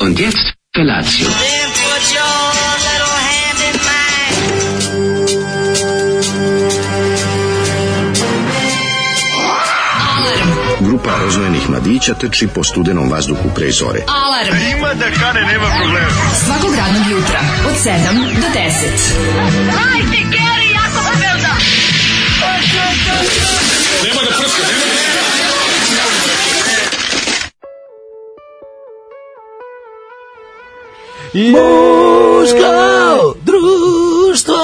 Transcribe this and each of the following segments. Und jetzt Felatio. Then put your little hand in mine. Grupa rozvojenih mladića teči po studenom vazduhu pre zore. Alarm. Ima da kane, nema problema. Svakog radnog jutra, od 7 do 10. Muško društvo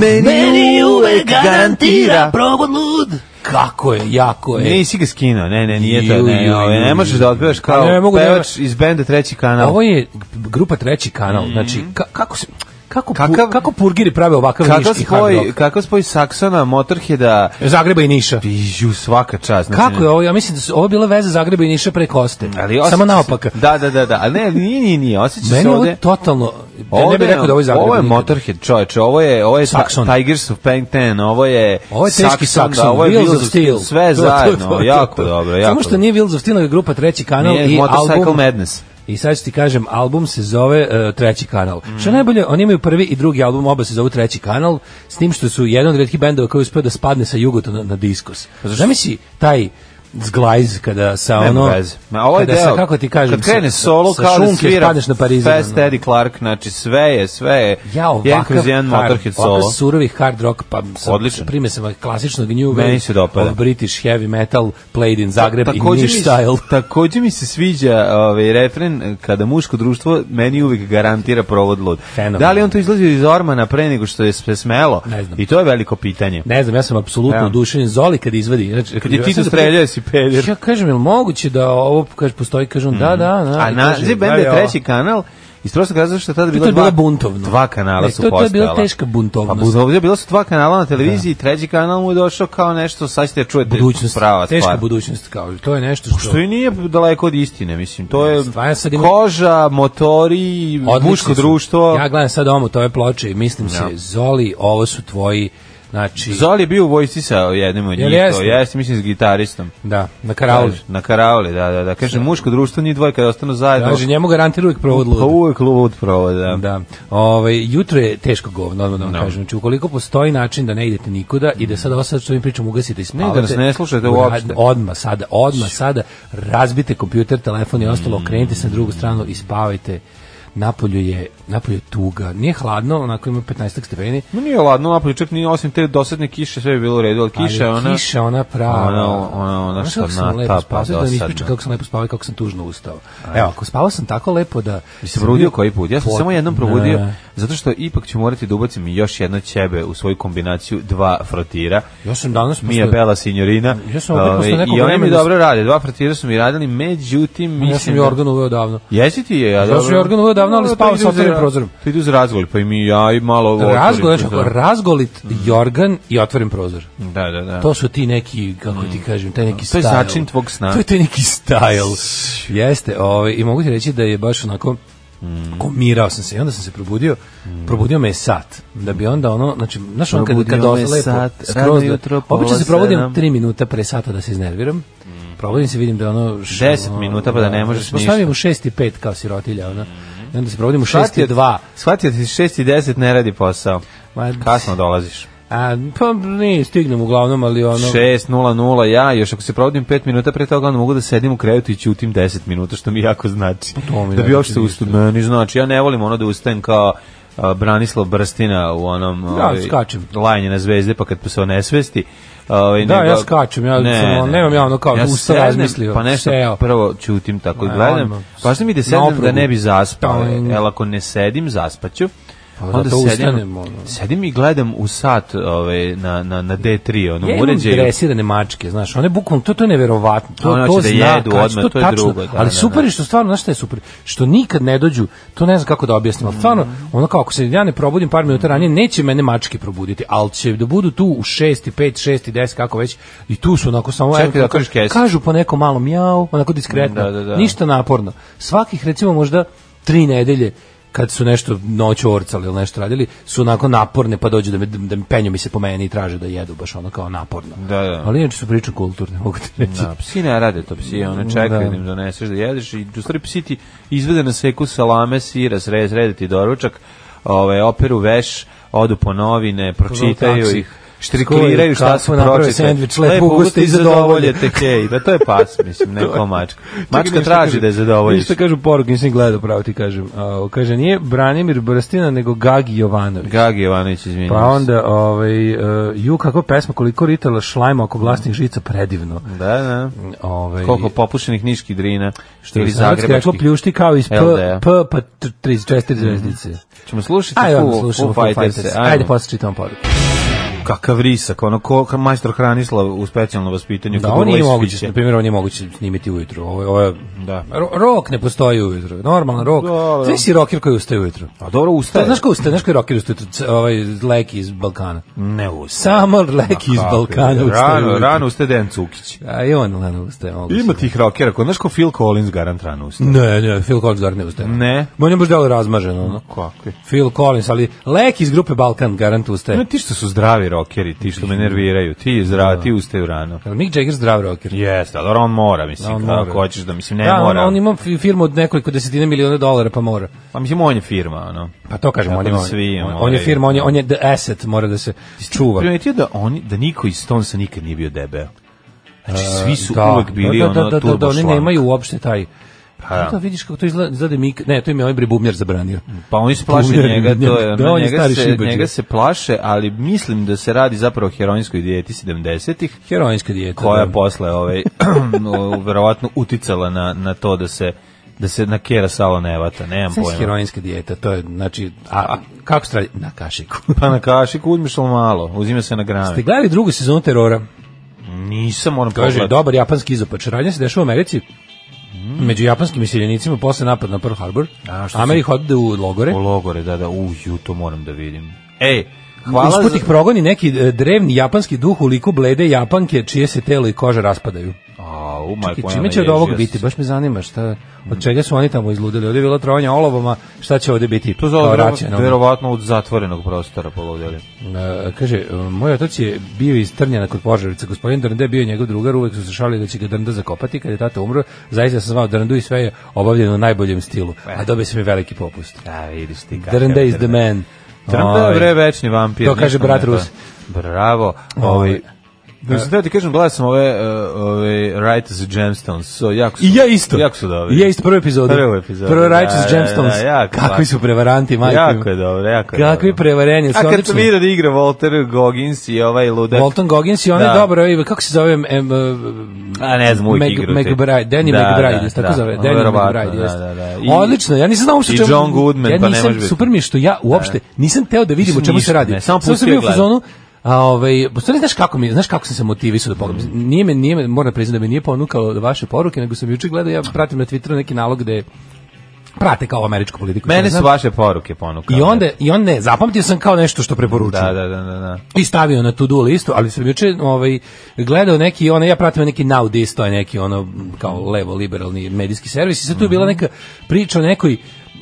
meni, uvek garantira provod lud. Kako je, jako je. Nisi ga skinuo, ne, ne, nije to, Ju, ne, ju, ovaj, ne ju. možeš da odpevaš kao Ne, ne mogu, ne, pevač iz benda Treći kanal. Ovo je grupa treći kanal, znači ka, kako se... Kako, Kakav- kakav, kako purgiri prave ovakav Kakav niški hard spoj, rock? kakav spoj Saksona, Motorheada, Zagreba i Niša. pižu svaka čast. znači, Kako je ovo? Ja mislim da su ovo je bila veza Zagreba i Niša preko Oste. Ali osjeća Samo se- naopaka. Da, da, da, da. Ali ne, nije, nije, nije. Osjeća se Meni je ovo ovde... totalno... Ja ne bih rekao da ovo je Zagreba. ovo je nikad. Motorhead, čoveče, ovo je, ovo je Saxon. Ta, Tigers of Pengten, ovo je Ovo je teški Saxon, Saxon, da, ovo je Wheels of Steel. sve To, to, to, zajedno, to, to. jako dobro, jako Samo što nije Wheels of Steel, nego je grupa treći kanal Nije i Motorcycle album... Madness. I sad ću ti kažem, album se zove e, Treći kanal. Što je najbolje, oni imaju prvi i drugi album, oba se zovu Treći kanal, s tim što su jedan od redkih bendova koji je uspeo da spadne sa Jugotona na, na diskos. Zamisli taj zglajz kada sa Pa Nema ono... veze. Ma, ovo je kada sa, deo, kako ti kažem, kad krene sa- solo, sa kao da šunke svira spadneš na Parizu. ono. Fast Eddie Clark, znači sve je, sve je, Ja jedan ovakav, kroz jedan hard- Motorhead ovakav solo. surovi hard rock, pa sam, Odličan. prime sam klasičnog new wave, Meni se dopada. Pa of British heavy metal, played in Zagreb i Takođe Niš mi- style. Takođe mi se sviđa ovaj refren kada muško društvo meni uvek garantira provod lud. Fenomenalno. Da li on to izlazio iz ormana pre nego što je se smelo? Ne znam. I to je veliko pitanje. Ne znam, ja sam apsolutno Evo. udušenjen Zoli kad izvadi. Znači, Kad je ja Tito sam- streljao si peder. Ja kažem, je li moguće da ovo kaže, postoji? Kažu, da, da, da. Mhm. A I kaže, naziv benda da, je ja. treći kanal Iz prostog razloga što je tada bilo To je dva, bila buntovno. dva kanala Ne, su to- to postala. je bila teška buntovnost. Pa buntovno, bilo su dva kanala na televiziji, treći kanal mu je došao kao nešto, sad ćete čujete Budućnost, prava teška stvar. budućnost, kao, to je nešto što... Što i nije daleko od istine, mislim. To je Stvarno sad ima- koža, motori, Odlični muško su. društvo. Ja gledam sad ovom u tove ploče i mislim se, Zoli, ovo su tvoji, znači... Zoli je bio u vojsci sa jednim od njih, Jel to jeste? jeste, mislim, s gitaristom. Da, na karauli. Kaže, Na karauli, da, da, da. Kaže, muško društvo, njih dvoje kada ostanu zajedno. Kaže, njemu garantira uvijek provod Pa luda. uvek lud provode, da. Da. Ovaj jutro je teško govno, odmah da vam kažem. Znači, ukoliko postoji način da ne idete nikuda i da sad ovo sad što im pričam ugasite i spavate. Ne, da nas ne slušate urad- uopšte. Odmah sada, odmah sada razbite kompjuter, telefon i ostalo, Mm. okrenite se na drugu stranu i spavajte. Napolju je, napolju je tuga. Nije hladno, onako ima 15 stepeni. Ma nije ladno napolje, čak nije osim te dosadne kiše, sve je bilo u redu, ali ali kiša je ona... Kiša ona prava. Ona- ona- ona Znaš što pa kako sam lepo natapa spavao? Sad da mi dosadno. ispričam kako sam lepo spavao i kako sam tužno ustao. Evo, ako spavao sam tako lepo da... Mi se probudio koji put? Ja sam Pot- samo jednom probudio, Ne. zato što ipak ću morati da ubacim još jedno ćebe u svoju kombinaciju dva frotira. Ja sam danas... Mija posle- Bela Signorina. Ovaj, Ja sam opet posle nekog I oni mi vremena- dobro rade, dva frotira su mi radili, međutim... Ja sam mislim da- Jorgan uveo davno. Jesi ti je, ja Zato što je organ uveo davno, ali Dobro, spava to sa ide otvorenim za- prozorom. To ide uz razgolj, pa i mi ja i malo ovo otvorim Razgolit, znači, prozor. razgolit jorgan i otvoren prozor. Da, da, da. Mm. To su ti neki, kako ti kažem, taj neki To je style. začin tvog sna. To je taj neki style. Jeste, ovaj, i mogu ti reći da je baš onako Mm. komirao sam se i onda sam se probudio probudio me je sat da bi onda ono znači znaš on kad kad Probudio me dosta lepo sat, radno skroz jutro, da, pola obično se probudim sedam. 3 minuta pre sata da se iznerviram probudim se vidim da je ono š- 10 ono, minuta pa da ne možeš se ništa. postavim Mm. u 6 i 5 kao sirotilja ona i onda se probudim u 6 Shvatio- i 2 Shvatio ti 6 i 10 ne radi posao. Ma, Kasno dolaziš. A, pa ne, stignem uglavnom, ali ono... 6.00 ja, još ako se provodim 5 minuta pre toga, onda mogu da sedim u krevetu i ćutim 10 minuta, što mi jako znači. to mi da bi ne uopšte znači ustao, meni znači. Ja ne volim ono da ustajem kao a, Branislav Brstina u onom ovaj, Ja skačem. lajanje na zvezde, pa kad se onesvesti. Ovaj, Da, ja skačem, ja sam, ono, nemam ja ono kao, ustao, sednem, razmislio, Pa nešto seo. prvo ćutim tako i Ne, odmah. gledam. Važno mi je da sednem da oprugu. ne bi zaspao, Toing. jer ako ne sedim, zaspaću. Pa onda zato sedim, ustanem, ono. sedim i gledam u sat ovaj, na, na, na D3, ono, Ja u imam uređaju. dresirane mačke, znaš, one bukvalno, to, to je neverovatno, to, One to hoće Ono da zna, jedu kad- odmah, to je tačno, drugo, da, ali da, super da. je što stvarno, znaš šta je super, što nikad ne dođu, to ne znam kako da objasnim, ali stvarno, ono kao, ako se ja ne probudim par minuta ranije, neće mene mačke probuditi, ali će da budu tu u 6 i 5, 6 i 10, kako već, i tu su onako samo, Čekaj evo, da kako- otvoriš kesicu. kažu po neko malo mjau, onako diskretno, Da, da, da. ništa naporno, svakih recimo možda tri nedelje, kad su nešto noću orcali ili nešto radili, su onako naporne pa dođu da me, da me penju mi se po meni i traže da jedu baš ono kao naporno. Da, da. Ali inače su priče kulturne, mogu ti reći. Da, psi ne rade to, psi one čekaju da. Da. im doneseš da jedeš i u stvari psi ti izvede na seku salame, sira, srede, srede ti doručak, ovaj, operu veš, odu po novine, pročitaju taksi. ih, štrikliraju šta su Kako naprave pročitali. sendvič, lepo uguste i zadovoljete kej. Da, to je pas, mislim, ne kao mačka. Mačka traži da je zadovoljiš. Ništa kažu poruku, nisam gledao pravo ti kažem. A, kaže, nije Branimir Brstina, nego Gagi Jovanović. Gagi Jovanović, izvinjam Pa se. onda, ovaj, uh, ju, kako pesma, koliko ritala šlajma oko vlastnih žica, predivno. Da, da. Ovaj, Koliko popušenih niških drina, što Ili ili zagrebački. Rekao, zagrebačkih. pljušti kao iz P, LDA. P, pa Mm. 34 zvezdice. Ćemo slušati Ajde, Foo- ono, slušamo Foo Foo Fighters. Fighters. Ajde, posle čitam poruku. kakav risak, ono ko ka- majstor Hranislav u specijalnom vaspitanju. Da, kad ovo nije urla iz moguće, fiće. na primjer, ovo nije moguće snimiti ujutru. Ovo, je- ovo je, Da. Ro- Rok ne postoji ujutru, normalan rok. Dobro. Znaš si rocker koji ustaje ujutru? A dobro Da, ustaje. znaš ko ustaje, znaš koji rocker ustaje, ujutru? C- ovaj leki iz Balkana. Ne ustaje. Samo leki iz Balkana ustaje Rano, ujutru. rano ustaje Dejan Cukić. A i on lano ustaje, moguće. Ima tih rockera, ko, znaš ko Phil Collins garant rano ustaje. Ne, ne, Phil Collins gar ne ustaje. Ne. Ma on je baš delo razmaženo, ono. Kakvi? Phil Collins, ali lek iz grupe Balkan garant Ne, ustaje. ti što su zdravi rockeri, ti što me nerviraju, ti zdravi, ti ustaju rano. Jel Mick Jagger zdrav rocker? Jeste, ali on mora, mislim, On kako mora. hoćeš da, mislim, ne da, mora. On, on ima fi- firmu od nekoliko desetina miliona dolara, pa mora. Pa mislim, on je firma, ono. Pa to kažem, Tako on, da je, on, svi ono, ovaj, on, on je moraju. firma, on je, on je the asset, mora da se čuva. Primetio da, oni, da niko iz Stonesa nikad nije bio debel. Znači, svi su da, uvek bili da, da, ono da, da, turbo da, oni šlank. nemaju uopšte taj... Pa da. Da. vidiš kako to izgleda, izgleda Mik, ne, to im je ovaj brebubnjar zabranio. Pa oni se plaše Bubnjar, njega, to je, da, ono, on je njega, stari se, šibađija. njega se plaše, ali mislim da se radi zapravo o heroinskoj dijeti 70-ih, Heroinska dijeta. koja je da. posle ovaj, o, verovatno uticala na, na to da se da se na Kera Salo nevata, nemam Sve je pojma. heroinska dijeta, to je, znači, a, kako se radi? Na kašiku. Pa na kašiku uzmiš li malo, uzima se na Ste grame. gledali drugu sezonu terora? Nisam, moram Kaže, pogledati. dobar japanski izopač. Radnja se dešava u Americi, među japanskim iseljenicima posle napad na Pearl Harbor. Mm. A, što Ameri ode u logore. U logore, da, da, uju, to moram da vidim. Ej, hvala Usput za... ih progoni neki e, drevni japanski duh u liku blede japanke čije se telo i koža raspadaju. A, u, Čekaj, čime će od ovog biti? Baš me zanima šta, od čega su oni tamo izludili. Ovdje je bilo trovanja olovama, šta će ovdje biti? To Kao zove racionalno. verovatno od zatvorenog prostora poludeli. E, kaže, e, moj otac je bio iz Trnjana kod Požarevica, gospodin Drnde je bio njegov drugar, uvek su se šalili da će ga Drnda zakopati, kad je tata umro, zaista sam zvao Drndu i sve je obavljeno u najboljem stilu, E. a dobio sam i veliki popust. Da, vidiš ti Drnde is the man. Ovaj, Trump je Oj. bre večni vampir. To kaže ništa brat mu ne Rus. e. da. Bravo. Ovaj Da se da ti kažem, gledao sam ove, uh, ove Righteous Gemstones, so jako su, I ja isto. jako su dobri. I ja isto prvu epizodu. Prvu epizodu, Prvo da, Righteous da, Gemstones. da, jako Kakvi su prevaranti, majke. jako je dobro, jako je Kakvi dobro. prevarenje, A su kad sam odlični. vidio da igra Walter Goggins i ovaj ludak, Walton Goggins i on je Da. dobro, i kako se zove, em, em, a ne znam, uvijek Meg- igra. McBride, Danny McBride, jeste tako zove, Danny jest. McBride, jeste. Ono Da, da, I- Odlično, ja nisam znao uopšte i čemu- John Goodman, ja pa ne nisam- može biti. super mi je što ja uopšte nisam teo da vidim Nisam o čemu ništa, se radi. ne, samo sam pustio bio u gledam. fazonu, A ovaj, u stvari, znaš kako mi, znaš kako sam se motivisao da pogledam. Nije me, nije me, moram priznati da me nije ponukao vaše poruke, nego sam juče gledao, ja pratim na Twitteru neki nalog gde prate kao američku politiku. što Mene ne su znam. vaše poruke ponukale. I onda, i onda zapamtio sam kao nešto što preporučujem Da, da, da, da. da. i stavio na to do listu, ali sam juče ovaj gledao neki onaj ja pratim neki Now This, to je neki ono kao levo liberalni medijski servis i sad tu je bila neka priča o nekoj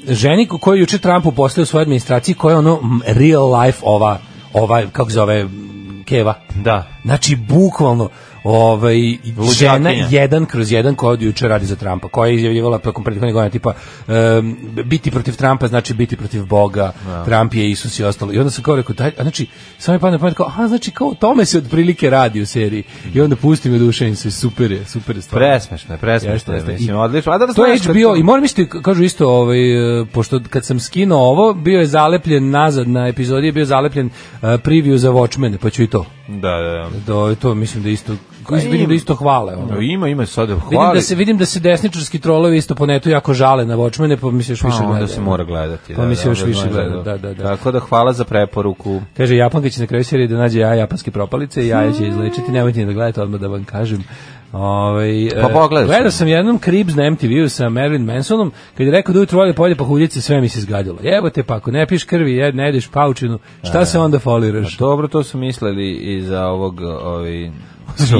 ženi ko- koju je juče Trump uposlio u svojoj administraciji koja je ono m, real life ova ova kako zove m, Keva. Da. Znači bukvalno ovaj žena Luđakinja. jedan kroz jedan koja od juče radi za Trumpa, koja je izjavljivala tokom prethodnih godina tipa em, biti protiv Trumpa znači biti protiv Boga, Trump je Isus i ostalo. I onda sam kao rekao, daj, a znači, samo je padne pamet kao, a znači kao o tome se otprilike radi u seriji. I onda pustim i oduševim se, super je, super je stvar. Presmešno je, presmešno je, Pa, Jeste, jeste. mislim, I- odlično. A da, To je znaš kad HBO i moram isto kažu isto ovaj e, pošto kad sam skinuo ovo bio je zalepljen nazad na epizodi je bio zalepljen e, preview za Watchmen pa ću i to. Da, da, da. Do, to mislim da isto vidim da isto hvale ono. Ima, ima sad Vidim hvali. da se vidim da se desničarski trolovi isto po netu jako žale na Watchmene, pa mi se još Pa više gleda. onda se mora gledati. Pa mi se još onda više gleda. gleda, da, da, da. Tako da hvala za preporuku. Kaže Japanka će na kraju serije da nađe jaja japanske propalice i jaja će izlečiti, nemojte ni da gledate odmah da vam kažem. Ovaj e, Pa pogledao sam. Gledao sam jednom Cribs na MTV-u sa Marilyn Mansonom, kad je rekao da ujutro voli polje pahuljice, sve mi se zgadilo. Jebote te, pa ako ne piješ krvi, jed, E, ne pa jedeš paučinu, šta se onda foliraš? Dobro, to su mislili i za ovog, ovi,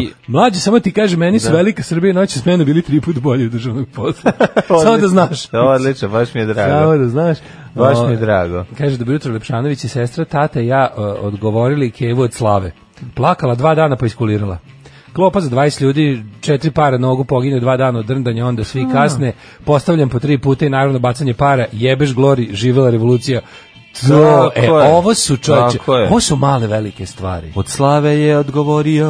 I- Mlađe, samo ti kaže, meni su Velika Srbija i noći s mene bili tri puta bolje od državnog posla. samo da znaš. Odlično, baš mi je Samo drago. da znaš. Baš mi je O, drago. Kaže, dobro jutro, Lepšanović i sestra, tata i ja e, odgovorili Kevu od slave. Plakala dva dana pa iskulirala. Klopa za 20 ljudi, četiri para nogu pogine dva dana od drndanja, onda svi kasne, postavljam po tri puta i naravno bacanje para, jebeš glori, živela revolucija. To, Tako e, je. ovo su čoveče, Tako je. ovo su male velike stvari. Od slave je odgovorio.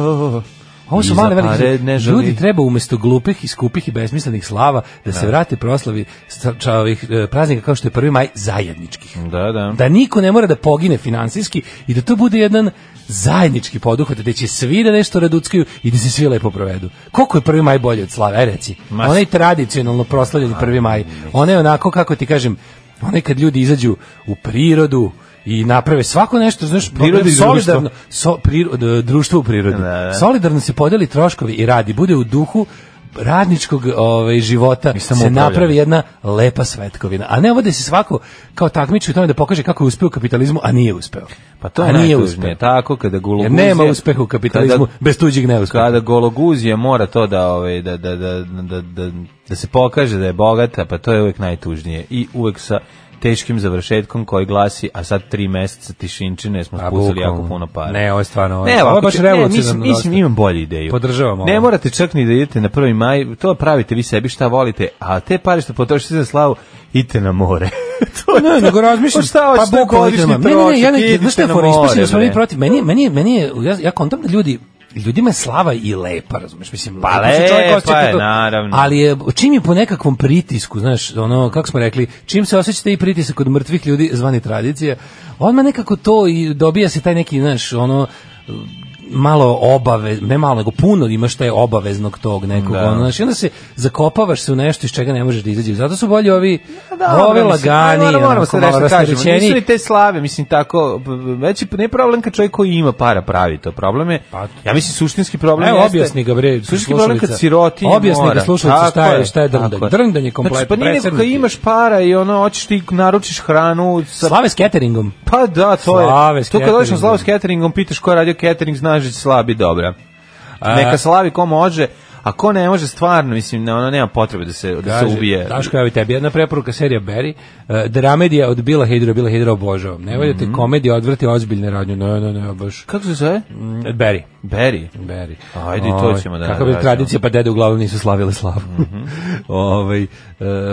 Ovo su Iza male velike pare stvari. ne žali. Ljudi treba umesto glupih i skupih i besmislenih slava da se vrate proslavi sta- ča- ovih e, praznika kao što je 1. maj zajedničkih. Da, da. Da niko ne mora da pogine finansijski i da to bude jedan zajednički poduhvat, da će svi da nešto raduckaju i da se svi lepo provedu. Koliko je 1. maj bolje od slave, aj reci? Ma- Onaj tradicionalno proslavljeni 1. maj, onaj onako, kako ti kažem, onaj kad ljudi izađu u prirodu, i naprave svako nešto, znaš, Priroda i solidarno, so, priro, d- društvo u prirodi. Da, da. Solidarno se podeli troškovi i radi, bude u duhu radničkog ovaj, života se samoupravljanja. napravi jedna lepa svetkovina. A ne ovo da se svako kao takmiči u tome da pokaže kako je uspeo u kapitalizmu, a nije uspeo. Pa to a je nije najtužnije. uspeo. Tako, kada gologuzija... Jer nema uspeha u kapitalizmu Kada, bez tuđeg neuspeha. kada gologuzija mora to da, ovaj, da, da, da, da, da, da se pokaže da je bogata, pa to je uvek najtužnije. I uvek sa teškim završetkom koji glasi, a sad tri meseca tišinčine smo A, spucali Pa bukvalno. jako puno para. Ne, ovo je stvarno, ovo je- ne, ovo je ovako baš će- ne, revolucionarno mislim, mislim, dosta. imam bolju ideju. Podržavam ovo. Ne morate čak ni da idete na 1. maj, to pravite vi sebi šta volite, a te pare što potrošite za slavu, idite na more. to je Ne, to. nego razmišljam. Pa šta hoćete, godišnji idemo. Ne, ne, ne, ja trošak, ne, idite znaš šta je na fora, ispašće da more, smo mi bre. protiv. Meni, meni, je- meni, je- ja, ja kontam da ljudi ljudima je slava i lepa, razumeš, mislim. Pa lepo se čovjek lepa osjeća je, to- naravno. Ali je, čim je po nekakvom pritisku, znaš, ono, kako smo rekli, čim se osjećate i pritisak od mrtvih ljudi, zvani tradicija, odmah nekako to i dobija se taj neki, znaš, ono, malo obave, ne malo, nego puno imaš taj obaveznog tog nekog, Da. ono, znaš, i onda se zakopavaš se u nešto iz čega ne možeš da izađeš. Zato su bolji ovi, Da, Ove mislim, lagani, ajde, moramo onako se malo nešto kažemo. Nisu rasterećeni. li te slave, mislim tako, b- b- već je ne problem kad čovjek koji ima para pravi to problem je. Pa- ja mislim suštinski problem Evo, jeste. objasni ga, bre, Suštinski problem slušalica. kad siroti Objasni ga, slušalica, šta je- šta je drndanje. Drndanje kompletno, Znači, pa nije nego kad presrnuti. imaš para i ono, hoćeš ti naručiš hranu sa Slave s cateringom. Pa da, to Slave je. s Tu kad dođeš na cateringom. Slavu s cateringom, pitaš ko je radio catering, znaš da će slabi dobra. Neka slavi ko može, a ko ne može stvarno, mislim, ne, ono nema potrebe da se, da se Kaže, ubije. Daško, evo i tebi jedna preporuka serija Barry. Uh, dramedija od Bila Hadera, Bila Hadera obožavam. Ne valjate Mhm. komedija odvrti ozbiljne radnje. Ne, ne, ne, baš. Kako se zove? Mm, Barry. Beri. Beri. Ajde, i to Ovaj, ćemo da Mhm. Kakva bi nadražimo. tradicija, pa dede uglavnom nisu slavile slavu. Ovaj, e,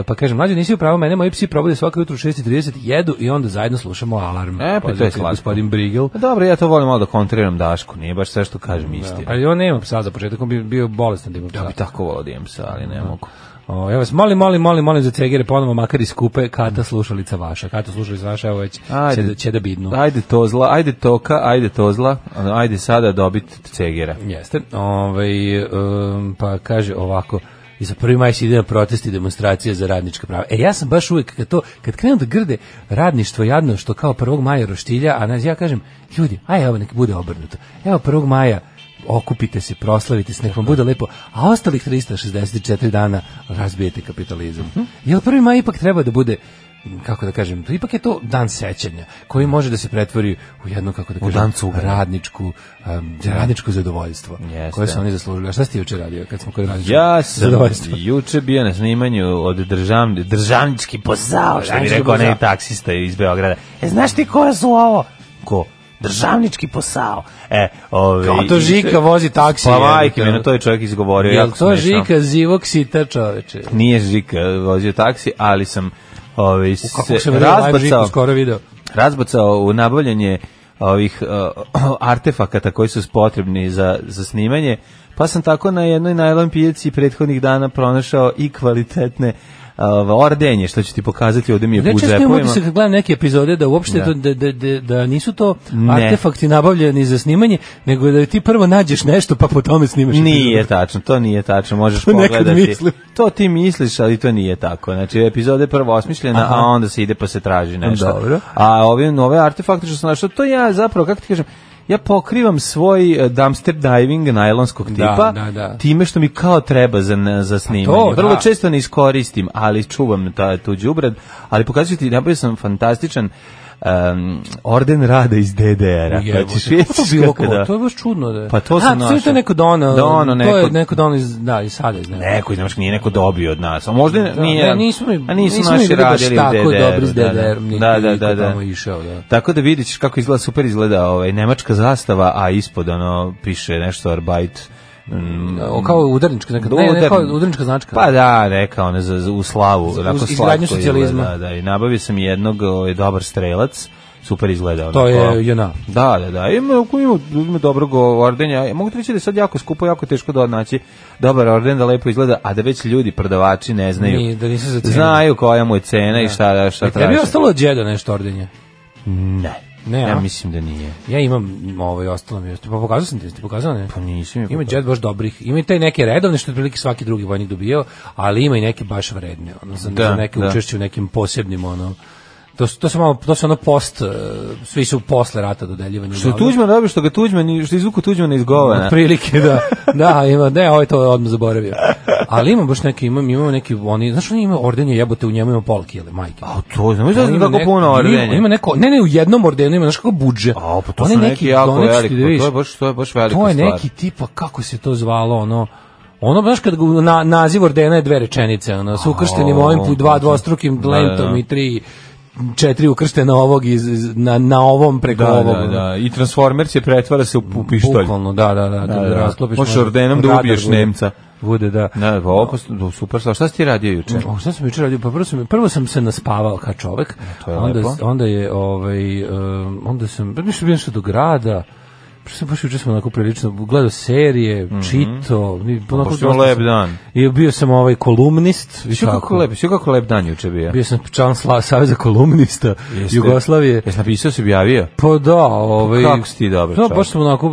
pa kažem, mlađe nisi upravo mene, moji psi probude svako jutro u 6.30, jedu i onda zajedno slušamo E, alarm. pa to je Pozdrav, slatko. Gospodin Brigel. Pa dobro, ja to volim malo da kontriram Dašku, nije baš sve što kažem istina. Ali on nema psa za početak, on bi bio bolestan pa da ima psa. Ja bi tako volao da imam psa, ali ne mogu. O, ja vas molim, molim, molim, molim za cegere ponovo, makar iz kupe, kata slušalica vaša. Kata slušalica vaša, evo već će da, će da bidnu. Ajde tozla, ajde toka, ajde tozla, ono, ajde sada dobit cegera. Jeste. Ovaj, em, pa kaže ovako, i za prvi maj se ide na protest i demonstracije za radnička prava. E, ja sam baš uvijek, kad, to, kad krenu da grde radništvo jadno, što kao 1. maja roštilja, a nas ja kažem, ljudi, aj evo nek bude obrnuto. Evo 1. maja okupite se, proslavite se, nek vam bude lepo, a ostalih 364 dana razbijete kapitalizam. Jel 1. maj ipak treba da bude m, kako da kažem, to ipak je to dan sećanja koji može da se pretvori u jedno kako da kažem, dan cuganja. radničku em, radničko zadovoljstvo Jeste. koje su oni zaslužili. A šta ste juče radio kad smo kod radničkog Ja sam zadovoljstva? juče bio na snimanju od državni, državnički posao, što bi Državnički rekao onaj posao. taksista iz Beograda. E, znaš ti ko su ovo? Ko? Državnički posao. E, ove, Kao to Žika vozi taksi, Pa jebote. ono. majke mi, na to je čovjek izgovorio. Jel jako to smešno. Žika zivog sita čoveče? Nije Žika vozio taksi, ali sam ove, Kako se sam radio live Žiku razbacao, skoro video. razbacao u nabavljanje ovih uh, artefakata koji su potrebni za, za snimanje, pa sam tako na jednoj najlon pijaci prethodnih dana pronašao i kvalitetne uh, ordenje, što ću ti pokazati, ovde mi je u Reče što imam džepovima. Znači, utisak kad gledam neke epizode da uopšte Da. to- da. Da, da, da, nisu to Ne. artefakti nabavljeni za snimanje, nego da ti prvo nađeš nešto pa po tome snimaš. Nije epizodu. tačno, to nije tačno, možeš To nekad pogledati. mislim. To ti misliš, ali to nije tako. Znači, epizode je prvo osmišljena, a onda se ide pa se traži nešto. Dobro. A ove nove artefakte što sam našao, to ja zapravo, kako ti kažem, ja pokrivam svoj eh, dumpster diving najlonskog tipa da, da. time što mi kao treba za, na- za snimanje. to, Vrlo da. često ne iskoristim, ali čuvam ta, tu đubrad, ali pokazuju ti, napravio sam fantastičan um, orden rada iz DDR-a. Jebo, Hoćeš kako to vidjeti Znači, bilo kako ko? da- To je baš čudno da. Pa to A, sam sve to našao. je neko dono. Dono, To ono neko- je neko dono iz da, iz sada iz ne. Neko iz Nemačke nije neko dobio od nas. A možda nije. ne, nismo mi- a nismo mi naši bili baš radili u tako DDR-u, dobri s da, da. DDR-om, niti Da, da, niko da, da. tamo išao, da. Tako da vidit ćeš kako izgleda, super izgleda ovaj, nemačka zastava, a ispod ono piše nešto Arbeit. mm, O, kao udarnička neka, Do ne, ne, udarni- kao udarnička značka. Pa da, neka ona za, za u slavu, onako uz izgradnju slatko socijalizma. izgleda, Da, da, i nabavio sam jednog, ovaj dobar strelac, super izgleda. To onako. je JNA. Da, da, da. Ima, ako ima, ima dobrog ordenja. Ja Mogu ti reći da je sad jako skupo, jako teško da naći dobar orden da lepo izgleda, a da već ljudi, prodavači, ne znaju. Ni- da nisu za cenu. E, Znaju koja mu je cena i šta, šta Tebi traže. je ostalo od džeda nešto ordenje. Ne. Ne, ja a? mislim da nije. Ja imam ovaj ostalo mi je. Pa pokazao sam ti, ti pokazao ne? Pa nisi mi Ima pokazao. džed baš dobrih. Ima i taj neke redovne što je otprilike svaki drugi vojnik dobio, ali ima i neke baš vredne, ono za, Da, za neke da. učešće u nekim posebnim ono. To su, to su malo, to su ono post, eh, svi su posle rata dodeljivani. Što je Tuđman dobio, što ga Tuđman, što je izvuku Tuđmana iz govana. Prilike, da. Da, ima, ne, ovaj to je odmah zaboravio. Ali ima baš neki, imam, imamo neki, oni, znaš, oni ima ordenje jebote, u njemu ima pola kile, majke. A to, znaš da Ima je tako neko- puno Ima, ordenja. ima neko, ne, ne, u jednom ordenu ima, znaš kako budže. A, pa to Oni su neki jako donet, veliki, ti da pa vidiš, to je baš- to je baš velika To je stvar. neki tipa, kako se to zvalo, ono, Ono baš kad ga- na, naziv ordena je dve rečenice, ono, sa ukrštenim A, ovim put dva da. dvostrukim Da, lentom da. i tri četiri ukrštena ovog iz, iz- na, na ovom preko Da, ovog. da, ono. da. I Transformers je pretvara se u, u pištolj. Bukvalno, da, da, da, da, da. da, rasklopiš. Možeš ono, ordenom da radar ubiješ bude. Nemca. Bude, da. Da, pa opasno, da, super stvar. Šta si ti radio juče? O, šta sam juče radio? Pa prvo sam, prvo sam se naspavao kao čovek. to je onda, lepo. onda je, ovaj, um, onda sam, pa mislim, bio nešto do grada, Prvo sam baš juče sam onako prilično gledao serije, Mhm. mm -hmm. čito, ni- onako Pošto je dosta lep sam- dan. I bio sam ovaj kolumnist, i Sve kako lep, sve kako lep dan juče bio. Bio sam član sla, Saveza kolumnista Jeste. Jugoslavije. Jesi napisao, si objavio? Pa da, ovaj... Kako si ti dobar Da, čovjek? baš sam onako...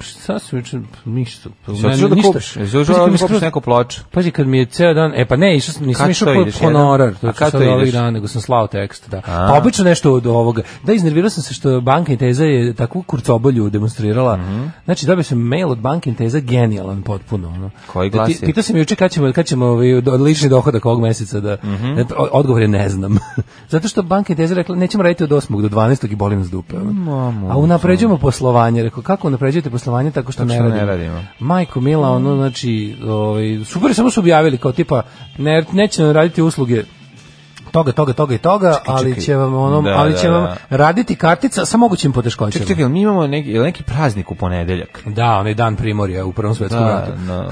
Šta sam juče? Ništa. Jesi otišao da kupiš? Jesi otišao da kupiš neku ploču? Pazi, kad mi je ceo dan... E, pa ne, išao sam, nisam Kad išao to po ideš, jedan? honorar. A To kad ću to sad ovih ideš? dana, nego sam slao tekst, da. A. Pa obično nešto od ovoga. Da, iznervirao sam se što Banka Inteza je takvu kurcobolju demonstrirala. Mhm. Znači, dobio sam mail od Banka Inteza, genijalan potpuno. Ono. Koji Da ti- glasi? Pitao sam juče kad ćemo, kad ćemo ovaj, do- lični dohodak ovog meseca da... Mhm. Et, o- Odgovor je ne znam. Zato što Banka Inteza rekla, nećemo raditi od 8. do 12. i boli nas dupe. ono. A unapređujemo poslovanje. Rekao, kako unapređujete poslovanje tako što, Tako ne, što ne radimo. radimo. Majko Mila, ono, znači, ovaj, super, samo su objavili kao tipa, ne, neće nam raditi usluge toga, toga, toga i toga, ali čekaj. će vam ono, Da, ali da, će vam da. raditi kartica sa mogućim poteškoćama. Čekaj, čekaj, jel mi imamo neki, jel neki praznik u ponedeljak. Da, onaj dan primorja u Prvom svetskom Da, ratu. na,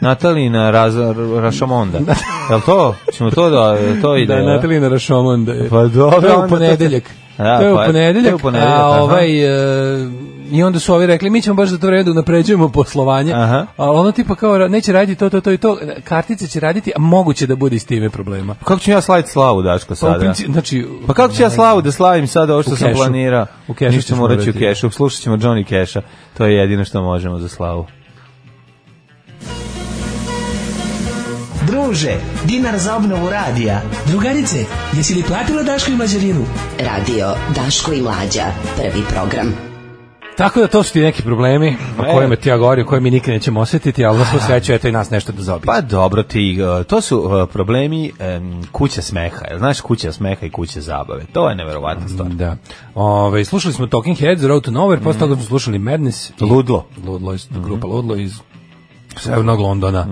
Natalina Raz, Rašamonda. Jel to? Ćemo to da, to ide? Da, jel? Natalina Rašomon da je. Pa dobro, To je onda u to- ponedeljak. Da, to je u pa- ponedeljak. to je u ponedeljak, a aha. ovaj, e, I onda su ovi rekli, mi ćemo baš za to vreme da unapređujemo poslovanje, Aha. ali ono tipa kao, ra- neće raditi to, to, to i to, kartice će raditi, a moguće da bude i s time problema. Kako ću ja slaviti slavu, Daško, Pa, u sada? principu, znači, Pa kako ću ja slavu da slavim sad ovo što U sam kešu. planirao? U kešu Ništa ćeš morat ću u morati. kešu. Slušat ćemo Johnny Keša. To je jedino što možemo za slavu. Druže, dinar za obnovu radija. Drugarice, jesi li platila Daško i Mađarinu? Radio Daško i Mlađa. Prvi program. Tako da to su ti neki problemi o kojima ti ja govorim, koje mi nikad nećemo osjetiti, ali na svu sreću, eto i nas nešto da zaobiđe. Pa dobro ti, e, to su e, problemi em, kuće smeha, jel znaš kuća smeha i kuće zabave, to je neverovatna stvar. Da. Ove, slušali smo Talking Heads, Road to Nowhere, posle Mhm. toga smo slušali Madness. i- Ludlo. Ludlo, iz, Mhm. grupa Ludlo iz Severnog Londona.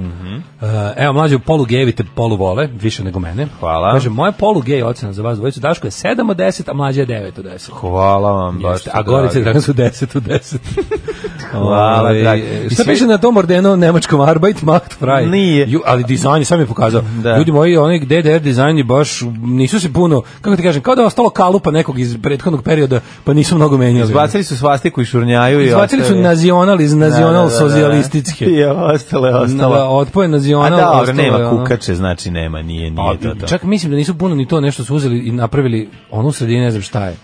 E, evo, mlađe, polu gejevite, polu vole, više nego mene. Hvala. Kaže, moja polu gej ocena za vas dvojicu, Daško je 7 od 10, a mlađe je 9 od 10. Hvala vam baš. Jeste, a Gorica i dragi. Dragan su 10 od 10. Hvala, Ovaj, dragi. I Šta sve- piše na tom ordenu nemačkom Arbeit macht frei? Nije. Ju, ali dizajn je sam je pokazao. Da. Ljudi moji, onaj DDR dizajn je baš, nisu se puno, kako ti kažem, kao da je ostalo kalupa nekog iz prethodnog perioda, pa nisu mnogo menjali. Izbacili su svastiku i šurnjaju i Izbacili su ostavili- nazional iz nazional Da, da, socijalističke. da. I ostalo je Da, ostalo. otpoje A nazional. da, dobro, ostalo je nema ono- Pa, kukače, znači nema, nije, nije to to. Čak mislim da nisu puno ni to nešto su uzeli i napravili ono u sredini, ne znam šta je.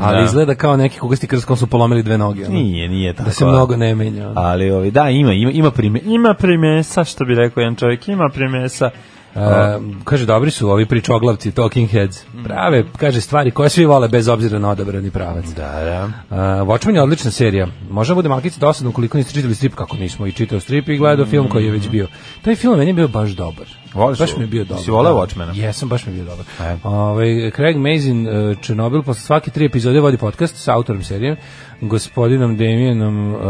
Ali Da. izgleda kao neki kugasti krst kom su polomili dve noge. ono. Nije, nije tako. Da se mnogo ne menja. ono. Ali ovi, da, ima, ima, ima prime, ima primesa, što bi rekao jedan čovjek, ima primesa, Um, kaže, dobri su ovi pričoglavci, talking heads. Prave, kaže, stvari koje svi vole bez obzira na odabrani pravac. Da, da. Uh, Watchmen je odlična serija. Možda bude malkice dosadno ukoliko niste čitali strip, kako nismo i čitao strip i gledao film koji je već bio. Taj film meni je bio baš dobar. Voliš baš ovo? mi je bio dobar. Si voleo Da. Watchmena? Jesam, baš mi je bio dobar. E. Ovaj Craig Mazin, uh, Černobil, posle svake tri epizode vodi podcast sa autorom serije, gospodinom Damienom uh,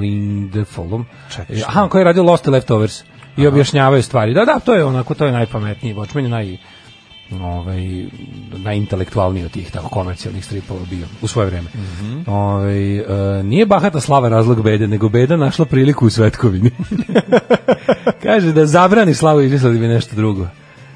Lindefolom. Čekaj, E, šta? Aha, koji je radio Lost i Leftovers i objašnjavaju stvari. Da, da, to je onako, to je najpametniji. Watchmen je naj ovaj, najintelektualniji od tih tako komercijalnih stripova bio u svoje vreme. ovaj, e, nije bahata slava razlog bede, nego beda našla priliku u Svetkovini. Kaže da zabrani slavu i bi nešto drugo.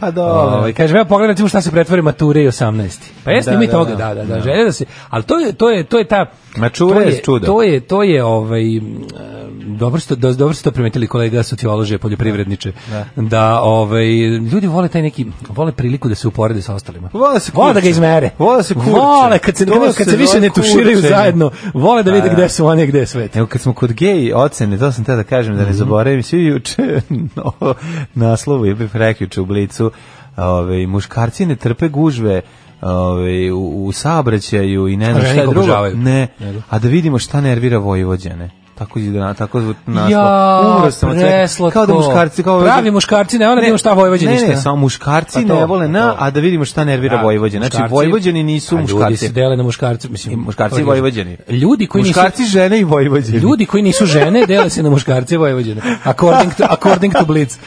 Pa Ovaj, kaže, evo pogledaj recimo šta se pretvori mature i 18. Pa jeste Da, mi da, toga, da. da, da, da, želja da se, ali to je, to je, to je ta... Mature to je čudo. To je, to je, ovaj, m, e, dobro ste, do- dobro ste to primetili kolega sociolože, poljoprivredniče, da, ovaj, ljudi vole taj neki, vole priliku da se uporede sa ostalima. Vole Pa da se Vole da ga kurče. izmere. Vole da se kurče. Vole, kad se, To kad, se se više ne zove tuširaju kurčenje. zajedno, vole da vide da. gde su oni, gde je svet. Evo kad smo kod gej ocene, to sam te da kažem Mhm. da ne zaboravim, svi juče no, naslovu ili prekjuče u blicu, ove, muškarci ne trpe gužve ove, u, u saobraćaju i ne znam A žene šta ih drugo. obožavaju. Ne, Nego? a da vidimo šta nervira Vojvođane. Tako je na tako zvu- naslov. Ja, Umro sam od svega. preslatko. Kao da muškarci kao Pravi muškarci, ne, ono da vidimo šta Vojvođani ne, Ne, ništa. samo muškarci Pa to, ne vole pa na, to. a da vidimo šta nervira Da, Vojvođane. Znači muškarci- Vojvođani nisu A Ljudi se muškarci. dele na muškarce, mislim. I muškarci to je- i Vojvođani. Ljudi koji nisu Muškarci, žene i Vojvođani. Ljudi koji nisu žene dele se na muškarce i Vojvođane. According to, according to Blitz.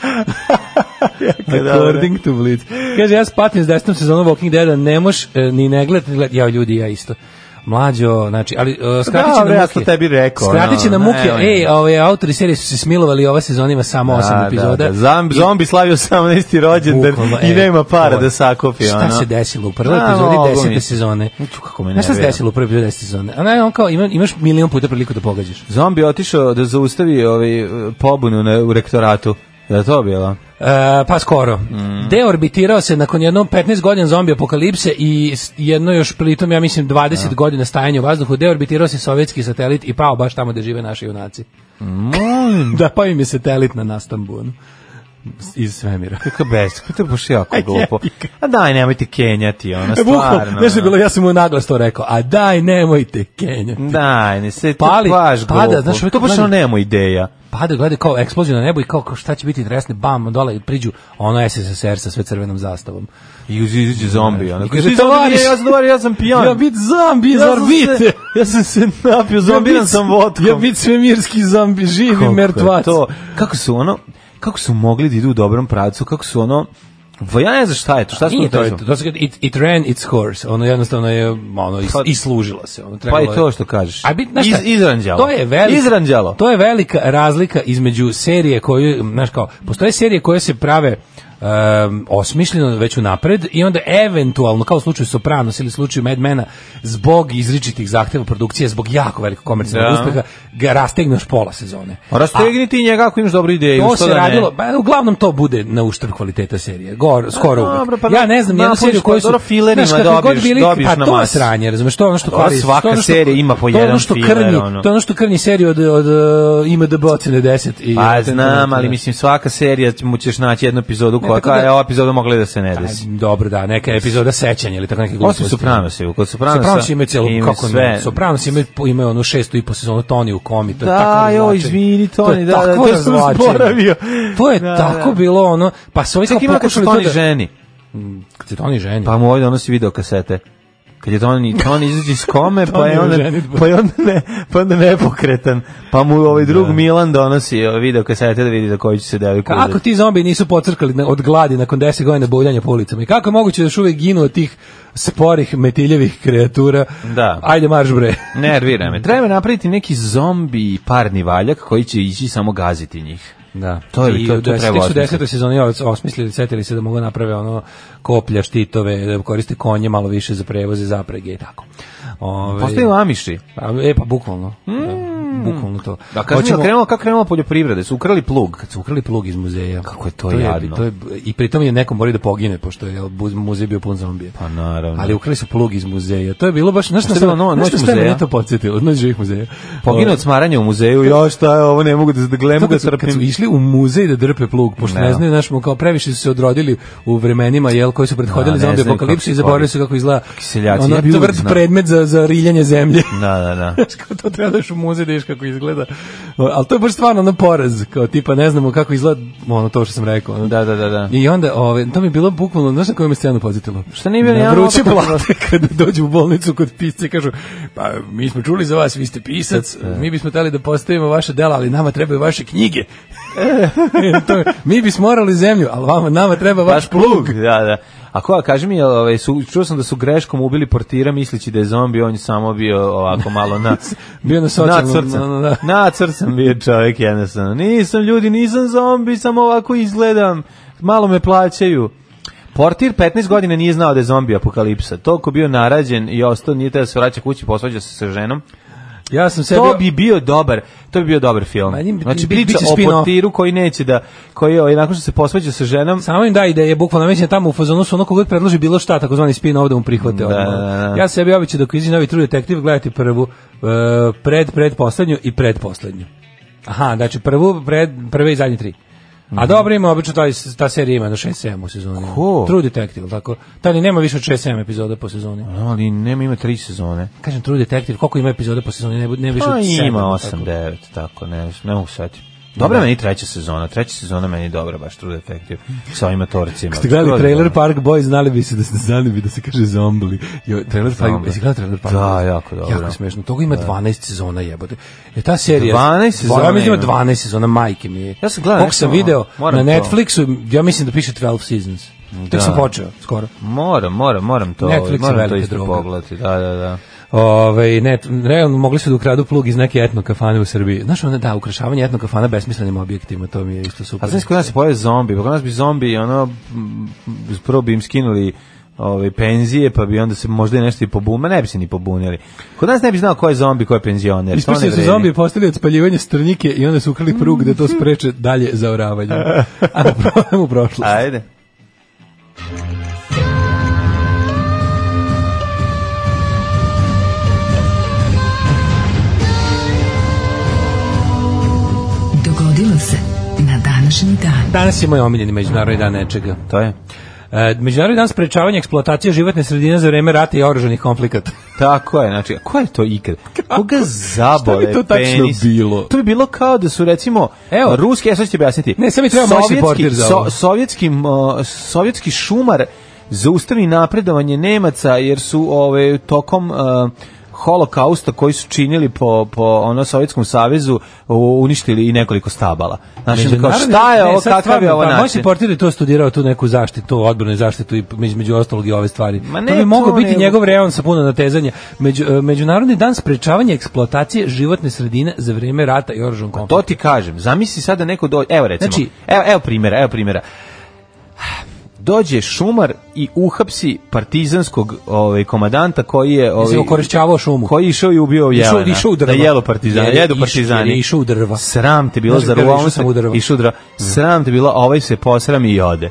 according to Blitz. Kaže, ja spatim s desnom sezonom Walking Dead-a, ne moš e, ni ne gledat, ni gledat. Ja, ljudi, ja isto. Mlađo, znači, ali uh, skratit će Da, bre, na ja muke. sam tebi rekao, Skratit će ono, na muke. nemoj. Ej, ove, autori serije su se smilovali, ova sezona ima samo Da, osam epizoda. Da, da. Zombi, zombi slavio 18. rođendan Bukvalno, i e, nema para to je. da sakupi. Šta ono. se desilo u prvoj A, mogu epizodi mi. desete sezone? Uću, kako me Znaš šta se nervira. desilo u prvoj epizodi desete sezone? A ne, on kao, ima, imaš milion puta priliku da pogađaš. E, Zombi je otišao da zaustavi ovaj, eh, pobunu na, u rektoratu. Da to bilo? E, pa skoro. Deorbitirao se nakon jednom 15 godina zombi apokalipse i s- jedno još pritom, ja mislim, 20 godina stajanja u vazduhu, deorbitirao se sovjetski satelit i pao baš tamo gde žive naši junaci. da, pa im je satelit na Nastambu. ono, s- Iz svemira. Kako bez, kako te boš jako glupo. A daj, nemojte kenjati, ona, E, bukvalno, stvarno. nešto je ono. bilo, ja sam mu naglas to rekao, a daj nemojte kenjati. Mm. Daj, ne se pali, Pali, baš pada, glupo. znaš, uvijek to baš gledam- ono nema ideja. pada, gleda kao eksploziju na nebu i kao, kao šta će biti tresne, bam, dole priđu ono SSSR sa sve crvenom zastavom. I uz- izađe zombi. Ono. I Kaže, kaže, ti zombi, "Tovariš, nije, ja sam dobar, ja sam pijan. Ja bit zombi iz Ja sam se- orbite! Ja sam se napio, zombiran bit- sam vodkom. Ja bit svemirski zombi, živi Kako je mrtvac. To, kako su ono, kako su mogli da idu u dobrom pravcu, kako su ono, Va, ja ne znam šta je to, šta su Nije to, to, to, to se kaže, it, it ran its course. Ono jednostavno je ono is, Pa- i služilo se, ono Pa trebalo i je- to što kažeš. A bit, znaš šta, Iz, izranđalo. To je velika, Izranđalo. To je velika razlika između serije koju, znaš kao, postoje serije koje se prave um, osmišljeno već unapred i onda eventualno, kao u slučaju Sopranos ili slučaju Mad Mena, zbog izričitih zahteva produkcije, zbog jako velikog komercijalnog Da. uspeha, ga rastegnuš pola sezone. A Rastegni ti njega ako imaš dobru ideju. To što se da ne? radilo, ba, uglavnom to bude na uštrb kvaliteta serije, gor, skoro A, uvek. dobro, pa ja na- ne znam, jednu napraviš seriju koju su... dobro filerima Znaš, kakvi god dobiješ- dobiješ pa na to je masi. sranje, razumeš, to je ono što Dobro, kvari. svaka to je ono što- serija ima po to je ono jedan što filer, krni, ono. To je ono što krni seriju od, od uh, IMDB ocene 10. I Pa znam, znači, ali mislim svaka serija će- mu ćeš naći jednu epizodu koja tako da- Pa kao je ova epizoda mogla i da se ne Aj, desi. Dobro, da, neka epizoda sećanja ili tako neki gluposti. Osim Sopranos je, kod Sopranosa Sopranos imaju celu, imaju kako sve. ne, Sopranos imaju, imaju onu šestu i po sezonu Toni u komi, to je Da, tako joj, razvlačenje. izvini, To je Tony, da, da, tako to sam razvlačenje. zaboravio. To je Da, tako da. bilo ono, pa su ovi kao Čak ima kad se pokušali to Toni da... ženi. Kad se Toni ženi. Pa mu ovdje donosi video kasete. Kad je Toni, Toni izađe iz kome, pa je Toni u onda, ženidbu. pa je onda, ne, pa onda nepokretan. Pa mu ovaj drug Milan donosi eh, video kasete da vidi za koju će se devojku Kako ti zombi nisu pocrkali na- od gladi nakon 10 godina bavljanja po ulicama? I kako je moguće da još uvek ginu od tih sporih metiljevih kreatura? Da. Ajde marš bre. Nervira me. Treba napraviti neki zombi parni valjak koji će ići i samo gaziti njih. Da. To je- I to- to u deset- treba tek su osmisliti. desetoj sezoni ovaj osmislili, setili se da mogu naprave ono koplja, štitove, da koriste konje malo Ovaj- više za prevoze, zaprege i tako. Ove, ono- Postaju amiši. a, E, pa bukvalno. da. bukvalno to. Mm. Da, kažem, Hoćemo... krenulo, kako krenulo poljoprivrede? Su ukrali plug. kad su ukrali plug iz muzeja. Kako je to jadno. To je, I pritom je neko morao da pogine, pošto je jel, buz- muzej bio pun zombija. Pa naravno. Ali ukrali su plug iz muzeja. To je bilo baš, znaš Šta što je bila no- noć što je muzeja? mene to podsjetilo, noć živih muzeja. Poginu od smaranja u muzeju, ja šta je ovo, ne mogu da, da To glemu da Ovaj, kad, su, kad su trpim. išli u muzej da drpe plug, pošto ne, Ne. znaju, znaš, mu kao previše su se odrodili u vremenima jel, koji su prethodili Da, ne zombije znaju apokalipsu i kako- zaboravili su kako izgleda Seljaci, ono ja bi uvek tvrd znao. predmet za, za riljanje zemlje. Da, da, da. Znaš, kao to treba da ideš u muzej da vidiš kako izgleda. Ali to je baš stvarno ono poraz, kao tipa ne znamo kako izgleda ono to što sam rekao. Ono. Da, da, da, da. I onda, ove, to mi je bilo bukvalno, znaš na koju me scenu pozitilo? Šta nije bilo Na ni ono vruće opet- plate kada dođu u bolnicu kod pisca i kažu, pa mi smo čuli za vas, vi ste pisac, mi bismo tali da postavimo vaše dela, ali nama trebaju vaše knjige. E, to je, mi bismo morali zemlju, ali vama, nama treba vaš Baš plug. Da, da. A koja, kaži mi, jel, ovaj, su, čuo sam da su greškom ubili portira misleći da je zombi, on je samo bio ovako malo na... bio na Na socijalnom. crcem. ono, da. Na crcem bio čovjek jednostavno. Nisam ljudi, nisam zombi, samo ovako izgledam. Malo me plaćaju. Portir 15 godina nije znao da je zombi apokalipsa. Toliko bio narađen i ostao, nije teo da se vraća kući, posvađa se sa ženom. Ja sam sebi... To bi bio dobar, to bi bio dobar film. Ma, njim- Znači bi- priča biće o spin-off. portiru koji neće da koji je nakon što se posvađa sa ženom Samo im da ideje, bukvalno već je tamo u fazonu su ono kogod predloži bilo šta, takozvani spin ovde mu prihvate. Da, odmah. da, da. Ja sebi običaj dok izađe novi True Detective gledati prvu, e, pred, predposlednju i predposlednju. Aha, znači prvu, pred, prve i zadnje tri. A dobro ima, obično taj, ta serija ima do 6-7 u sezoni. Mhm. Ko? True Detective, tako. Ta ni nema više od 6-7 epizoda po sezoni. ali nema ima tri sezone. Kažem True Detective, koliko ima epizoda po sezoni? Ne, bu- ne više Pa od 7. ima 8, 9, tako, ne, ne mogu setiti. Dobra meni treća sezona, treća sezona meni je dobra, baš True Detective, sa ovim atorcima. Ste gledali Trailer pa- Park Boys, znali bi se da se znali bi da se kaže zombli. Jo, Trailer Park, Zombli. jesi gledao Trailer Park? Da, Boys? jako dobro. Jako smešno. Toga ima 12 sezona jebote. Je ta serija 12 sezona Ja mislim da ima ima. 12 sezona majke mi. je. Ja sam gledao Koliko nešto, sam ono, video na moram to. Netflixu, ja mislim da piše 12 seasons. Tek Da. sam počeo skoro. Moram, moram, moram to, Netflix je moram velika to isto droga. pogledati. Da, da, da. Ove, ne, realno mogli su da ukradu plug iz neke etno kafane u Srbiji. Znaš, one, da, ukrašavanje etno kafana besmislenim objektima, to mi je isto super. A znaš kod nas se pojave zombi, pa kod nas bi zombi, ono, m, prvo bi im skinuli ove penzije, pa bi onda se možda i nešto i pobune, ne bi se ni pobunili. Kod nas ne bi znao ko je zombi, ko je penzioner. to ne Ispustili su vredi. Mm. zombi postali od spaljivanja strnjike i onda su ukrali prug da to spreče dalje zaoravanje. A da problem u prošlost. Ajde. Dogodilo se na današnji dan. Danas je moj omiljeni međunarodni dan nečega. To je. E, međunarodni dan sprečavanja eksploatacije životne sredine za vreme rata i oružanih konflikata. Tako je, znači, a ko je to ikad? Koga zabole Šta bi to tačno penis? bilo? To bi bilo kao da su, recimo, Evo. Evo. ruski, ja sad ću ti objasniti. Ne, sad mi treba moćni Sovjetski- portir za ovo. sovjetski, m, sovjetski šumar zaustavi napredovanje Nemaca, jer su ove, tokom... e, holokausta koji su činili po, po ono Sovjetskom savezu u- uništili i nekoliko stabala. Znači, kao, Međunarodni- šta je ne, ovo, sad kakav je stvarno, ovo pa, način? Moći portir je to studirao tu neku zaštitu, odbranu i zaštitu i između ostalog i ove stvari. Ma ne, to bi mogao to biti nego- njegov reon sa puno natezanja. Među, e, međunarodni dan sprečavanja eksploatacije životne sredine za vreme rata i oružanog konflikta. To ti kažem. Zamisli sada neko dođe, evo recimo. Znači- evo evo primjera, evo primjera. Dođe šumar i uhapsi partizanskog ovaj komadanta koji je Mislim, ovaj okorišćavao šumu. koji je išao i ubio Išao- jelena. išao u drva. Da jelo partizana, Jer je jedu iš- partizani. jer je išao u drva. Sram te bilo Znaš za kako Znači, je, ruvom išao sam u drva. Išao u drva. Sram te bilo, a ovaj se posrami i ode.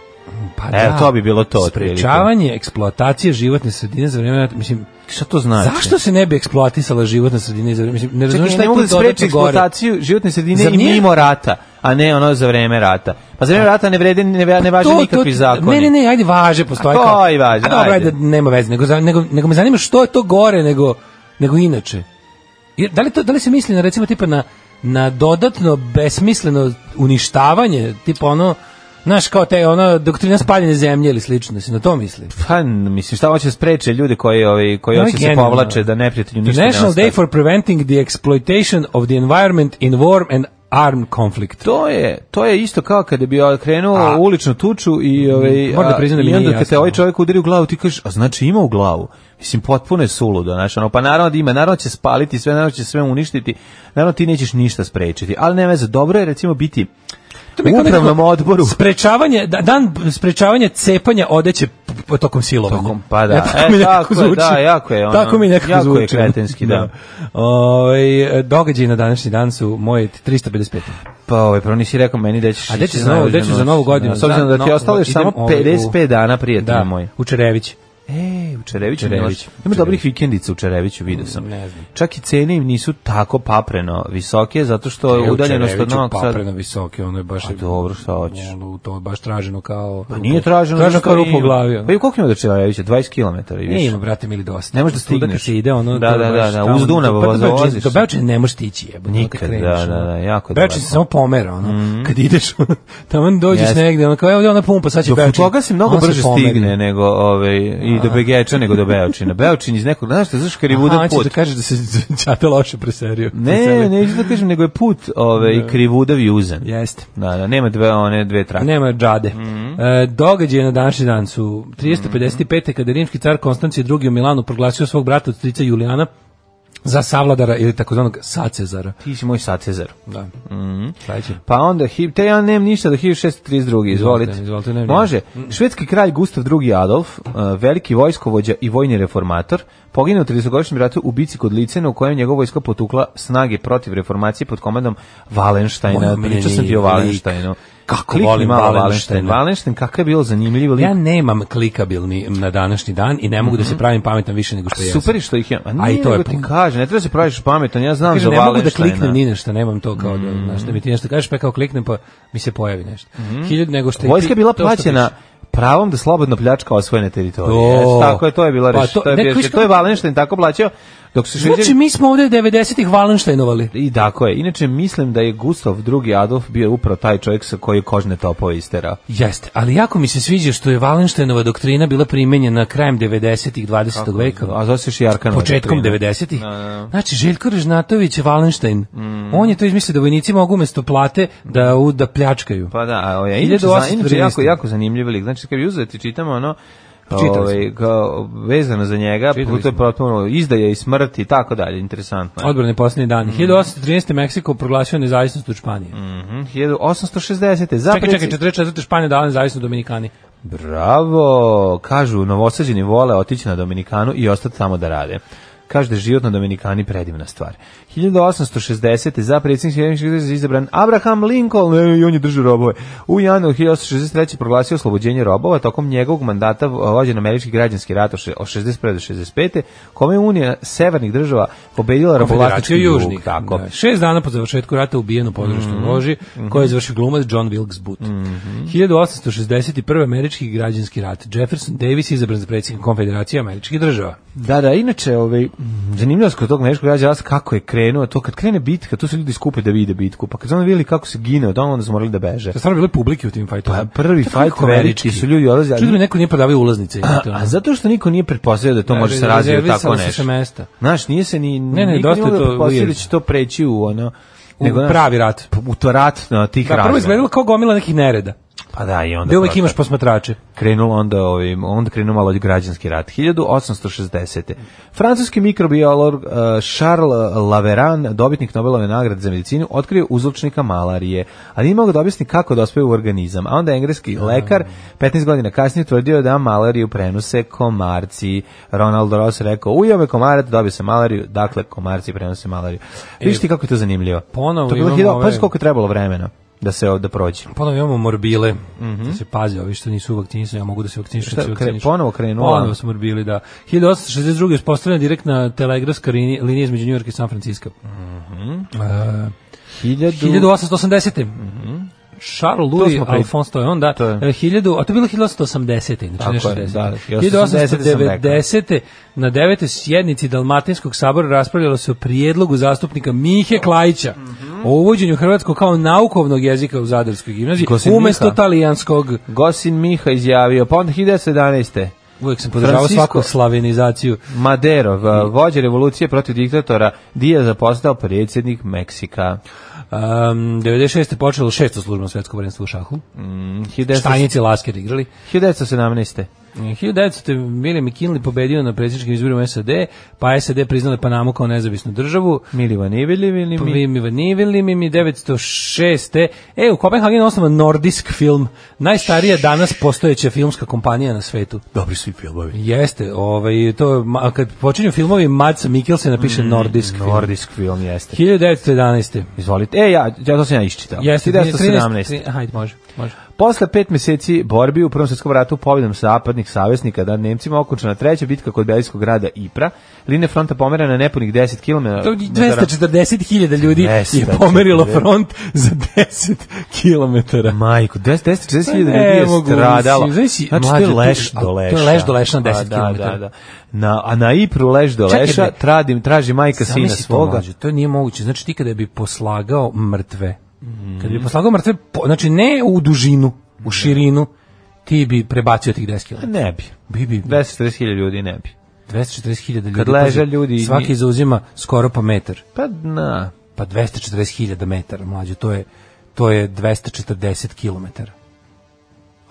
Pa Evo, to bi bilo to otprilike. Sprečavanje eksploatacije životne sredine za vreme rata, mislim, Šta to znači? Zašto se ne bi eksploatisala životna sredina za vreme? Mislim, ne Čekaj, razumem šta ne je mogu tu da spreči dodatno gore. eksploataciju životne sredine Zar i nije- mimo rata, a ne ono za vreme rata. Pa za vreme rata ne vrede, ne, ne važe Pa To- to- nikakvi zakoni. Ne, ne, ne, ajde važe, postoje A kao. koji važe, A dobro, ajde. ajde. nema veze, nego, za- nego, nego me zanima što je to gore nego, nego inače. Jer, da, li to, da li se misli na, recimo, tipa na, na dodatno besmisleno uništavanje, tipa ono, znaš, kao te, ono, doktrina spaljene zemlje ili slično, da se na to misli? Pa, mislim, šta hoće spreče ljudi koji, ovi, koji No, hoće se genijalno. povlače da neprijatelju ništa ne International ostaje. Day for Preventing the Exploitation of the Environment in War and Armed Conflict. To je, to je isto kao kada bi krenuo A. Mm, u uličnu tuču i ovaj Moram da priznam da mi i nije onda kad jasno. te ovaj čovjek udari u glavu ti kažeš a znači ima u glavu. Mislim potpuno je suludo, znači ono pa naravno da ima, naravno će spaliti sve, naravno će sve uništiti. Naravno ti nećeš ništa sprečiti, ali ne veze, dobro je recimo biti To bi u kao upravnom nekako odboru. Sprečavanje, da- dan sprečavanje cepanja odeće p- po- tokom silovanja. Tokom- pa da. E, mi nekako tako je, da, jako je ono, tako mi nekako jako je zvuči. kretenski, da. Ovaj, događaj na današnji dan su moje 355. Pa ovaj, prvo nisi rekao meni da ćeš... A gde ćeš ići za novu- najluđu gde ćeš za noć. novu godinu? Da, S obzirom da ti Za- ostalo još idem samo ovaj u- 55 dana, prijatelju Da, moj. u Čerević. E, u Čereviću Čerević, Miloš. Ima Čerević. dobrih vikendica u Čereviću, vidio sam. Ne znam. Čak i cene im nisu tako papreno visoke, zato što E, je u Pa, udaljenost od Čereviću Novog Sada. Papreno visoke, ono je baš... A dobro, šta hoćeš? Ono, to je baš traženo kao... Pa nije traženo. Traženo zato što kao rupo ima- u glavi. ono. Pa i koliko ima do Čerevića? 20 km i Ne više. ima, brate, mili dosta. Ne možeš da Tuda kad stigneš. se ide, ono, Da, to da, baš da, da, tamo- pa- uzdunavo do- do Beočina- vozaziš Do se. Beočina ne možeš stići, jebote. ono, Nikad, kad kreneš, da, da, ono. da, jako je Beočin daleko. se samo pomera, ono, kad ideš, ono, tamo dođeš Jeste. negde, ono, kao, evo, ona pumpa, sad će Do Beočin. Futoga se mnogo Ona brže pomeri. stigne nego ovaj i do Begeča nego do Beočina. Beočin iz nekog, znaš šta, znaš kad je Aha, vudan hoćeš put. da kažeš da se Čate loše preserio. Ne, ne, Preselio. neću da kažem, nego je put ovaj, krivudav i uzan. Jeste. Da, da, nema dve, one dve trake. Nema džade. Mhm. e, događaj na današnji dan su 355. kada je rimski car Konstancije II. u Milanu proglasio svog brata od strica Julijana za savladara ili takozvanog sacezara. Ti si moj satezar. Da. Sljedeće. Pa onda, hip- te ja nemam ništa do 1632. Izvolite. Izvolite, izvolite, nemam Mm. Može. Švedski kralj Gustav II. Adolf, eh, veliki vojskovođa i vojni reformator, poginuo u 30-godišnjem ratu u bici kod Licena u kojem njegova vojska potukla snage protiv reformacije pod komandom Moj Valenštajna. omiljeni Pričao sam ti o lik. Valenštajnu. Kako Klikni volim malo Wallensteina. Wallenstein, kakav je bilo zanimljiv lik. Ja nemam klikabilni na današnji dan i ne mogu da se pravim pametan više nego što jesam. Mhm. Super je što ih ja. A, A i nije, to je nego ti puno. kaže, ne treba se praviš pametan, ja znam Kaže, za ne mogu da Valenštajna. kliknem ni nešto, nemam to kao da, Mhm. znaš, da mi ti nešto kažeš, pa kao kliknem, pa mi se pojavi nešto. Hiljad nego što... i Vojska ti- je bila to što plaćena piše. pravom da slobodno pljačka osvojene teritorije. To. Eto, tako je, to je bila Pa reč. to- to, je ne, bio kliš- reš- to je Valenštajn tako plaćao, dok su šviđari... Znači, mi smo ovde 90-ih Valenštajnovali. I tako je. Inače, mislim da je Gustav II. Adolf bio upravo taj čovjek sa koji je kožne topove isterao. Jeste, ali jako mi se sviđa što je Valenštajnova doktrina bila primenjena krajem 90-ih 20. veka. A zove se još i Arkanova E, početkom doktrina. 90-ih. Znači Željko Režnatović je Valenštajn. Mhm. On je to izmislio da vojnicima mogu umesto plate da u, da pljačkaju. Pa da, a ja inače, zna- 1813. inače jako, jako zanimljiv lik. Znači, kad bi uzeli, ti čitamo ono, Čitali ovaj, kao, vezano za njega, puto je potpuno izdaja i smrt i tako dalje, interesantno. je. Odbrane poslednji Mm. dan. 1813. Meksiko proglasio nezavisnost od Španije. Mhm, 1860. Čekaj, Zapreci- čekaj, 44. Španija dala nezavisnost Dominikani. Bravo! Kažu, novosađeni vole otići na Dominikanu i ostati tamo da rade. Kaže da je život na Dominikani predivna stvar. 1860. za predsjednik Sjedinjenih Američkih Država izabran Abraham Lincoln, e, i on je držao robove. U januaru 1863. proglasio oslobođenje robova, tokom njegovog mandata vođen američki građanski rat od še- od 61. do 65. kome je Unija severnih država pobedila robovlastički Konfederacija jug. južnih. Tako. Mm-hmm. Da. Šest dana po završetku rata ubijen u područnom loži, koji je završio glumac John Wilkes Booth. 1861. američki građanski rat. Jefferson Davis je izabran za predsjednika Konfederacije američkih država. Da, da, inače, ovaj, mm, zanimljivo je kod tog američkog građa rast kako je krenuo, to kad krene bitka, tu se ljudi skupe da vide bitku, pa kad su onda vidjeli kako se gine od onda su morali da beže. To je stvarno bilo publike u tim Pa fajtovima. prvi To je fajt tako veliki su ljudi odlazili, Čudo mi ali- neko nije prodavio ulaznice. a, imate ono. a zato što niko nije pretpostavio da to Da, može se razvio rezervisalo tako se nešto. sa mesta. Znaš, nije se ni, Ne, ne, niko dosta nije mogao je to da pretpostavio da weird. će to preći u ono, U nego, znaš, pravi rat. u to rat na tih Da, prvo razmera. izgledalo kao gomila nekih nereda. Pa da, i onda. Gde uvek prosto. imaš posmatrače. krenulo onda ovim, onda krenuo malo građanski rat 1860. Francuski mikrobiolog eh, Charles Laveran, dobitnik Nobelove nagrade za medicinu, otkrio uzročnika malarije, ali nije mogao da objasni kako dospeju u organizam. A onda engleski lekar 15 godina kasnije tvrdio da malariju prenose komarci. Ronald Ross rekao: "Ujeo me komarac, dobio sam malariju, dakle komarci prenose malariju." Vidiš ti kako je to zanimljivo. ponovo to je bilo imamo hiljadu- ove- pazi koliko je trebalo vremena da se ovde prođe. Ponovo imamo morbile. Da se paze, ovi što nisu vakcinisani, ja mogu da se vakcinišu. Mhm. Šta, da se kre- vakcinišu. ponovo krenula? Ponovo smo morbili, da. 1862. je postavljena direktna telegrafska linija, linija između Njujorka i San Francisco. E, 1880. Charles Louis Mhm. smo pri- Alphonse to je on, da. To je. E, 1000, a to je bilo 1880. Inače, Tako ne je, 60. da, da. 1890. na 9. sjednici Dalmatinskog sabora raspravljalo se o prijedlogu zastupnika Mihe Klajića Mhm. o uvođenju hrvatskog kao naukovnog jezika u Zadarskoj gimnaziji Ko se umjesto Miha? talijanskog. Gosin Miha izjavio, pa onda 1911. Uvijek sam podržavao Francisco- svaku slavenizaciju. Maderov, Mm. a, vođa revolucije protiv diktatora, Dijaza postao predsjednik Meksika. Um, 96. je Mhm. počelo šesto službeno svetsko prvenstvo u šahu. Mm, 1900 Štanjici i Lasker igrali. 1917. 1900. Mili McKinley pobedio na predsjedničkim izborima SAD, pa je SAD priznala Panamu kao nezavisnu državu. Milivan Iviljev ili mi? Mi, mi, vanivili mi, mi 906. E, u Kopenhagenu osnova Nordisk film, najstarija danas postojeća filmska kompanija na svetu. Dobri su i filmovi. Jeste, ovaj, to, je ma- kad počinju filmovi, Mads Mikkelsen napiše Mm, Nordisk film. Nordisk film jeste. 1911. Izvolite. E, ja, ja to sam ja iščitao. Jeste, 1917. 13, hajde, može, može. Posle pet meseci borbi u Prvom svjetskom ratu pobjedom zapadnih savjesnika da Nemcima okončena treća bitka kod Belgijskog grada Ipra, linija fronta pomera na nepunih 10 km. To je 240.000 ljudi je 240.000. pomerilo front za 10 kilometara. Majko, 10 10.000 ljudi Ne je mogu, stradalo. mislim, znači, Znači, to je mlađe, to- leš a, do to je leša. leš do leša na Pa 10 da, kilometara. Da, da. Na, a na Ipru leš do Čekaj, leša bre. tradim, traži majka Zamisli sina svoga. To, mlađe, to nije moguće. Znači ti kada bi poslagao mrtve, Mm. kada bi poslagao mrtve, po, znači ne u dužinu, u širinu, ti bi prebacio tih 10 km. Ne bi. Bi, bi, bi. 240.000 ljudi ne bi. 240.000 ljudi. Kad leže pazi, ljudi- Svaki zauzima skoro po metar. Pa na, Pa 240.000 metara, mlađe, to je, to je 240 km.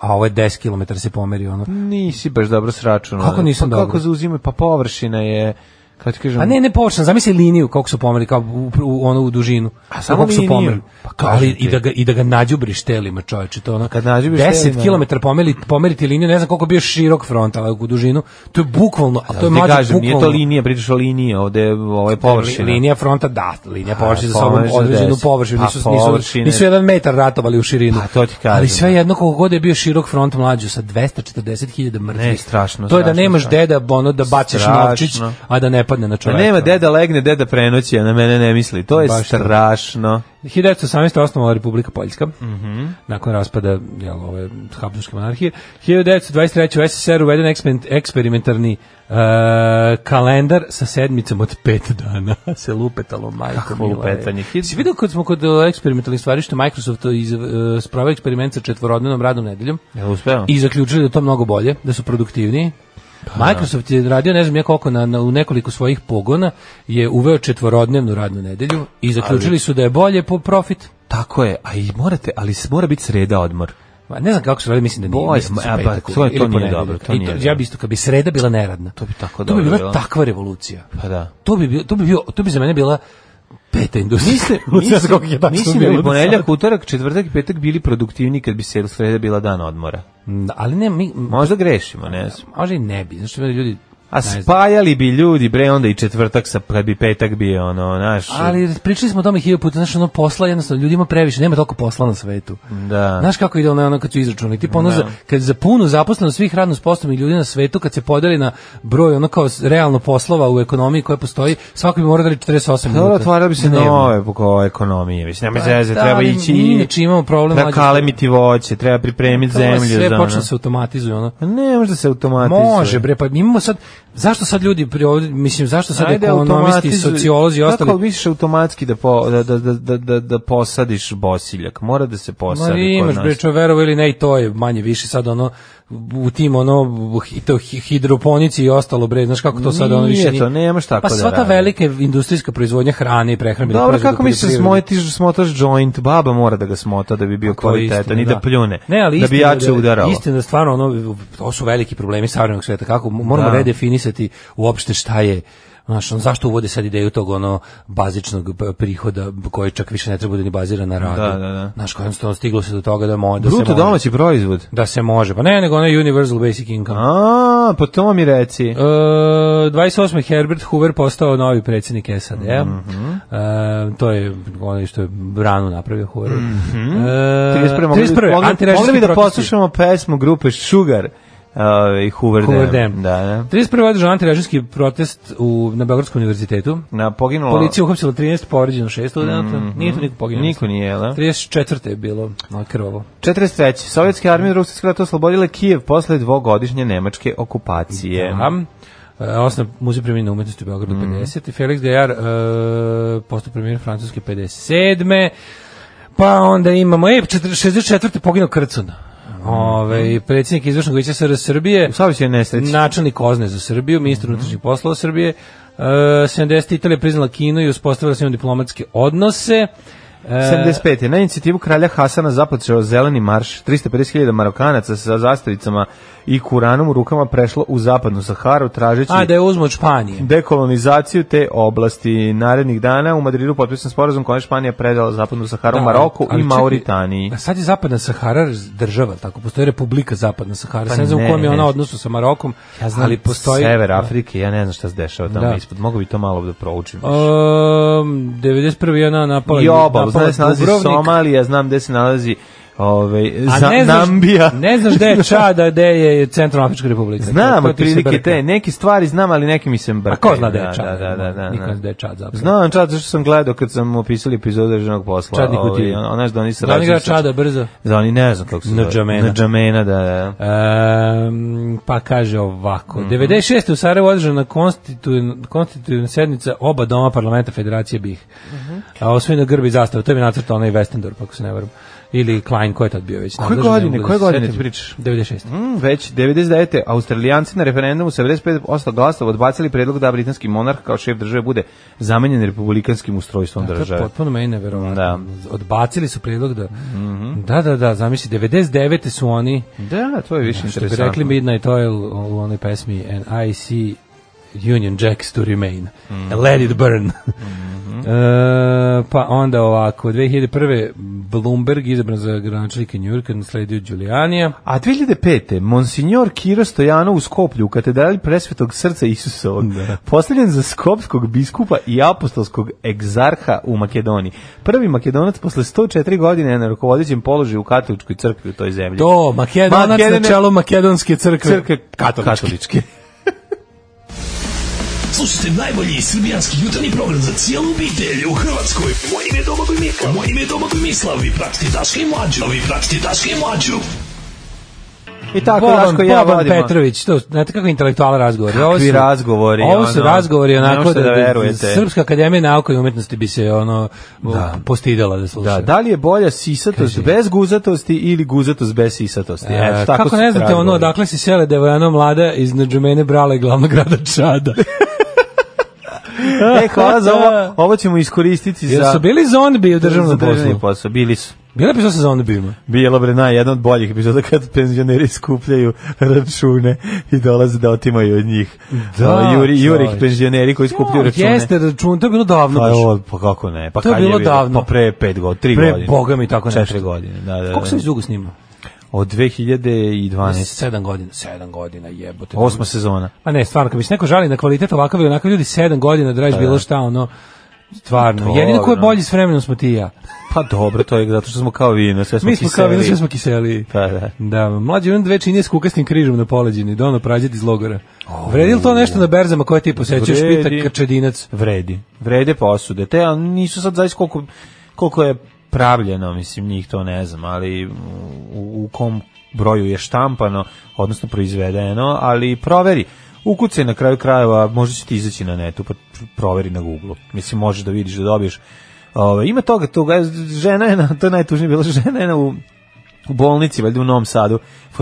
A ovo je 10 km se pomeri, ono. nisi baš dobro sračunao. Kako nisam pa, Kako dobro? zauzimaju, pa površina je, kako ti kažem, A Pa ne, ne površina, zamisli liniju kako su pomeri, kao u, u, ono u dužinu. A samo Kako su liniju? pomeli. Pa ali kažem ti. i da ga, i da ga nađubriš telima, čoveče, to ono. Kad nađubriš 10 telima. km pomeli, pomeriti liniju, ne znam koliko je bio širok front, ali u dužinu, to je bukvalno, a to je Ti mlađe kažem, nije to bukvalno. linija, pričaš o liniji, ovde je ovo je površina. Li- Linija fronta, da, linija površine za Pa, sobom površina određenu deset. površinu, Pa, nisu, nisu, površine. nisu jedan metar ratovali u širinu. Pa, to ti kažem, Ali da. sve jedno koliko god je bio širok front mlađu sa 240.000 mrtvih. Ne, strašno, To je da strašno, nemaš strašno. deda ono da baciš Strašno. novčić, a da ne padne Da na čoveka. Pa nema deda legne, deda prenoći, a na mene ne misli. To je Baš to. strašno. 1918. osnovala Republika Poljska, nakon raspada jel, ove Habsburgske monarhije. 1923. u SSR uveden eksperiment, eksperimentarni e, kalendar sa sedmicom od pet dana. se lupetalo, majko Kakvo mila, e. ej. lupetanje. Hid- Si vidio kad smo kod e, eksperimentalnih stvari što Microsoft iz, e, spravio eksperiment sa četvorodnevnom radnom nedeljom Jel uspeo? i zaključili da je to mnogo bolje, da su produktivniji. Pa Microsoft je radio ne znam ja koliko na, na- u nekoliko svojih pogona je uveo četvorodnevnu radnu nedelju i zaključili su da je bolje po profit. Tako je, a i morate, ali s- mora biti sreda odmor. Ma ne znam kako se radi, mislim da nije. Boj, mislim da su ma, a, petak pa, to je- to ili nije ponedeljak. dobro, to I nije Ja dobro. bi isto kad bi sreda bila neradna. To bi tako To bi dobro bila bilo. takva revolucija. Pa da. To bi bio, to bi bio, to bi za mene bila peta industrija. Mislim, Ne znam mislim, koliko je tačno mislim da bilo bi do ponedljak, sada. utorak, četvrtak i petak bili produktivni kad bi se sreda bila dan odmora. Mm, Ali ne, mi, Možda grešimo, ne znam. možda i ne bi, znači ljudi A ne znam. spajali bi ljudi, bre, onda i četvrtak, sa, kad bi petak bio, ono, naš... Ali pričali smo o tome hiljadu puta, znaš, ono posla jednostavno, ljudima previše, nema toliko posla na svetu. Da. Znaš kako ide ono ono kad su izračunali, tipa ono za, kad za punu zaposlenost svih radno sposobnih ljudi na svetu, kad se podeli na broj ono kao s- realno poslova u ekonomiji koja postoji, svako bi morao da li 48 minuta. Dobro, Pa otvarali bi se dnevno. nove po ekonomije, mislim, nema Pa zeze, da, treba ali ići... mi inače imamo problem, Treba mlađe. kalemiti voće, treba pripremiti Kao zemlju. Sve za počne ono. se automatizuje ono. Pa Ne može da se automatizuje. Može bre, pa mi imamo sad zašto sad ljudi pri ovdje- mislim zašto sad ekonomisti, automatizuj. sociolozi i ostali Kako misliš automatski da, po, da, da, da, da, da posadiš bosiljak? Mora da se posadi Ma Pa kod imaš nas. bre, čo verovo ili ne, i to je manje više sad ono u tim ono hi- to hi- hidroponici i ostalo bre, znaš kako to sad ono Nije više to, nemaš tako Pa da sva ta radi. velika industrijska proizvodnja hrane i prehrambenih Dobro, proizvoda kako misliš poljoprivrede. smotiš, smotaš joint? Baba mora da ga smota da bi bio Pa To je kvalitetan istina, i da pljune. Ne, ali da bi istina jače udarao. Istina da stvarno ono to su veliki problemi savremenog sveta. Kako moramo Da. redefinisati uopšte šta je Znaš, on, zašto uvode sad ideju tog ono bazičnog p- prihoda koji čak više ne treba da ni bazira na radu. Da, da, da. Znaš, kao jednostavno stiglo se do toga da, mo, da se Bruto može. domaći proizvod. Da se može. Pa ne, nego onaj Universal Basic Income. A, po to mi reci. E, 28. Herbert Hoover postao novi predsjednik SAD-a. Mhm. E, to je onaj što je branu napravio Hoover. Mm Mhm. mogli, bi- mogli, mogli bi da poslušamo pesmu grupe Sugar i Hoover, Hoover Dam. Dam. Da, da. 31. održan antirežimski protest u, na Beogradskom univerzitetu. Na, poginulo... Policija uhapsila 13, povređeno 6 studenata. Nije tu niko poginuo. Mhm. Niko nije, jel da? 34. je bilo ono, na krvovo. 43. Sovjetske armije drugog svjetskog rata oslobodile Kijev posle dvogodišnje nemačke okupacije. Am. E, Osnov muzej premijene umetnosti u Beogradu 50. Felix Gajar e, postao premijer Francuske 57. Pa onda imamo, e, četr- 64. poginuo Krcun. Ove, predsjednik izvršnog vijeća SR Srbije. U saobraćajnoj nesreći. Načelnik Ozne za Srbiju, ministar unutrašnjih poslova Srbije. E, 70. Italija priznala Kinu i uspostavila s njom diplomatske odnose. 75. je Na inicijativu kralja Hasana započeo zeleni marš. 350.000 marokanaca sa zastavicama i kuranom u rukama prešlo u zapadnu Saharu tražeći A, da je uzmu od Španije. dekolonizaciju te oblasti. Narednih dana u Madridu potpisan sporazum kojom je Španija predala zapadnu Saharu Maroku ali i čekaj, Mauritaniji. A sad je Zapadna Sahara država, tako postoji Republika Zapadna Sahara. Pa Pa ne znam u ne, kom je ne. ona odnosu sa Marokom, Ja znam ali postoji sever Afrike, ja ne znam šta se dešava tamo Da. ispod. Mogu bi to malo da proučim. Um, 91. je ona napala I obalu, znam gde napala se nalazi Dubrovnik. Somalija, znam gde se nalazi ovaj, A za, ne znaš, Nambija. ne znaš gde je Čada, gde je Centralnoafrička republika. To- Znam to ti se otprilike brka. te, neke stvari znam, ali neke mi se brkaju. A ko zna gde je Čad? ono, Da, da, da. da, Niko ne da. zna gde je Čad zapravo. Znam čad, zašto sam gledao kad sam opisali epizodu državnog posla. Čadnik u ovaj, Tivi. on- Onaš da oni Da oni sarađuju. igra sa- Čada brzo. Da oni ne znam kako se zove. Ndžamena. Ndžamena, da, da. Ehm, pa kaže ovako. Mhm. 96. u Sarajevu održana konstitutivna, konstitutivna sednica oba doma parlamenta Federacije BiH. Mhm. A osvojeno grbi zastava, to mi je nacrtao onaj Westendorp, ako se ne varam. Ili Klein, ko je tad bio već? Koje nadležan, ne godine, mogu da koje se godine setim. ti pričaš? 96. Mm, već 99. Australijanci na referendumu sa 95% glasova odbacili predlog da britanski monarh kao šef države bude zamenjen republikanskim ustrojstvom To je države. potpuno meni neverovatno. Da. Mhm. Odbacili su predlog da... Da, da, da, zamisli, 99. su oni, Da, to je više Pa što bi interesantno. rekli Midnight Oil u onoj pesmi, and I see Union Jacks to remain. Mhm. And let it burn. E, pa onda ovako, 2001. Bloomberg izabran za gradonačelnika Njurka, nasledio Giulianija. A 2005. Monsignor Kiro Stojanov u Skoplju u katedrali presvetog srca Isusovog postavljen za skopskog biskupa i apostolskog egzarha u Makedoniji. Prvi makedonac posle 104 godine je na rukovodećem položaju u katoličkoj crkvi u toj zemlji. To, Makedonac Makedone- na čelu makedonske crkve. crkve katoličke. Slušajte najbolji srbijanski jutarnji program za cijelu obitelj u Hrvatskoj. Moje ime je Domagoj Mikla. Moje ime je Domagoj Mislav. Vi pratite Daška i Mlađu. Vi pratite Daška i Mlađu. I tako Boban, Daško i ja Boban vodimo. Petrović, to, znate kako intelektualan razgovor. Ovo Kakvi razgovori, Ovo su ono, razgovori ne onako možete da, da da- verujete. Srpska akademija nauka i umetnosti bi se ono postidala da sluša. Da, da li je bolja sisatost bez guzatosti ili guzatost bez sisatosti? E, Eto, tako kako su ne znate ono, razgovori. odakle si sele da je ono mlada iz Nadžumene brala i glavnog grada Čada. E, hvala za ovo. Ovo ćemo iskoristiti za... Jer su bili zombi u državnom za državni poslu. posao. Bili su. Bila je epizoda sa zombijima. Bilo bre na jedan od boljih epizoda kad penzioneri skupljaju račune i dolaze da otimaju od njih. Da, O, Juri, Juri čoveče. penzioneri koji skupljaju račune. Jeste, račun, to je bilo davno. Pa, baš. o, pa kako ne? Pa To je kad bilo bilo? davno. Pa pre 5 godina, 3 Pre godine. Boga mi tako nešto. 4 godine, da, da. da. Koliko sam iz dugo snimao? Od 2012. Sedam godina. Sedam godina, jebote. Osma sezona. Pa ne, stvarno, kad bi se neko žali na kvalitet ovakav i onakav ljudi sedam godina da radiš bilo šta, ono, stvarno. Pa Dobro. Jedino ko je bolji s vremenom smo ti i ja. Pa dobro, to je zato što smo kao vino, sve smo Mi smo kao vino, sve smo kiseli. Pa da. Da, mlađi imam dve činije s kukasnim križom na poleđini, dono prađet iz logora. Vredi li to nešto na berzama koje ti posećuješ, Vredi. pita Krčedinac? Vredi. Vrede posude. Te, ali nisu sad zaista koliko, koliko je pravljeno, mislim, njih to ne znam, ali u, u kom broju je štampano, odnosno proizvedeno, ali proveri. Ukucaj na kraju krajeva, možda će ti izaći na netu, pa proveri na Google. Mislim, možeš da vidiš, da dobiješ. Ove, ima toga, toga, žena je, na, to je najtužnije bilo, žena je na, u, u bolnici, valjda u Novom Sadu,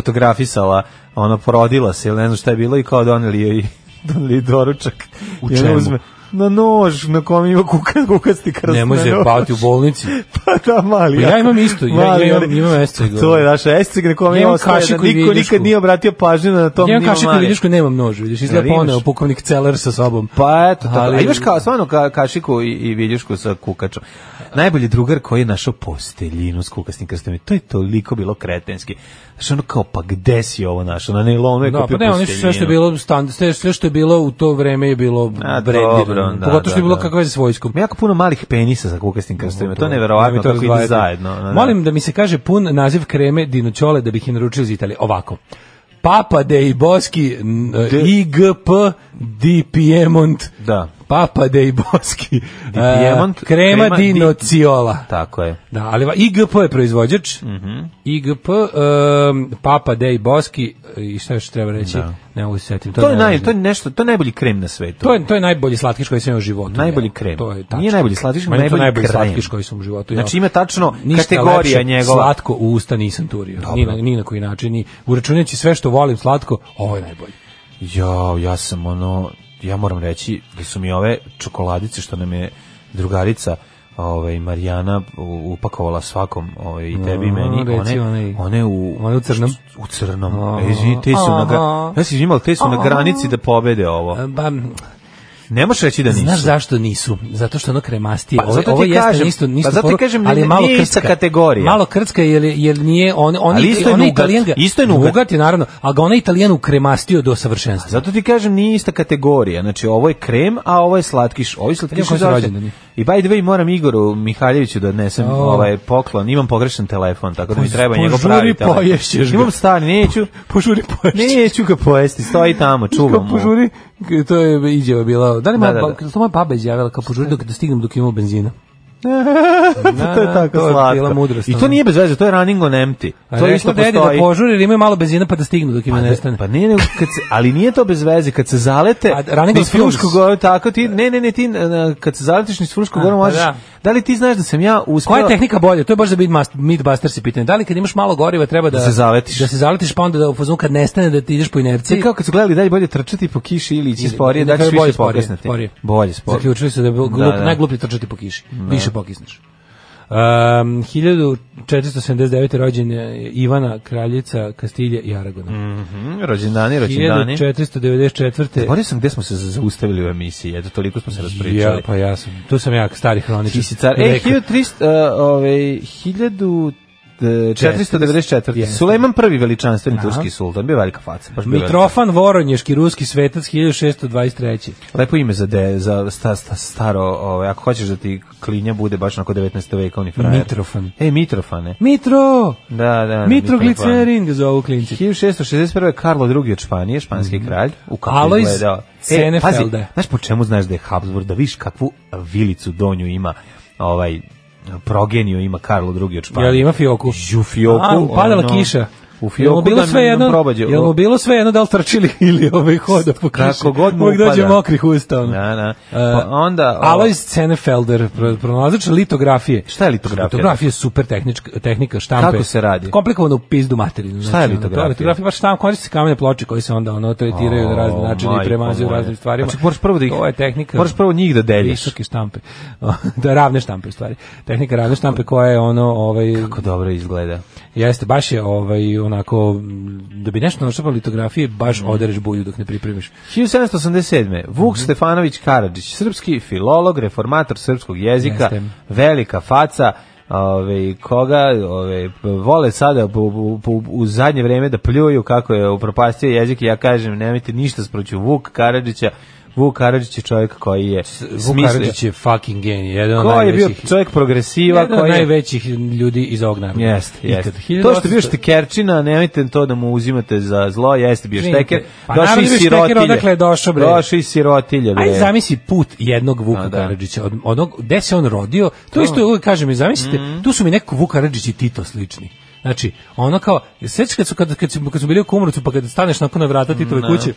fotografisala, ona porodila se, ili ne znam šta je bilo, i kao doneli joj doneli joj doručak. U I ona čemu? na nož, na kom ima kuka, kukasti krst. Nemoj na se nož. baviti u bolnici. Pa da, mali. Pa ja imam isto, ja- Mali, ja imam- ali- imam esceg, To je naša esceg na kom ono. Ja ima imam ostaje, da kašiku i niko vidišku. nikad nije obratio pažnju na tom Ja imam nivo kašiku i mali. vidišku, nemam nož, vidiš, Jel izgleda imaš? poneo pukovnik Celer sa sobom. Pa eto, tako. Ali- A imaš kao, stvarno ka, kašiku i, i viljušku sa kukačom. Najbolji drugar koji je našao posteljinu s kukasnim krstom. I To je toliko bilo kretenski. Znači ono kao, pa gde si ovo našao? Na nailonu je Da, pa kupio ne, oni su posteljinu. sve što je bilo stand, sve, sve što je bilo u to vreme je bilo A, dobro, brendirano. da, Pogotovo što je da, bilo da. kakve veze s vojskom. Ima jako puno malih penisa sa kukasnim krstovima. To je Da mi neverovatno to kako ide razdvajate. zajedno. ono, Da, da. Molim da mi se kaže pun naziv kreme dinoćole da bih je naručio iz Italije. Ovako. Papa dei Boski n- eh, IGP di Piemont. Da. Papa dei Boski. Di Piemont, krema, krema di- dinociola. Tako je. Da, ali va- IGP je proizvođač. Mhm. IGP, em, Papa dei Boski i šta još treba reći? Ne mogu se setim. To je naj, najvažnije. to je nešto, to je najbolji krem na svetu. To je, to je najbolji slatkiš koji sam imao u životu. Najbolji jeo. krem. To je tačno. Nije najbolji slatkiš, Ma nije to najbolji najbolji krem. slatkiš koji sam u životu. jeo. Znači, ima tačno Ništa kategorija lepše njegova. Slatko u usta nisam turio. Ni na, ni na koji način. Ni, uračunajući sve što volim slatko, ovo je najbolji. Ja, ja sam ono, ja moram reći da su mi ove čokoladice što nam je drugarica ovaj Marijana u- upakovala svakom ovaj i tebi i A, meni reci one onaj- one u onaj u crnom? u crnom Aha. E, izvini, te su na Aha. gra... ja se izvinim, ali te su na granici da pobede ovo E, Ba, m, ne možeš reći da nisu znaš zašto nisu? Zato što ono kremastije. Pa, Ovo- zato ti ovo jeste kažem, isto, pa nisto zato ti foru, kažem, ali nije- je malo nije ista krcka. kategorija. Malo krcka jer, jer nije, on, on, Ali isto je onaj nugat, Italijan ga- isto je nugat. je naravno, ali ga onaj Italijan ukremastio do savršenstva. Zato ti kažem nije ista kategorija. Znači ovo je krem, a ovo je slatkiš. Ovo je Vidim slatkiš. koji su zašto- rođendani. I by the way moram Igoru Mihaljeviću da odnesem O. ovaj poklon. Imam pogrešan telefon, tako da mi Pož- treba njegov požuri, pravi telefon. poješćeš ga. Imam stari, neću. Požuri poješće. Neću ga pojesti, stoji tamo, čuvam Kao mu. požuri, to je iđeva bila. Da li moja, Da, da, da. ba- to moja baba izjavila kao požuri dok da stignem dok imamo benzina. to je tako to je slatko. bila mudrost, I to ono. nije bez veze, to je running on empty. A To rekla isto dedi Pa postoji. Da požuri jer imaju malo benzina pa da stignu dok im Pa, ne ne, nestane. pa nije, nego kad se, ali nije to bez veze, kad se zalete A running niz on fumes. Frušku goru, tako ti, ne, ne, ne, ti, e, kad se zaletiš niz Frušku A, goru, pa možeš, da. da. li ti znaš da sam ja uspio... Koja je tehnika bolja? To je baš za Midbuster se pitanje. Da li kad imaš malo goriva treba da, Da se zaletiš. Da se zaletiš pa onda da u fazonu kad nestane da ti ideš po Sve inerciji. kao kad su gledali da je bolje trčati po kiši ili ići Ili- sporije, ili da ćeš kao je više sporije, pokisnuti. sporije. Bolje sporije. Zaključili su da je bilo Da, glup, da. najgluplje trčati po kiši. Više pokisneš. Um, 1479. rođen je Ivana, kraljica Kastilje i Aragona. Mhm, rođendani, rođendani. 1494. Borio sam gde smo se zaustavili u emisiji, eto toliko smo se Ja, raspričali. pa ja sam. Tu sam ja, stari hroničar. Ti si car. E, 1300, uh, ovaj, 1000 494. Jeste. Sulejman prvi veličanstveni turski sultan, bio velika faca. Baš bio velika Mitrofan Voronješki, ruski svetac 1623. Lepo ime za de, za sta, sta, staro, ovaj, ako hoćeš da ti klinja bude baš onako 19. veka, on je frajer. Mitrofan. E, Mitrofane. Mitro! Da, da. Mitroglicerin ga zovu klinci. 1661. Karlo II. od Španije, španski Mhm. kralj, u kako Alojz izgledao. E, pazi, Cenefelda. znaš po čemu znaš da je Habsburg, da viš kakvu vilicu donju ima, ovaj, progeniju ima Karlo II. od Španije. Jel ima fioku? Pa, Ju fioku. A, upadala ono, kiša. U Jel mu fioku bilo da sve jedno, probađe. jel mu bilo sve jedno da li trčili ili ovaj hoda po kiši. Kako god mu Uvijek dođe upada. mokrih usta. Ono. Da, da. E, Pa onda, o- Alojz Cenefelder, pro- pronalazač litografije. Šta je litografija? Litografija je super tehnička, tehnika štampe. Kako se radi? Komplikovano u pizdu materinu. Šta znači, je ono, litografija? to Litografija je baš štampa, koristi se kamene ploče koje se onda ono tretiraju na razne O, načine i majko premazuju moja. raznim stvarima. Znači, moraš prvo da ih- To je tehnika. moraš prvo njih da deljiš. Visoke štampe. da, ravne štampe u stvari. Tehnika ravne štampe koja je ono... Ovaj, Kako dobro izgleda. Jeste, baš je ovaj, onako, m, da bi nešto našao litografije, Mm. baš odereš bulju dok ne pripremiš. 1787. Vuk Mhm. Stefanović Karadžić, srpski filolog, reformator srpskog jezika, Jeste. velika faca, ove, koga ove, vole sada bu- bu- bu- u zadnje vreme da pljuju kako je upropastio jezik i ja kažem nemojte ništa sproću Vuk Karadžića, Vuk Karadžić je čovjek koji je Vuk smislio, Karadžić je fucking genij, jedan od koji je bio najvećih, čovjek progresiva, jedan od koji je najvećih ljudi iz ovog naroda. Jeste, Ikad. jeste. To što je bio štekerčina, nemojte to da mu uzimate za zlo, jeste bio Izvinite. šteker. Pa Došao naravno iz da je šteker, sirotilje. odakle je došao, bre? Došao iz sirotilje, bre. Ajde zamisli put jednog Vuka A, da. Karadžića, od onog, gde se on rodio, to, isto uvijek kažem, i zamislite, Mm. tu su mi neko Vuk Karadžić i Tito slični. Znači, ono kao, sećaš kad su, kad, kad, su, kad su bili u Kumrovcu, pa kad staneš nakon na vrata Titove kuće,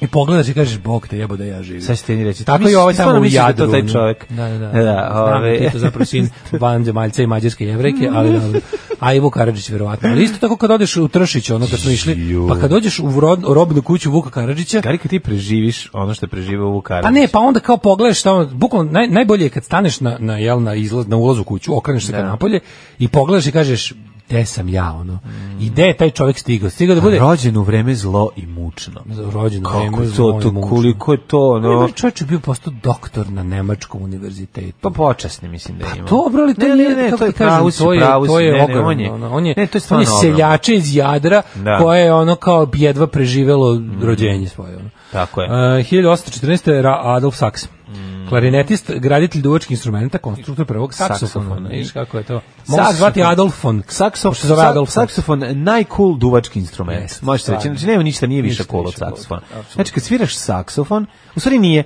i pogledaš i kažeš, Bog te jebo da ja živim. Sad ćete mi reći. Tako misliš- i ovaj stvarno tamo u misliš da je to Jadru. taj čovjek? Da, da, da. Da, da, Znam da ovaj. Mm. je Tito zapravo sin vanzemaljca i mađarske jevreke, ali dobro. A Ivo Karadžić verovatno. Ali isto tako kad odeš u Tršić, ono kad smo išli, pa kad dođeš u rod- robnu kuću Vuka Karadžića, Gari, kad ti preživiš ono što je preživao Vuk Karadžić. pa ne, pa onda kao pogledaš šta on, bukvalno naj, najbolje je kad staneš na na jel na izlaz na ulaz u kuću, okreneš se ka napolje i pogledaš i kažeš gde sam ja ono. I gde je taj čovjek stigao? Stigao da bude Rođen u vreme zlo i mučno. rođeno Kako vreme, je to, moje to, mučno. Pa koliko je to, Ne, ono... bre, čovječ Ovaj je bio postao doktor na Nemačkom univerzitetu. Pa Pa počasni mislim da ima. Dobro, ali to ne, nije, ne, ne, kako to je ti kažem, pravu si, to je, pravu to si, je ne, ne, ogromno, on je- ono, on ne, je, to je on je stvarno ogromno. seljače iz Jadra, Da. Mm. koje je ono kao jedva preživelo rođenje svoje. Ono. Tako je. Mm. Uh, 1814. je Ra- Adolf Sachs. Klarinetist, graditelj duvačkih instrumenta, konstruktor prvog Saksofona. saksofona. Viš kako je to? Može se zvati Saksofon. Adolfon. Saksof, Pošto se zove Adolf Sachs. saksofon najcool duvački instrument. Jeste, Možete reći, stvarno. znači nema ništa nije više Ništa cool od više cool, saksofona. apsolutno. Znači kad sviraš saksofon, u stvari nije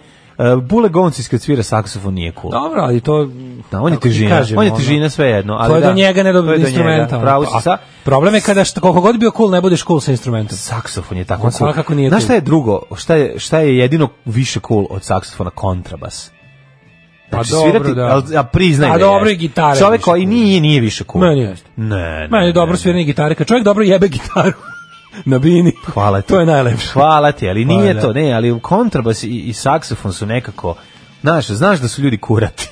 Uh, Bule Goncis kad svira saksofon nije cool. Dobro, ali to... Da, on je kako ti težina, kažem, on je ono, težina svejedno, ali to je da, do njega ne to je do do njega, instrumenta. ono. pravo si, sa- A Znači, Problem je kada što, koliko god bio cool, ne budeš cool sa instrumentom. Saksofon je tako On cool. svakako nije Znaš cool. šta je drugo? Šta je, šta je jedino više cool od saksofona? Kontrabas. Pa Znači, dobro, svirati, da. al- a priznaj A da je. dobro i gitara je Čovjek više koji cool. nije, nije više cool. Meni jeste. Ne, ne. Meni je dobro ne. sviranje gitare, kad čovjek dobro jebe gitaru na bini. Hvala ti. To je najlepše. Hvala ti, ali nije Hvala. to, ne, ali kontrabas i, i saksofon su nekako, znaš, znaš da su ljudi kurati.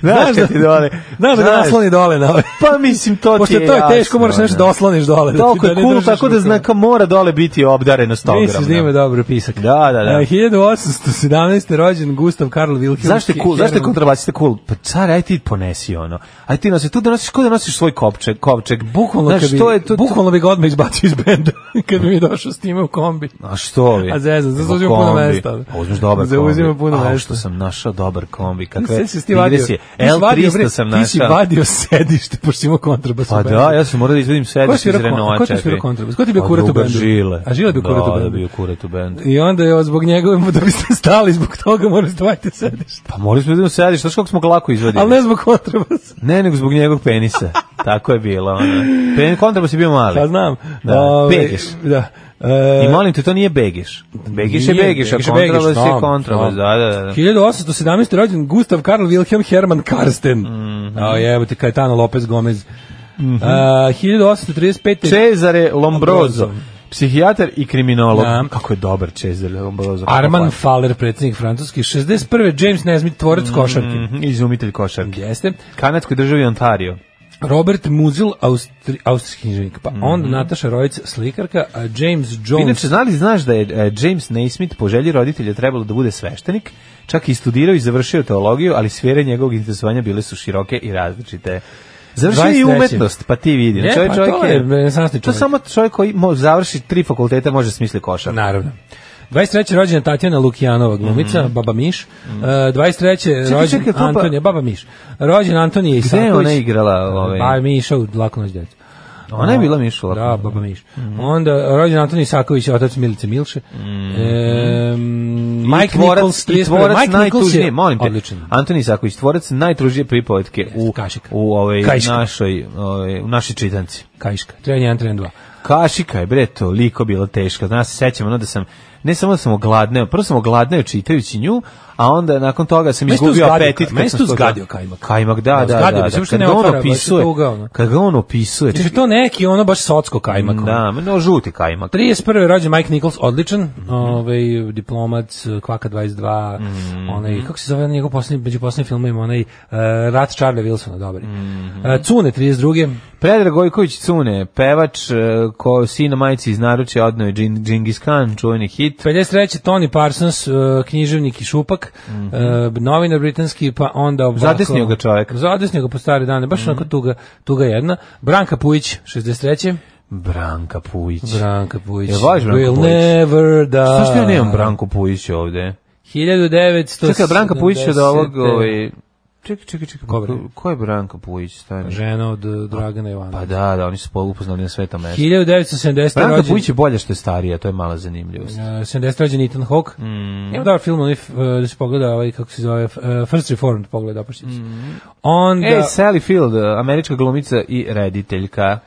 Znaš da- kad ti dole. Znaš da ga nasloni dole na ove. Pa mislim, to ti Pošto je to je jasno, teško, moraš nešto ono. da osloniš dole. da ti- Toliko je da ne cool, držiš tako da rukom. znaka mora dole biti obdareno 100 grama. Misliš da ima dobro pisak. Da, da, da. E, 1817. rođen Gustav Karl Wilhelm. Zašto je cool? Zašto je Herman. kontrabasista cool? Pa car, aj ti ponesi ono. Aj ti nosi, tu da nosiš, ko da nosiš svoj kopček, kopček. Bukvalno, Znaš, kad bi, to je to, bukvalno bi ga odmah izbacio iz benda kad bi mi došao s time u kombi. A što vi? A zezam, Evo zato uzima puno kombi. mesta. A uzmeš dobar kombi. Zauzima puno A, mesta. što sam našao dobar kombi. Kakve Sve si ti vadio. digresije. Ti si vadio, bre, L300 sam našao. Ti si vadio sedište, pošto si imao kontrabas. u Pa bendu. da, ja sam morao da izvedim Ko je sedište iz svirao kon- Renaulta. ko ti je svirao kontrabas? Ko ti je bio kurat u bendu? Žile. A Žile je bio kurat Da, u da bendu. bio kurat u bendu. I onda je zbog njega, da biste stali zbog toga, morali stvajte sedište. Pa morali smo da idemo sedište, znaš kako smo ga lako izvadili? Ali ne zbog kontrabasa. Ne, nego zbog njegovog penisa. Tako je bilo. Ono. Pen, kontrabas je bio mali. Pa znam. Da, Ove, begeš. Da. E, I molim te, to nije Begiš. Begiš je Nije, Begiš, a Begiš je kontrabas Begiš, je znam, kontrabas. Da, znam. da, da. 1817. rođen Gustav Karl Wilhelm Hermann Karsten. Mm Mhm. -hmm. A jevo ti Cayetano Lopez Gomez. Mm -hmm. 1835. Cezare Lombroso. Psihijatar i kriminolog. Da. Kako je dobar Cezare Lombroso. Arman Faller, predsjednik francuski. 61. James Nesmith, tvorec košarke. Mhm, Izumitelj košarke. Jeste. Kanadskoj državi Ontario. Robert Muzil, Austri, austrijski književnik. Mhm. Pa onda Nataša Rojic, slikarka. A James Jones. Inače, znali znaš da je e, James Naismith po želji roditelja trebalo da bude sveštenik, čak i studirao i završio teologiju, ali sfere njegovog interesovanja bile su široke i različite. Završio je i 23.. umetnost, pa ti vidi. Je, Čovjek, pa čovjek to je renesansni To čovjek. samo čovjek koji mo, završi tri fakulteta može smisli košar. Naravno. 23. rođena Tatjana Lukijanova glumica, Baba Miš. E, 23. Mhm. Čekaj, rođen čekaj, to pa- Antonija, Baba Miš. Rođen Antonija Gde je Isaković. ona igrala? Ovaj? Pa Miša u Laku noć djecu. Ona je bila Miša u Laku Da, noć. Mhm. baba Miš. Onda rođen Antoni Isaković, otac Milice Milše. E, Mike I tvorac, Nichols, i 31. tvorac Mike Nichols najtužnije, je molim te. odličan. Antoni Isaković, tvorac najtružije pripovetke u, Kašika. u ovaj Kašika. našoj, ovaj, u našoj čitanci. Kajška, tren 1, tren 2. Kašika je bre toliko bila teška. Znaš, se sećam ono da sam ne samo da sam ogladneo, prvo sam ogladneo čitajući nju, a onda nakon toga sam Meni se tu izgubio zgadio apetit. ka- kad meni se sam tu skočio- zgadio kajmak. Kajmak, da, Da, da, da. zgadio da, mi se, uopšte Kad ne ga on otvara, baš je opisuje, tuga, ono. kad ga on opisuje, Znači to neki ono baš socko kajmak. ono. da, no, žuti kajmak. 31. rođen Mike Nichols, odličan, Mhm. ovaj, diplomac, Kvaka 22, Mhm. onaj, kako se zove njegov posljednji, među posljednjim filmovima, onaj, uh, Rat Charlie Wilsona, dobar. je. Mhm. E, Cune, 32. Predrag Gojković Cune, pevač e, ko sina majici iz naručja odneo je Džin- Džingis Khan, čuveni hit. 53. Tony Parsons, e, književnik i šupak, e, novinar britanski, pa onda ovako... Zadesnio Mhm. ga Mhm. čovek. Zadesnio ga po stare dane, baš onako tuga, tuga jedna. Branka Pujić, 63. Branka Pujić. Branka Pujić. Jel voliš Branku Will Pujić? never die. Šta što ja nemam Branku Pujić ovde? 1970. Čekaj, Branka Pujić je od ovog... Ovaj, čekaj, čekaj, čekaj. Ko bre? Ko, ko je Branka Pujić? Stani. Žena od e, Dragana Ivana. Pa da, da, oni su po- upoznali na sveta mesta. 1970. Branka rođen, Pujić je bolje što je starija, to je mala zanimljivost. e, 70. rođen Ethan Hawke. Mhm. Mm. Ima dobar film, onaj, f- e, da se pogleda, ovaj, kako se zove, f- e, First Reformed, pogleda, opašće Mhm. Mm. Onda... Ej, Sally Field, američka glumica i rediteljka,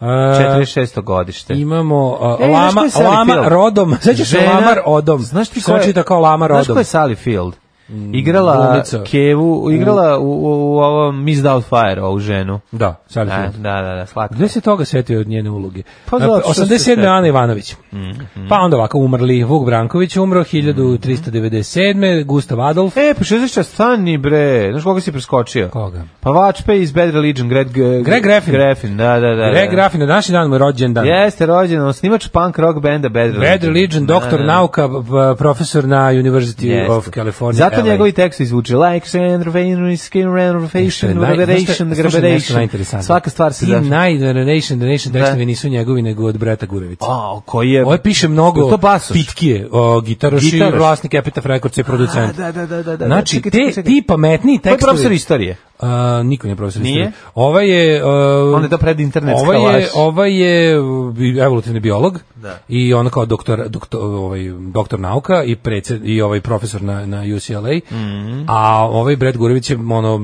e, 46. godište. Imamo uh, Ej, E, znaš Lama, ko je Sally Lama Field? Rodom. Sećaš se Žena- Lamar Odom? Znaš ti Se ko je? čita kao Lamar Znaš ko Odom? Mm, je Sally Field? Igrala glumica. Kevu, igrala u, u, u ovom Miss Doubtfire, ovu ženu. Da, Sally Da, Field. da, da, da slatka. Gde se toga setio od njene uloge? E. Pa Pa, zato što se 87. setio. Mhm. Ana Ivanović. Pa onda ovako umrli. Vuk Branković je umro 1397. Gustav Adolf. E, pa 60 stani bre, znaš koga si preskočio? Koga? Pa Vačpe iz Bad Religion, Greg, Greg Graffin. Graffin, da, da, da. Greg da. Graffin, na današnji dan mu je rođendan. Jeste rođen, on snimač punk rock benda Bad Religion. Bad Religion, doktor Da, da. nauka, b- profesor na University Jeste. of California. Zato LA. njegovi tekst izvuče like sand, vein, skin, Što je renovation, naj- znaš šta- renovation, slušaj, nešto renovation. najinteresantnije. Svaka stvar se Ti zašto. najderenation, derenation Da. tekstovi nisu njegovi, nego od Breta Gurevica. A, Pa, koji je... Ovo je Ovaj piše mnogo Je to basoš? pitkije, o, gitaraš, Gitaraš. i vlasnik Epitaph Records i producent. Da, da, da, da, da. Znači, Čekaj, te, čekaj, čekaj. ti pametniji Ko je tekstovi... profesor istorije? A, niko nije profesor Nije? istorije. Ova je... Uh, On je to predinternetska ova laž. je, ovaj ova je uh, bi- evolutivni biolog i ona kao doktor, doktor, ovaj, doktor nauka i, predsed, i ovaj profesor na, na UCLA. A ovaj Brad Gurević je ono,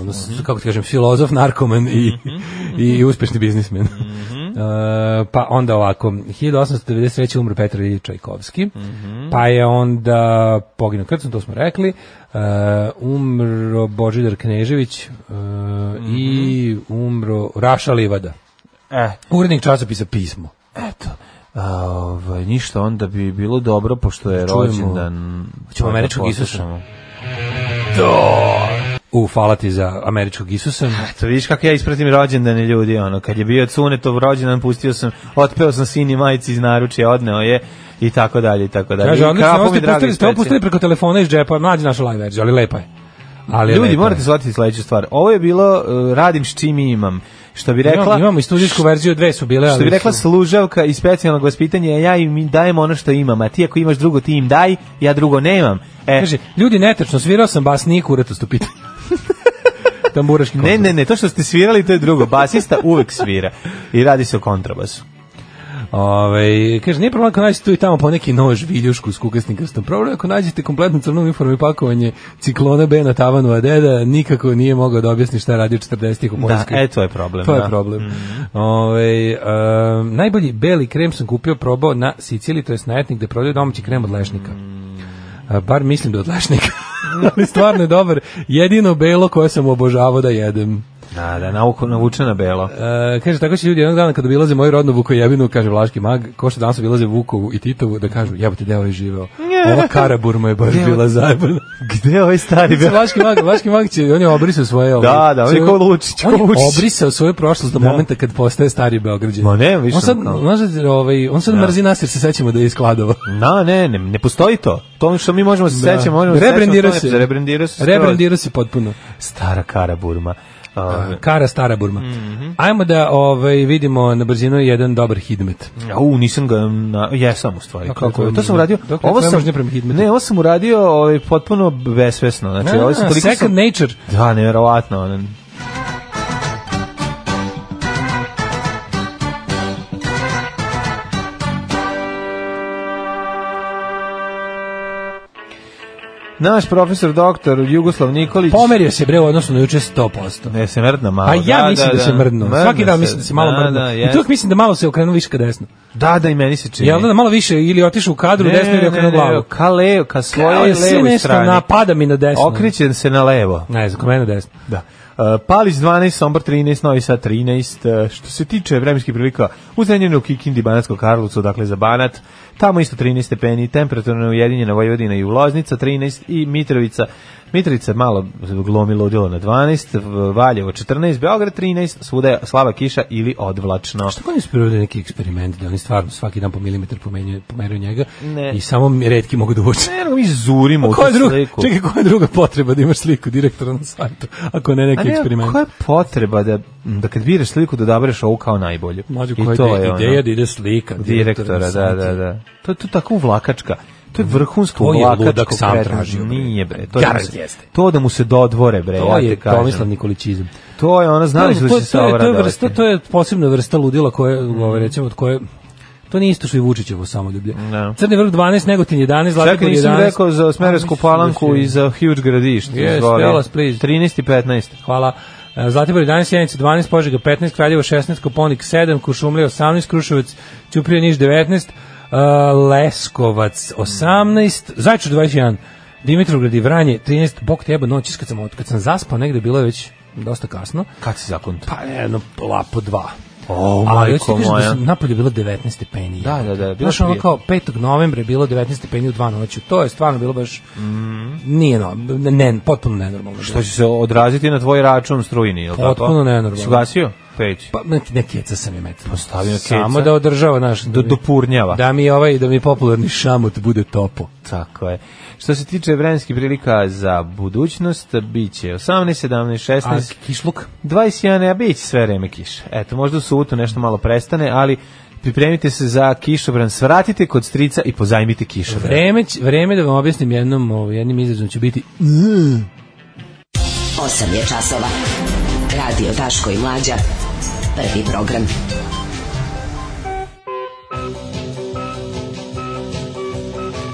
ono s- kako ti kažem, filozof, narkoman i, i uspešni biznismen. E, pa onda ovako, 1893. umre Petar Iljić Čajkovski, pa je onda poginuo Krcun, to smo rekli, e, umro Božidar Knežević e, i umro Raša Livada, E, urednik časopisa Pismo. eto. A, Ovaj, ništa, onda bi bilo dobro, pošto je Čujemo. rođendan... Hoćemo Pa da američkog poslušamo. U, hvala ti za američkog Isusa. To vidiš kako ja ispratim rođendane ljudi, ono, kad je bio Cunetov rođendan, pustio sam, otpeo sam sini majici iz naručja, odneo je, i tako dalje, i tako dalje. Kaže, I odlično, kapo ovo pa mi ste dragi pustili, ste ovo speci. pustili preko telefona iz džepa, mlađi naša live verzija, ali lepa je. Ali je Ljudi, lepa je. morate shvatiti sledeću stvar. Ovo je bilo, uh, radim s čim imam. Što bi rekla... Imamo, imamo i studijsku verziju, dve su bile, ali... Što bi rekla su- služavka iz specijalnog vaspitanja, ja im dajem ono što imam, a ti ako imaš drugo, ti im daj, ja drugo nemam. E, Kaže, ljudi, netačno, svirao sam bas, nije kurat u stupiti. Tamburaški ne, ne, ne, to što ste svirali, to je drugo. Basista uvek svira i radi se o kontrabasu. Ove, kaže, nije problem ako nađete tu i tamo po neki nož, viljušku s kukasnikastom. Problem je ako nađete kompletnu crnu uniformu i pakovanje ciklona B na tavanu, a deda nikako nije mogao da objasni šta je radio 40-ih u Da, Poljskoj. e, to je problem. To je da. Mhm. problem. Ovaj, em, najbolji beli krem sam kupio, probao na Siciliji, to je najetnik gde prodaju domaći krem od lešnika. Mm. A, bar mislim da je od lešnika. Ali stvarno je dobar. Jedino belo koje sam obožavao da jedem. Da, da, nauku, navučena belo. E, kaže, tako će ljudi jednog dana kada obilaze moju rodnu Vukojevinu, kaže Vlaški mag, ko što danas obilaze Vukovu i Titovu, da kažu, jebote, deo je živeo. Ova Karaburma je baš bila zajebana. Gde je ovaj stari belo? Vlaški mag, Vlaški mag će, on je obrisao svoje... ovaj, Da, da, on je svoje- ko Lučić, ko on je Vučić. obrisao svoju prošlost do momenta kad postaje stari Beograđan. Ma ne, više On sad, ono kao- znaš, ovaj, on sad mrzi nas jer se sećamo da je iskladova. Na, ne, ne, ne postoji to. To ono što mi možemo se Da. sećamo, možemo se Rebrendirao sećamo, to ne- se. Rebrendirao se. skroz. Rebrandirao se potpuno. Stara Karaburma. Uh, Kara stara Burma. Mhm. Ajmo da ovaj, vidimo na brzinu jedan dobar hidmet. u, nisam ga, na, jesam u stvari. A kako Kako, je to sam mržnja? uradio. Dokle je tvoja mržnja prema Hidmetu? ne, ovo sam uradio ovaj, potpuno besvesno. Znači, ovo sam A, toliko sam, second nature. Da, nevjerovatno. ono. Naš profesor doktor Jugoslav Nikolić Pomerio se bre u odnosu na juče 100%. Ne, se mrdna malo. A Pa ja mislim da, se mrdno. Svaki dan mislim da se malo da, mrdno. Da, I jest. tu mislim da malo se okrenuo više ka desno. da, da, i meni se čini. Jel da malo više ili otišao u kadru desno ili okrenuo glavu. Ka, leo, ka Kao svojoj je sve levoj nešto strani. napada mi na pa- desno. Okreće se na levo. Ne znam, kod mene desno. Da. Uh, Palić 12, Sombor 13, Novi Sad 13. Uh, što se tiče vremenskih prilika, u Zrenjaninu, Kikindi, Banatsko Karlovcu, dakle za Banat, tamo isto 13 stepeni, temperaturno ujedinjena Vojvodina i Uloznica 13 i Mitrovica. Mitrovica je malo glomi ludilo na 12, v- Valjevo 14, Beograd 13, svuda je slaba kiša ili odvlačno. Što kod njih sprovode neki eksperiment, da oni stvarno svaki dan po milimetar pomenju, pomeraju njega Ne. i samo mi redki mogu da uoče. Ne, nego mi zurimo u tu Koja Pa je druga, sliku. čekaj, koja je druga potreba da imaš sliku direktora na sajtu, ako ne A neki ne, eksperiment? koja je potreba da, da kad biraš sliku da odabereš ovu kao najbolju? Mlađo, I koja to je je ono. ideja da ide slika direktora, na da, sajtu? Mhm. da, da. To je to je tako vlakačka. To je vrhunsko To je vlakačko. ludak sam kretenstvo. tražio, bre. Nije bre. To, je da mu Garant se- jeste. to da mu se dodvore bre. To ja te je kažem. Tomislav Nikolićizam. To je ona znali su da to, će se to, je, to, je ovo vrsta, to je posebna vrsta ludila koje, ovaj, recimo, od koje To nije isto što i Vučićevo samoljublje. Da. Crni vrh 12, Negotin 11, Zlatibor Čekaj, 11. nisam rekao za Smeresku palanku i za Huge gradište. Yes, izvoli. tell us, please. 13 i 15. Hvala. E, Zlatibor 11, Sjenica 12, Požega 15, Kraljevo 16, Koponik 7, Kušumlija 18, Kruševac, Ćuprija Niš 19, e, Leskovac 18, Zajčar 21, Dimitrovgrad i Vranje 13, bok te jeba noćis kad sam, od- kad sam zaspao negde bilo je već dosta kasno, Kad si zakon? pa jedno lapo dva. O, Ali hoću ti majko kažem da moja. sam- napolju je bilo 19 stepeni. Da, da, da, bilo Znaš, ono prijatno. kao 5. novembra je bilo 19 stepeni u dva noću. To je stvarno bilo baš... Nije no, ne, potpuno nenormalno. Mhm. Što će se odraziti na tvoj račun strujni, je li tako? Potpuno nenormalno. Si ugasio? Peć. Pa ne, ne keca sam je metno. Postavio keca. Samo da održava, znaš, da, Do, mi- dopurnjava. da mi ovaj, da mi popularni šamot bude topo. Tako je. Što se tiče vremenskih prilika za budućnost, bit će 18, 17, 16, A kišluk? 21, a bit će sve vreme kiše. Eto, možda u subotu nešto malo prestane, ali pripremite se za kišobran, svratite kod strica i pozajmite kišobran. Vreme, će- vreme da vam objasnim jednom, ovaj, jednim izrazom će biti 8 je časova. Radio Daško i Mlađa. Prvi program.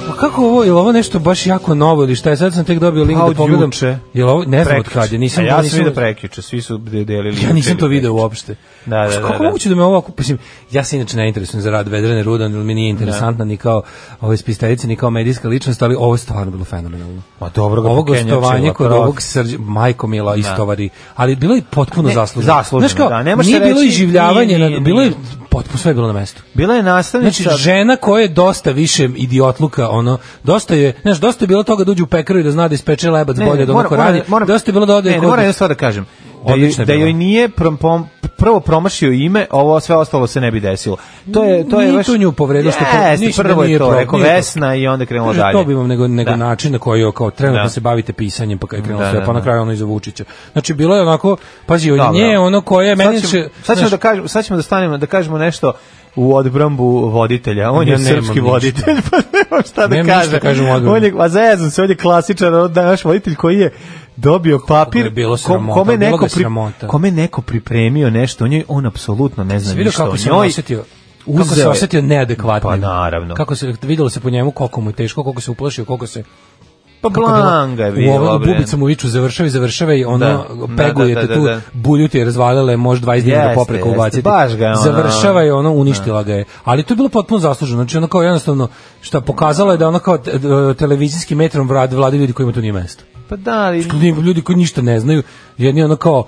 Pa kako ovo, je ovo nešto baš jako novo ili šta je? Sad sam tek dobio link A da od pogledam. juče? Jel ovo, ne znam od Prekjuče. kad je, A nisam, E, ja sam nisam, vidio prekjuče, svi su de- delili. Ja nisam to juče ili video prekjuče. uopšte. Da, da, da, Kako da. moguće da me ovako, mislim, ja se inače ne interesujem za rad Vedrane Rudan, jer mi nije interesantna ni kao ove spisteljice, ni kao medijska ličnost, ali ovo je stvarno bilo fenomenalno. Ma dobro ga Ovo pokenjačila, gostovanje kod prof. ovog srđa, majko mila istovari, ali bilo je potpuno Ne, zasluženo. zasluženo, Znaš kao, da, ne može nije se bilo reći, iživljavanje, nije, na- nije, bilo je nije. potpuno sve je bilo na mestu. Bila je nastavnica... Znači, žena koja je dosta više idiotluka, ono dosta je, znaš, dosta je bilo toga da uđe u pekaru i da zna da ispeče lebac bolje od onog ko radi. Dosta je bilo da ode ne, ne, kod- moram jednu stvar da kažem. Da, joj, Odlična je da bila. joj nije prom, pom- prvo promašio ime, ovo sve ostalo se ne bi desilo. To je to je Nije baš to nju povredilo što pro- Jeste, ništa prvo je nije to, pro- rekao nije to. Vesna i onda krenulo Kaže, dalje. To bi vam nego, nego Da. način na koji je kao trenutno Da. se bavite pisanjem, pa kad je krenulo Da, sve, da, pa na da. kraju ono iza Vučića. Znači, bilo je onako, pazi, on Dobro. nje, ono koje je, meni sad ćemo, će... sad ćemo znaš, da kažemo, sad ćemo da stanemo da kažemo nešto u odbrambu voditelja. On Ja je nemam srpski ništa. voditelj, pa nema šta da Nemam ništa kaže. da kažem u odbrani. on je, a zajezan se, on je klasičan on je naš voditelj koji je dobio papir ga je bilo kom- sramota, kome bilo ga neko je sramota. kome neko pripremio nešto, on je on apsolutno ne si zna vidio ništa. kako o se on njoj. osetio? Uzeo Kako se je- osetio neadekvatno. Pa naravno. Kako se videlo se po njemu koliko mu je teško, koliko se uplašio, koliko se pa blanga je u bilo. ovom bubicu mu viču završava i završava i ono Da. pegujete Da, da, da, tu da. bulju ti je razvaljala je možda 20 dinara Jeste, popreka jeste. ubaciti. Baš ga je ono- Završava i ono uništila ga je. Ali to je bilo potpuno zasluženo. Znači ono kao jednostavno šta pokazala je da ono kao t- e, televizijskim metrom vlade vladaju ljudi kojima tu nije mesto. Pa da, ali Ljudi koji ništa ne znaju, jedni ono kao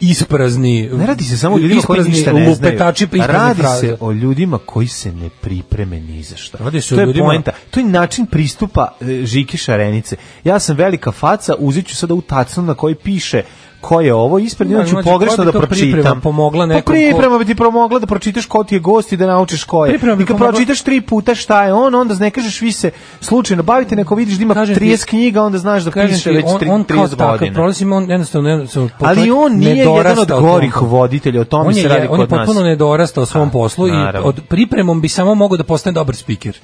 isprazni Ne radi se samo o ljudima koji isprazni ništa ne znaju. lupetači isprazni Radi fraze. se o ljudima koji se ne pripreme ni za šta. Radi se to o je ljudima- poenta. To je način pristupa e, Žiki Šarenice. Ja sam velika faca, uzet ću sada u tacnu na kojoj piše ko je ovo ispred, Da, ja ću mlađe, koja pogrešno bi da to priprema pročitam. pomogla nekom ko- Pa priprema bi ti pomogla da pročitaš ko ti je gost i da naučiš ko je. Priprema bi I kad pomogla- pročitaš tri puta šta je on, onda ne kažeš vi se slučajno bavite, neko vidiš da ima Kažem ti- 30 knjiga, onda znaš da Kažeš, piše već on, tri- on kao 30 takav godina. prolazim, on jednostavno, jednostavno Ali čovjek on nije jedan nedorasta od tom gorih poslu. voditelja, o tome on se je, radi on je kod nas. potpuno nedorastao svom A, poslu i naravno. od pripremom bi samo mogao da postane dobar speaker.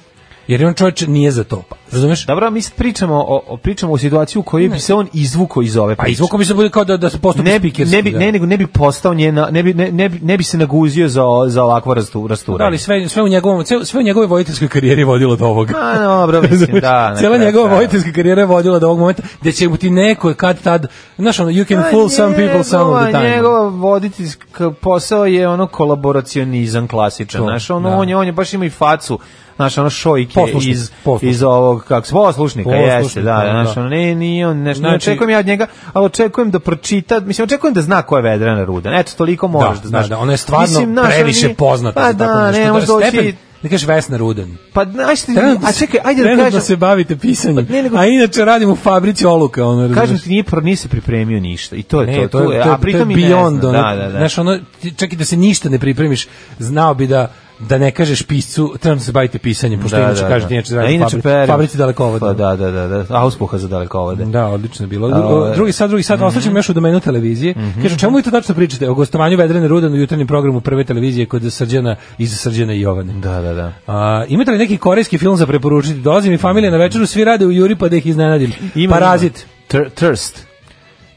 Jer on čovječ nije za to. pa, Razumeš? Dobro, a mi sad pričamo o, o- pričamo o situaciji u kojoj bi se on izvukao iz ove Pa priče. izvukom bi se bude kao da, da se postupi ne bi, speakerski, ne bi, da. ne, nego ne bi postao njena, ne bi, ne, ne, bi- ne bi se naguzio za, o- za ovakvo rastu, Da, rasturanje. ali sve, sve, u njegovom, sve, sve u njegovoj vojiteljskoj karijeri je vodilo do ovoga. A, Pa dobro, mislim, Razumeš? da. na Znači, Cijela kraju njegova krajeva. vojiteljska karijera je vodila do ovog momenta gdje će mu ti neko kad tad, znaš ono, you can Pa fool some people some of the A time. Njegov voditeljski posao je ono kolaboracionizam klasičan, To, znaš, ono, da. on, je, on je baš ima i facu, znaš, ono šojke Poslušnik, iz, poslušnik. iz ovog, kako se, poslušnika, Poslušnik, jeste, da, da, znaš, da. ono, ne, nije on, nešto, ne Znači- očekujem ja od njega, ali očekujem da pročita, mislim, očekujem da zna ko je Vedrana Rudan, eto, toliko moraš da, da, znaš. da, ona je stvarno znaš, ono previše nije- poznata. Pa za tako da, nešto. ne, To je možeš doći, stepen- Ne kažeš Vesna Rudan. pa, znaš, ti- Trenutno a se- čekaj, ajde da trenutno kažem, se bavite pisanjem. Pa ne, nego- A inače radim u fabrici oluka, ono razumeš. kažem ti, nije, pro, nije se pripremio ništa, i to je Ne, to, tu je, a pritom i ne zna, beyond, ono, da, da, da. znaš, ono, ti čak i da se ništa ne pripremiš, znao bi da da ne kažeš piscu, trebam se baviti pisanjem, pošto inače kažeš da inače A radim u inače fabrici, perim. fabrici Mm. dalekovoda. Pa da, da, da, da. A uspuha za dalekovode. Da, odlično je bilo. A, Mhm. ovaj- Dru- Drugi sad, drugi sad, ostaćemo još u domenu televizije. Kažu, čemu vi to tačno pričate? O gostovanju Vedrane Rudan u jutarnjem programu prve televizije kod Srđana, iza Srđana i Jovane. Da, da, da. A, imate li neki korejski film za preporučiti? Dolazi mi familija na večeru, svi rade u Juri pa da ih iznenadim. Ima, Parazit. ima. Tur- Thirst.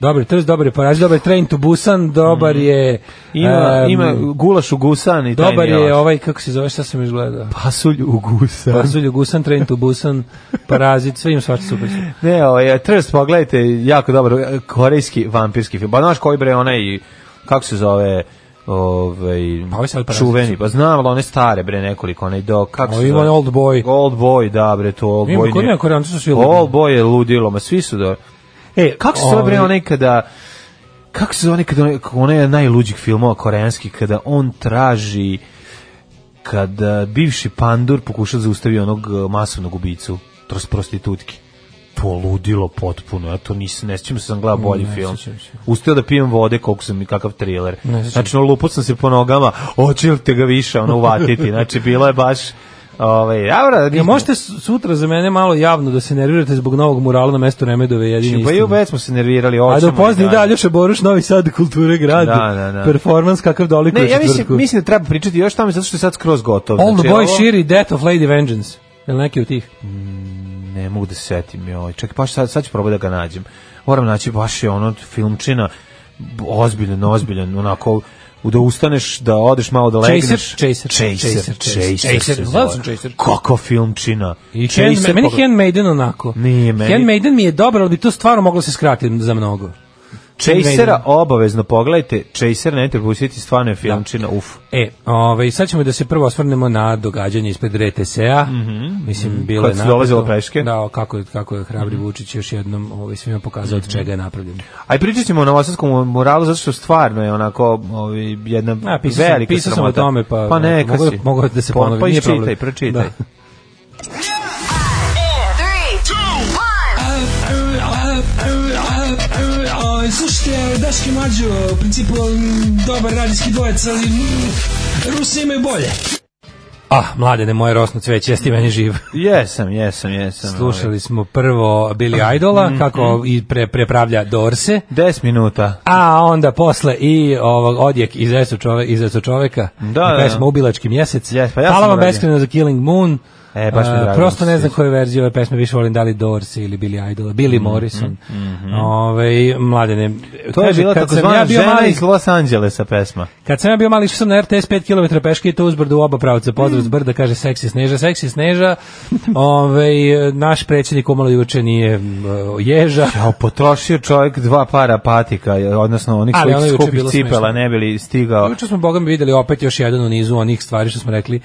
Dobar je Trst, dobar je Parazit, dobar je Train to Busan, dobar je... Mhm. Ima, em, ima gulaš u gusan i taj Dobar je miloš. ovaj, kako se zove, šta sam još gledao? pasulj u gusan. Pasulj, Gusan, Train to Busan, Parazit, sve im svača super. su. Ne, ovaj, Thirst, pogledajte, jako dobar eh, korejski vampirski film. Ba, znaš koji bre, onaj, kako se zove, ovaj, Pa ovaj sad Parazit. čuveni, pa znam, ali one stare bre nekoliko, onaj do, kako se Ovo zove? ima onaj Old Boy. Old Boy, da bre, to Old Ima, Boy. kod nije- njega Koreanci su svi Old ludili. Boy je ludilo, ma svi su da. E, Kako se zove bre onaj kada Kako se zove onaj kada onaj- onaj je najluđih filmova koreanski kada on traži kada e, bivši pandur pokuša da zaustavi onog e, masovnog ubicu tros prostitutki poludilo potpuno, ja to nisam, ne sjećam se sam gledao bolji ne film. sjećam se. Ustao da pijem vode koliko sam i kakav thriller. Ne sjećam Znači, ono, lupao sam se po nogama, hoće li te ga više ono uvatiti, znači, bilo je baš ovaj, dobra, Ja, možete su- sutra za mene malo javno da se nervirate zbog novog murala na mestu Remedove jedini pa i istine. već smo se nervirali, A hoćemo do i pozni dalje. da Aljoša Boruš, Novi Sad, kulture grad, Da, da, da. performans kakav dolikuje Ne, ja mislim, četvrtku. mislim da treba pričati još tamo zato što je sad skroz gotov. All the Znači, boy ovo- shiri Death of Lady Vengeance. Jel neki od tih? Ne mogu da se setim, joj. Čekaj, baš sad, sad ću probati da ga nađem. Moram naći baš je ono filmčina b- ozbiljan, ozbiljan, onako u- da ustaneš, da odeš malo da Chaser, legneš. Chaser, Chaser, Chaser, Chaser, Chaser. se Gledao zove. sam Chaser. Kako filmčina. I Hand, meni pogled- Handmaiden onako. Nije meni. Handmaiden mi je dobar, ali bi to stvarno moglo se skratiti za mnogo. Chasera Handmaiden. obavezno pogledajte. Chaser ne propustiti, stvarno je filmčina, uf. E, ovaj, sad ćemo da se prvo osvrnemo na događanje ispred RTSE-a. Mislim, bilo je Kad Mhm. su Mhm. napeto. dolazilo preške. Da, o, kako, je- kako je Hrabri Vučić još jednom ovaj, svima pokazao Mhm. od čega je napravljen. Aj pričat ćemo o novosadskom moralu zato što stvarno je onako ovi, jedna A, pisao sam, velika pisao sam o sramota. tome, pa, pa neka mogu, si. mogu da se Pa- ponovi. Pa nije problem. iščitaj, pročitaj. Da. slušajte Daške Mađo, u principu m, dobar radijski dvojec, ali mm, Rusi imaju bolje. Ah, mladene, moje rosno cveće, jesi ti meni živ. Jesam, jesam, jesam. Slušali smo prvo Billy Mhm, Idola, kako i pre, prepravlja Dorse, 10 minuta. a onda posle i ovog odjek iz Esu čove, iz Esu čoveka, Da, da, pesma da. Ubilački mjesec. Jes, pa ja Hvala sam vam uradio. beskreno za Killing Moon. E, baš mi je A, drago prosto da ne se znam koju verziju ove pesme više volim, da li Dorse ili Billy Idola, Billy Morrison. Ove, mladene, Mhm, To je kaže, bila kad sam takozvana ja bio žena mali- iz Los Angelesa pesma. Kad sam ja bio mali, išao sam na RTS 5 km peške i to uzbrdu u oba pravca. Mm. Pozdrav s brda, kaže seksi sneža, seksi sneža. Ove, naš predsjednik umalo juče nije m, ježa. Kao potrošio čovjek dva para patika, odnosno onih Ali ono je svojih juče skupih bilo smešno. cipela ne bili stigao. Juče Ono smo, Boga mi, videli opet još jedan u nizu onih stvari što smo rekli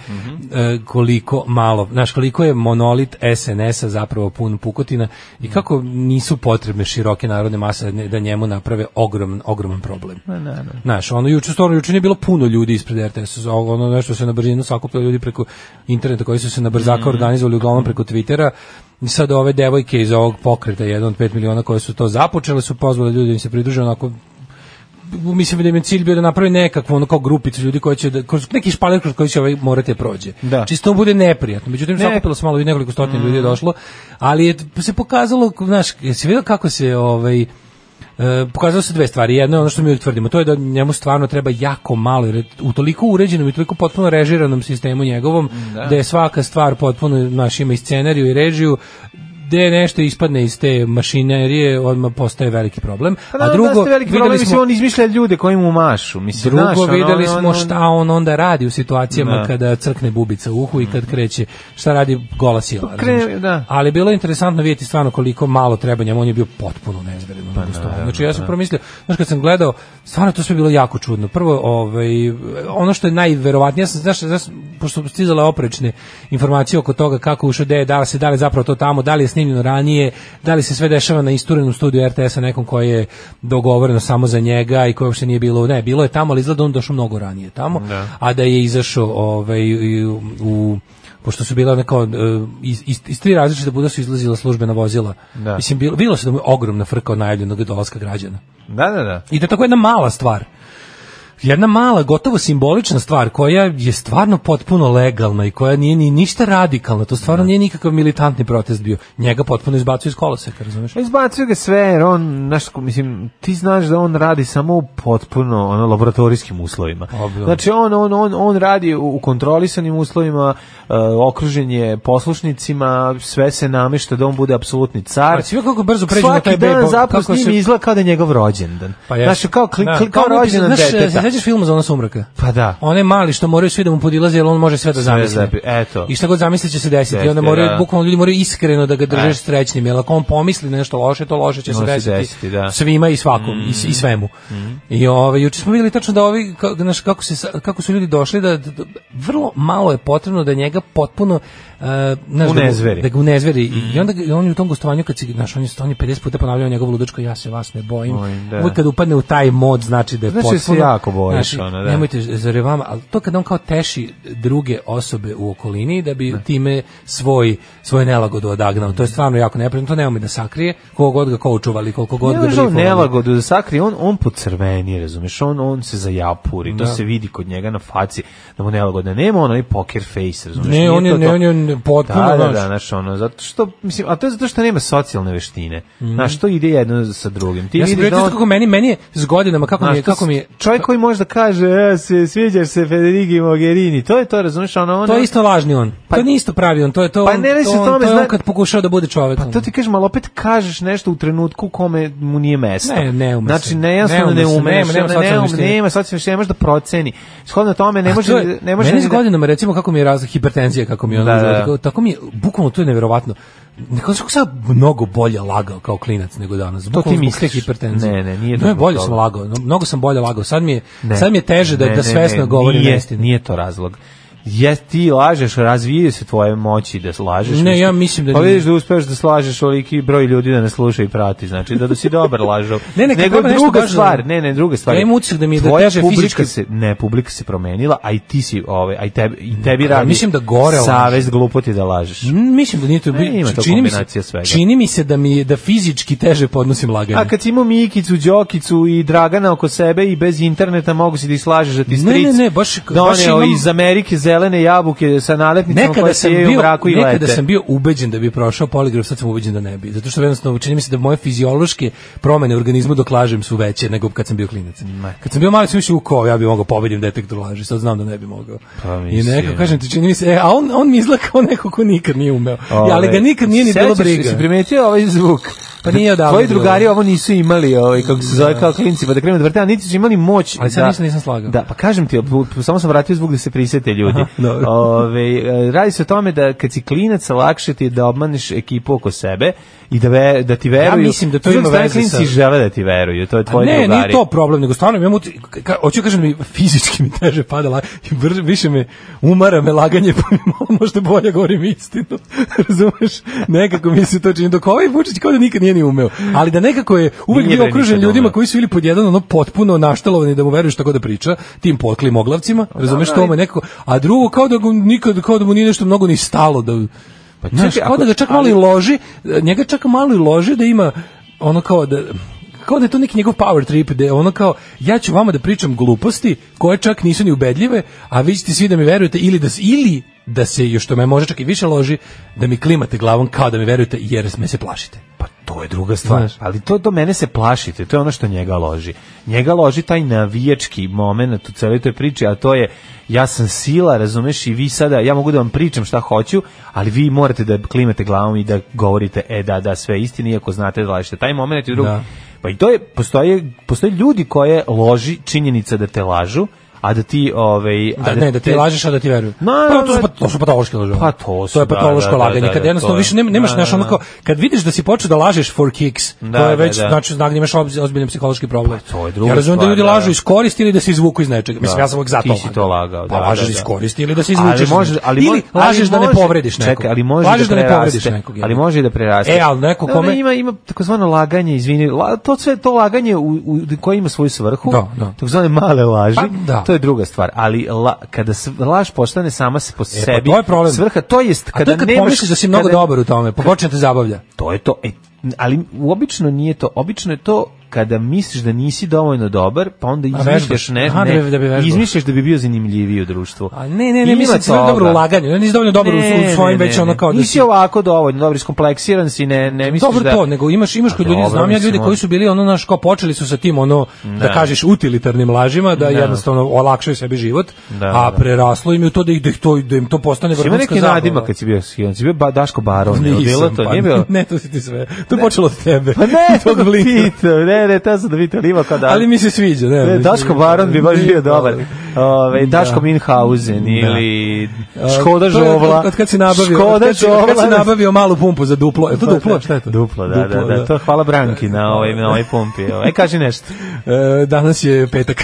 e, koliko malo, znaš, koliko je monolit SNS-a zapravo pun pukotina i kako nisu potrebne široke narodne mase da ne- da njemu naprave ogrom, ogroman problem. Mhm. Znaš, ono juče stvarno juče nije bilo puno ljudi ispred RTS-a, ovo, ono nešto se na brzinu sakupilo ljudi preko interneta koji su se na brzaka organizovali uglavnom preko Twittera. I sad ove devojke iz ovog pokreta, jedan od 5 miliona koje su to započele, su pozvali ljudi da im se pridruže onako mislim da im je cilj bio da napravi nekakvu ono kao grupicu ljudi koji će da, kroz neki špaler kroz koji će ovaj morate prođe. Da. Čisto mu bude neprijatno. Međutim Ne. Mm. sakupilo se malo i nekoliko stotina ljudi je došlo, ali je se pokazalo, znaš, jesi vidio kako se ovaj E, pokazalo se dve stvari. Jedno je ono što mi utvrdimo, to je da njemu stvarno treba jako malo, jer je u toliko uređenom i toliko potpuno režiranom sistemu njegovom, da, je svaka stvar potpuno, znaš, ima i scenariju i režiju, gde nešto ispadne iz te mašinerije, odmah postaje veliki problem. Pa da, A drugo, da ste veliki problem, videli mislim, smo- on izmišlja ljude koji mu mašu. Mislim, Drugo, znaš, ono, videli ono, smo ono- šta on onda radi u situacijama Da. kada crkne bubica u uhu i kad kreće, šta radi gola sila. Pa krene, razumeš? da. Ali bilo je interesantno vidjeti stvarno koliko malo treba njemu, on je bio potpuno nezveren. na gostovanju. znači ja sam promislio, znaš kad sam gledao, stvarno to sve bilo jako čudno. Prvo, ovaj, ono što je najverovatnije, ja sam, znaš, znaš, pošto su stizale oprečne informacije oko toga kako je ušao, gde je, da li se, da li je zapravo to tamo, da li je snimljeno ranije, da li se sve dešava na isturenom studiju RTS-a nekom koji je dogovoreno samo za njega i koje uopšte nije bilo, ne, bilo je tamo, ali izgleda on došao mnogo ranije tamo, a da je izašao ovaj, i u, u pošto su bila neka e, iz, iz, iz tri različita buda su izlazila službena vozila. Da. Mislim bilo bilo se da mu je ogromna frka od najavljenog dolaska građana. Da, da, da. I da je tako jedna mala stvar. Jedna mala, gotovo simbolična stvar koja je stvarno potpuno legalna i koja nije ni ništa radikalna. To stvarno nije nikakav militantni protest bio. Njega potpuno izbacuju iz koloseka, razumeš? Pa Izbacio ga sve, jer on, znaš, ko- mislim, ti znaš da on radi samo u potpuno ono, laboratorijskim uslovima. Dobro. Znači, on, on, on, on radi u u kontrolisanim uslovima, e, okružen je poslušnicima, sve se namešta da on bude apsolutni car. Ali si vidio Znači, kako brzo pređe na Svaki taj dan bebo- zapravo s kako njim se- Pa izgleda kao da je njegov rođendan. Znači, kao, kli, Da. kli- kao ono rođendan znaš, deteta. se sećaš filma za ono sumraka? Pa da. One mali što moraju svi da mu podilaze jer on može sve da zamisli. zapi- eto. I šta god zamisli će se desiti. I onda Jeste, moraju, da. bukvalno ljudi moraju iskreno da ga drže E. srećnim. Jer ako on pomisli na nešto loše, to loše će se Može se desiti. desiti, da. Mm. Svima i svakom, i, s- i svemu. I ove, juče smo vidjeli tačno da ovi, ka, znaš, kako, se, sa- kako su ljudi došli, da, da- da vrlo malo je potrebno da njega potpuno uh, znaš, da, mu- Unezveri. Mm. da ga unezveri. I onda ga- on je u tom gostovanju, kad si, znaš, on je, on je 50 puta ponavljao njegovu ludačko, ja se vas ne bojim. Oj, da. Uvijek kad upadne u taj mod, znači da je Znači da se potpuno... Znači, jako bojiš, ono, da. Nemojte, zar je vama, ali to kad on kao teši druge osobe u okolini, da bi time svoj, svoj nelagodu odagnao. To je stvarno jako neprijatno, to nema mi da sakrije, koliko god ga koučuvali, koliko god Ne ga može on briefovali. nelagodu da sakrije, on, on pocrveni, razumeš, on, on se zajapuri, to se vidi kod njega na faci, da mu nelagodno, nema onaj poker face, razumeš. Ne, nije on je, to ne, to. on je ne, potpuno, Da, da, znaš. da, znaš, ono, zato što, mislim, a to je zato što nema socijalne veštine, znaš, to ide jedno sa drugim. Ti Mhm. Ja sam vidiš primetio da on- kako meni, meni je s godinama, kako mi je, znaš, to kako mi je, s- Čovjek koji može da kaže, e, se, sviđaš se Federigi Mogherini, to je to, razumeš, ono, ono... to je isto lažni on. to nije isto pravi on, to je to, Pa on- ne radi to se o on- tome, to je on zna- kad pokušao da bude čovjek. Pa to ti kažem, ali opet kažeš nešto u trenutku u kome mu nije mesto. Ne, ne ume se. Znači, nejasno Ne ne ume se, ume. nema- nema ne, socijalne ne, veštine. ume, nema socijalne veštine, ne može da proceni. Shodno tome, ne A može, to je- ne može... meni ni s da- godinama recimo kako mi je razlog hipertenzija kako mi je ono Da, da, izgleda, da. tako, tako mi je bukvalno to je neverovatno Nekako sam sam mnogo bolje lagao kao klinac nego danas. Bukvalno ti zbog te misliš? hipertenzije. Ne, ne, nije No, je dobro bolje toga. sam lagao. no, Mnogo sam bolje lagao. Sad mi je, Ne. sad mi je teže da, Ne, da ne, svesno ne, govorim nije, neistinu. Nije to razlog. Jes ti lažeš, razvijaju se tvoje moći da lažeš. Ne, Mislim- ja mislim da Pa nije. vidiš da uspeš da slažeš oliki broj ljudi da ne sluša i prati, znači da, da si dobar lažov. Ne, ne, kad Nego treba nešto druga baš da- stvar, ne, ne, druga stvar. Ja imam utisak da mi je da Tvoja teže publika fizička- se, ne, publika se promenila, a i ti si, ovaj, a i tebi, i tebi Ja radi. mislim da gore lažeš. savest glupoti da lažeš. Mm, Mislim da nije to E, bi- ima to čini mi se kombinacija svega. čini mi se da mi je- da fizički teže podnosim laganje. A kad si imao Mikicu, Đokicu i Dragana oko sebe i bez interneta mogu si da islažeš da ti Ne, stric ne, ne, baš- baš doneo imam- iz Amerike zelene jabuke sa nalepnicama Nekada koje sam, se jeju u bio, mraku i lete. nekada sam bio ubeđen da bi prošao poligraf, sad sam ubeđen da ne bi. Zato što jednostavno čini mi se da moje fiziološke promene u organizmu dok lažem su veće nego kad sam bio klinac. Kad sam bio mali sam mislio, u ko, ja bi mogao pobedim detektor laži, sad znam da ne bi mogao. Pa I mislim. neko, kažem ti, čini mi se, e, a on, on mi izgleda kao neko ko nikad nije umeo. Ja, ali ga Ovaj, nikad nije ni bilo sećaš se, briga. Si primetio ovaj zvuk? Pa nije odavno Tvoji bilo. drugari ovo nisu imali, ovaj, kako se zove, kao klinci, pa da krenu da vrte, a niti su imali moć. Ali sad da, nisam- nisam slagao. Da, pa kažem ti, bu- samo sam vratio zvuk da se prisete ljudi. Aha, dobro. Ove, e, radi se o tome da kad si klinac, lakše ti je da obmaneš ekipu oko sebe i da, ve, da ti veruju. mislim da to S druge ima strane, veze Klinci sa- žele da ti veruju, to je A tvoji Pa ne, Pa drugari. nije to problem, nego stvarno imam uti- ka, hoću kažem da mi fizički mi teže padala i brže, više me umara me laganje, pa mi malo možda bolje govorim istinu. Razumeš? Nekako mi se to čini. Dok ovaj Vučić kao da nikad nije ni umeo. Ali da nekako je uvek Nije bio bre okružen nikad ljudima umeo. koji su ili pod jedan ono potpuno naštalovani da mu veruju šta god da priča, tim potklim oglavcima, razumeš to me nekako, a drugo kao da mu nikad, kao da mu nije nešto mnogo ni stalo da Pa Znaš, čekaj, kao da ako- ga čak malo i loži, njega čak malo i loži da ima ono kao da kao da je to neki njegov power trip, da je ono kao, ja ću vama da pričam gluposti koje čak nisu ni ubedljive, a vi ćete svi da mi verujete ili da, s- ili da se, još to me može čak i više loži, da mi klimate glavom kao da mi verujete jer me se plašite. Pa to je druga stvar. Znaš. Ali to do mene se plašite, to je ono što njega loži. Njega loži taj navijački moment u celoj toj priči, a to je ja sam sila, razumeš, i vi sada, ja mogu da vam pričam šta hoću, ali vi morate da klimate glavom i da govorite, e da, da, sve je istina, iako znate da lažete. Taj moment i drugi. Da. Pa i to je, postoje, postoje ljudi koje loži činjenica da te lažu, a da ti, ovaj, a Da, ne, da ti lažeš, a da ti veruju. Ma, pa, to, su, ma, pa- to su patološke laže. Pa to su, je da, patološko da, da, laganje. da, Kad da, jednostavno to je. više nema, nemaš, Da, znaš, da, ono da. kao, kad vidiš da si počeo da lažeš for kicks, Da, to je da, već, da. znači, znak da imaš obz- ozbiljan psihološki problem. Pa to je druga ja razumem da stvar, ljudi da, lažu da. iz koristi ili da se izvuku iz nečega. Mislim, Da. ja sam uvek za to. Ti si to lagao, Pa da, lažeš da, da. iz koristi ili da se Ali izvučeš. iz može- nečega. ali ili može- ali lažeš da ne može- povrediš nekog. Čekaj, ali može lažeš da, da, ne povrediš preraste, nekog. Ali može i da preraste. E, ali neko Da, kome- da, ima ima takozvano laganje, izvini, la, to sve to laganje u, u koje ima svoju svrhu. Da, da. Takozvane male laži. Pa, da. To je druga stvar, ali la, kada s- laž postane sama se po sebi. E, pa to je problem. Svrha to jest A Pa to kada je kad nemaš- pomisliš da si mnogo kada- dobar u tome, pa počne te zabavlja. to je to. E, ali obično nije to. Obično je to kada misliš da nisi dovoljno dobar, pa onda vežbaš. izmišljaš ne, Aha, da ne, bi- da bi vežbao. izmišljaš da bi bio zanimljiviji u društvu. A ne, ne, ne, Ima mislim da si dobro u toga. laganju, ne, nisi dovoljno dobar u- u svojim već ono kao da Nisi si... ovako dovoljno, dobro, iskompleksiran si, ne, ne misliš Dobro da... to, nego imaš imaš kod A ljudi, dobro, znam ja mislim, ljudi koji su bili ono naš kao počeli su sa tim ono da kažeš utilitarnim lažima da jednostavno olakšaju sebi život, Da, a da. preraslo im je u to da ih da ih to da im to postane Ima vrhunska neki zabava. nadima kad si bio skijan, si bio ba, Daško Baron, je li Nisam, bilo to, pa, nije bilo? Ne, to si ti sve. To je počelo od tebe. Pa ne, to Tog da blinka. pitao, ne, ne, to sam da pitao, ali ima kao da... Ali mi se sviđa, ne. Ne, mislim- Daško Baron bi baš bio dobar. Ove, Da. Daško Minhausen ili Škoda A, to je od- Žovla. Od, od kad si nabavio, od Škoda kad si, od kad si Žovla. nabavio malu pumpu za duplo. Je to duplo? Šta je to? Duplo, da, da, da, To hvala Branki na ovoj, na ovoj pumpi. E, kaži nešto. E, danas je petak.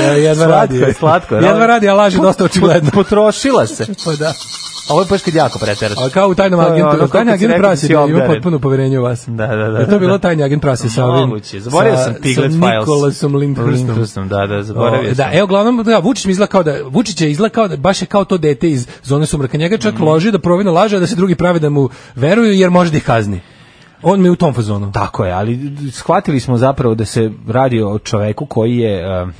Ja, jedva radi. Slatko je, slatko je. Jedva radi, a laži Po- dosta očigledno. po- Potrošila se. Pa da. Ovo je baš kad jako preteraš. A Pa kao u tajnom To je ono agentu, kako u tajnom si agentu rekao da si prasje, da ima obdaren. potpuno poverenje u vas. Da, da, da. Je to bilo tajni agent prasje sa ovim? Moguće, zaboravio sa- sam Piglet Sa Files. Nikolasom Lindhurstom. Lindhurstom, da, da, zaboravio O, Da, sam. e, uglavnom, da, Vučić mi izgleda kao da, Vučić je izgleda kao da, baš je kao to dete iz zone sumraka. Njega čak Mhm. loži da provino laže, a da se drugi prave da mu veruju, jer može da ih kazni. On mi je u tom fazonu. Tako je, ali shvatili smo zapravo da se radi o čoveku koji je um,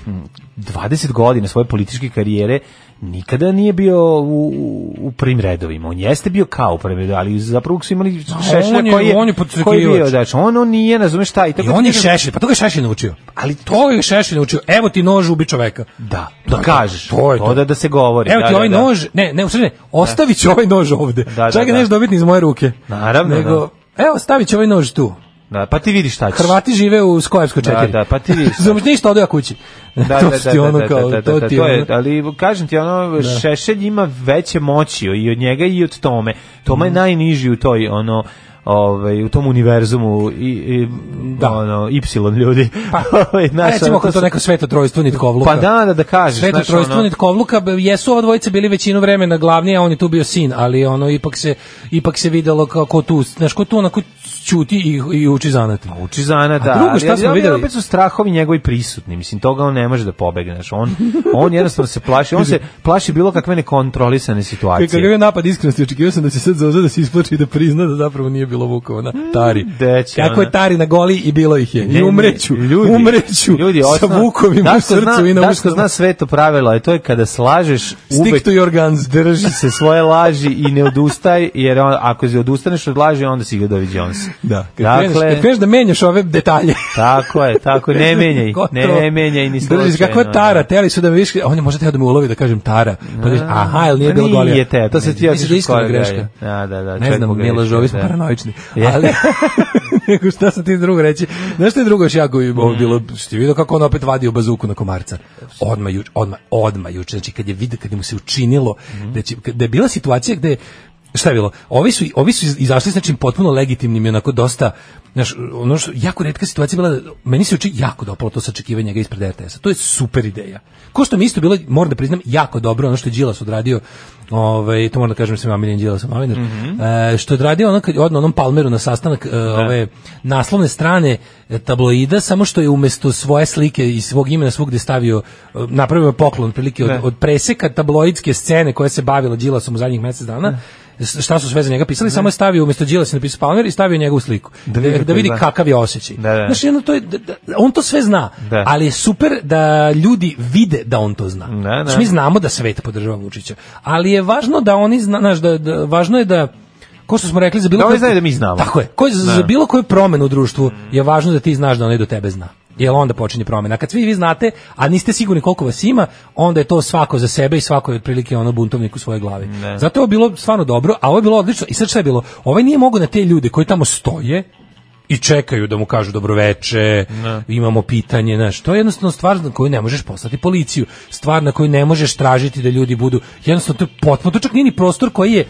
20 godina svoje političke karijere nikada nije bio u, u- u prvim redovima. On jeste bio kao u prvim redovima, ali zapravo uvijek su imali on Šešlja je- koji je, on je koji je bio, podstrekivač. znači, on, on nije, razumeš šta, i tako I on ti je kažem- Šešelj, pa to ga je Šešelj naučio. Ali to je Šešelj naučio. Evo ti nož, ubi čoveka. Da, da kažeš, to je to. da, da se govori. Evo da, ti da, ovaj da. nož, ne, ne, u stvari ne, ostavit ću ovaj nož ovde. Da, da, Čak ga da. neš dobiti iz moje ruke. Naravno, Nego, evo, stavit ću ovaj nož tu. Da, pa ti vidiš šta ćeš. Hrvati žive u Skojevskoj Da, 4. da, pa ti vidiš. Zumeš ništa, odu ja kući. da, to da, su da, ti da, ono da, kao, da, da, to da, ti to ono- je, ali kažem ti ono Mhm. Šešelj ima veće moći i od njega i od Tome. Toma je najniži u toj ono ovaj, u tom univerzumu i, i Da. ono, y ljudi. Pa, Ovaj, znaš, recimo ono, ako je to su- neko sveto trojstvo nitkovluka. Pa da, da, da kažeš. Sveto znaš, trojstvo ono- nitkovluka, b- jesu ova dvojica bili većinu vremena glavni, a on je tu bio sin, ali ono ipak se ipak se videlo kako tu, znaš, ko tu onako ćuti i, i uči zanat. Uči Zana, da. drugo ali- šta ali smo opet- videli? Opet su strahovi njegovi prisutni, mislim, toga on ne može da pobegne, znaš, on, on jednostavno se plaši, on se plaši bilo kakve nekontrolisane Kakav situacije. je napad iskrenosti, očekivao sam da će sad Zoza da se isplači i da prizna da zapravo nije bilo Vukova na Tari. Deći, Kako je Mm, ona. Tari na goli i bilo ih je. Ne, I ne, umreću, umreću sa osnovno- Vukovim u Daško srcu zna, i na Daško zna sve to pravilo, a to je kada slažeš, Stick uvek to your guns. drži se svoje laži i ne odustaj, jer on, ako se odustaneš od laži, onda si Gledovi Jones. Da, kad kreneš, Dakle, kad kreneš da menjaš ove detalje. tako je, tako, ne menjaj, ne, Gotovo. ne menjaj ni Drži se, kako je slučajno, Tara, da. teli su da me viš, on je možda teo da me ulovi da kažem Tara. Pa kažeš, aha, ili nije Pa bilo nije Golija. te, to se ti Mislim da je otišao iskreno korak greška. dalje. Da, da, da, Ne čovjek znam, mi pogrešio, lažovi smo da. paranoični. Je. Ali, nego šta sam ti drugo reći? Znaš što je drugo još jako i ovo bilo, što je vidio kako on opet vadio bazuku na komarca. Odma juč, odma, odma juč. Znači, kad je vidio, kad je mu se učinilo, Mhm. da, će, da je bila situacija gde Šta je bilo? Ovi su, ovi su izašli s nečim potpuno legitimnim i onako dosta znaš, ono što, jako redka situacija bila, da- meni se uči jako dopalo to sačekivanje njega ispred RTS-a. To je super ideja. Ko što mi isto bilo, moram da priznam, jako dobro ono što je Đilas odradio, ovaj, to moram da kažem sam Amiljen Đilas, Amiljen, Mhm. e, što je odradio ono kad je odno onom Palmeru na sastanak e, ove naslovne strane e, tabloida, samo što je umesto svoje slike i svog imena svugde stavio, e, napravio je poklon prilike od, od preseka tabloidske scene koja se bavila Đilasom u zadnjih mesec dana, s- šta su sve za njega pisali, samo je stavio umesto Đilas je napisao Palmer i stavio njegovu sliku. Da, vidi da, kako vidi izgleda. kakav je osjećaj. Da, da. Znaš, jedno, to je, da, da, on to sve zna, Da. ali je super da ljudi vide da on to zna. Da, da. Znaš, mi znamo da svet podržava Vučića, ali je važno da oni zna, znaš, da, da, važno je da Ko što smo rekli za bilo Da oni koju- znaju da mi znamo. Tako je. Ko je za, za bilo koju promenu u društvu je važno da ti znaš da onaj do tebe zna. Jel onda počinje promena. A Kad svi vi znate, a niste sigurni koliko vas ima, onda je to svako za sebe i svako je otprilike ono buntovnik u svojoj glavi. Zato je ovo bilo stvarno dobro, a ovo je bilo odlično. I sad šta je bilo? Ovaj nije mogao na te ljude koji tamo stoje i čekaju da mu kažu dobroveče, imamo pitanje, znaš, to je jednostavno stvar na koju ne možeš poslati policiju, stvar na koju ne možeš tražiti da ljudi budu, jednostavno to je potpuno, to čak nije ni prostor koji je,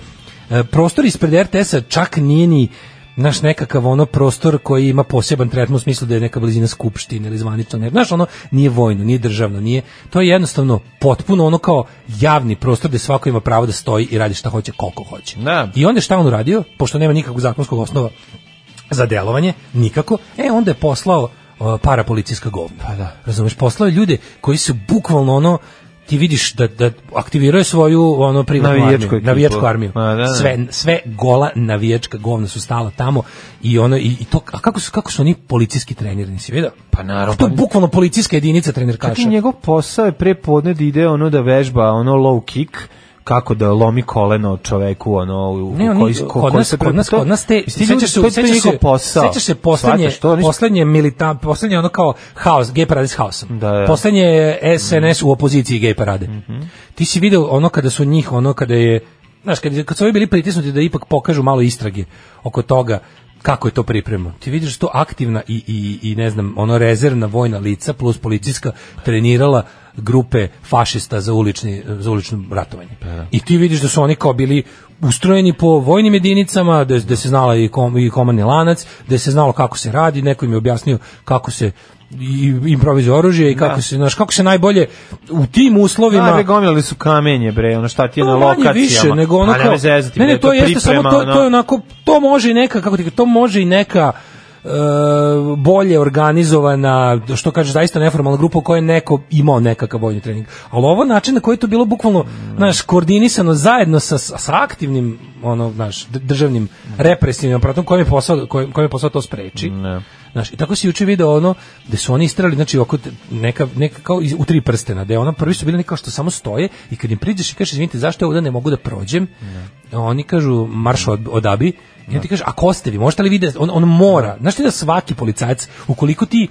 e, prostor ispred RTS-a čak nije ni naš nekakav ono prostor koji ima poseban tretman u smislu da je neka blizina skupštine ili zvanično, ne, znaš, ono nije vojno, nije državno, nije, to je jednostavno potpuno ono kao javni prostor gde svako ima pravo da stoji i radi šta hoće koliko hoće. Da. I onda šta on uradio, pošto nema nikakvog zakonskog osnova za delovanje, nikako, e onda je poslao uh, parapolicijska govna. Pa da. Razumeš, poslao je ljude koji su bukvalno ono, ti vidiš da, da aktiviraju svoju ono privatnu Navijačku armiju, ekipu. navijačku armiju. A, da, da. Sve, sve gola navijačka govna su stala tamo i ono i, i to a kako su kako su oni policijski trenirani si video? Pa naravno. To je bukvalno policijska jedinica trenerkaša. Znači, njegov posao je pre podne da ide ono da vežba ono low kick, kako da lomi koleno čoveku ono u, Ne, u oni, koji kod nas, kod nas, kod nas te, sećaš se, sećaš se, sećaš se poslednje, posle poslednje militan, poslednje ono kao haos, gay parade s haosom. Da, da. Poslednje je SNS u opoziciji gay parade. Ti si video ono kada su njih, ono kada je, znaš, kad, kad su ovi bili pritisnuti da ipak pokažu malo istrage oko toga kako je to priprema. Ti vidiš to aktivna i, i, i ne znam, ono rezervna vojna lica plus policijska trenirala grupe fašista za ulični za ulično ratovanje. I ti vidiš da su oni kao bili ustrojeni po vojnim jedinicama, da, da se znala i, kom, i komandni lanac, da se znalo kako se radi, neko im je objasnio kako se i improvizuje oružje i kako se znaš kako se najbolje u tim uslovima Ima... gomilali su kamenje, bre, ono šta ti je na to lokacijama. Pa manje više nego Pa ono kao nemoj zezati, ne, ne, bre, to jeste priprema, ono- samo to to je ono- onako to može i neka kako ti kažem, to može i neka e, bolje organizovana što kaže zaista neformalna grupa u kojoj je neko imao nekakav vojni trening ali ovo način na koji je to bilo bukvalno znaš koordinisano zajedno sa, sa aktivnim ono znaš d- državnim represivnim aparatom kojem je posao kojem, kojem je posao to spreči Znaš, i tako si juče video ono da su oni istrali, znači oko te- neka, neka kao iz- u tri prstena, da je ono prvi su bili neka što samo stoje i kad im priđeš i kažeš izvinite zašto ja ovde ne mogu da prođem, oni kažu marš od, odabi i on ti kaže a ko ste vi, možete li vi da, on, on mora, znaš ti da svaki policajac, ukoliko ti,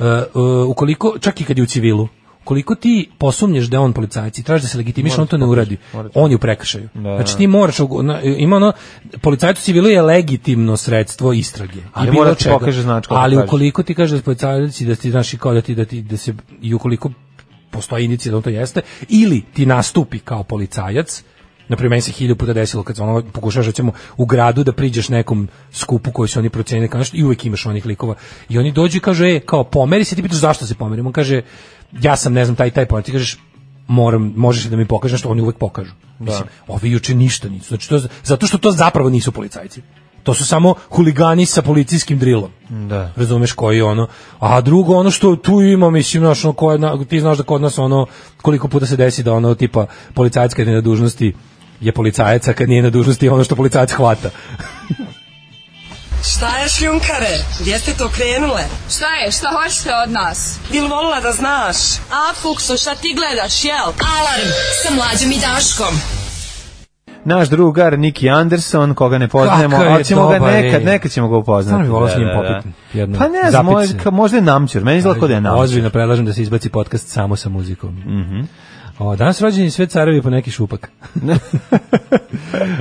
e, e, ukoliko, čak i kad je u civilu, ukoliko ti posumnješ da je on policajac i tražiš da se legitimiš, on to ne uradi. On je u prekršaju. Znači ti moraš, ugo- na- ima ono, policajac u civilu je legitimno sredstvo istrage. Ali I bilo mora da ti čega. pokaže značku, Ali da kažeš. ukoliko ti kaže da policajac i da ti znaš i kao da ti da ti da se ono i ukoliko postoji indicija da on to jeste ili ti nastupi kao policajac Na primjer, meni se hiljadu puta desilo kad ono pokušaš recimo u gradu da priđeš nekom skupu koji su oni procenili kao nešto i uvek imaš onih likova. I oni dođu i kažu ej, kao pomeri se, ti pitaš zašto se pomerimo. On kaže ja sam ne znam taj i taj pomeri. Ti kažeš moram, možeš li da mi pokažeš što oni uvek pokažu. Mislim, ovi juče ništa nisu. Znači, to, zato što to zapravo nisu policajci. To su samo huligani sa policijskim drilom. Da. Razumeš koji je ono. A drugo ono što tu ima, mislim, znaš, ono, koje, na- ti znaš da kod nas ono, koliko puta se desi da ono, tipa, policajac kad je na dužnosti je policajac, a kad nije na dužnosti je ono što policajac hvata. Šta je šljunkare? Gdje ste to krenule? Šta je, šta hoćete od nas? Bil volila da znaš? A, Fuksu, šta ti gledaš, jel? Alarm sa mlađom i Daškom. Naš drugar Niki Anderson, koga ne poznajemo, Kakav je ali ćemo ga dobar, nekad, ej. nekad ćemo ga upoznati. Stvarno bi volao s njim Da, da, da. popiti jednom. Pa ne znam, Zapit možda, se. ka- možda je namćur, meni izgleda kod je namćur. Ozbiljno predlažem da se izbaci podcast samo sa muzikom. Mhm. o, danas rođeni sve carevi po neki šupak.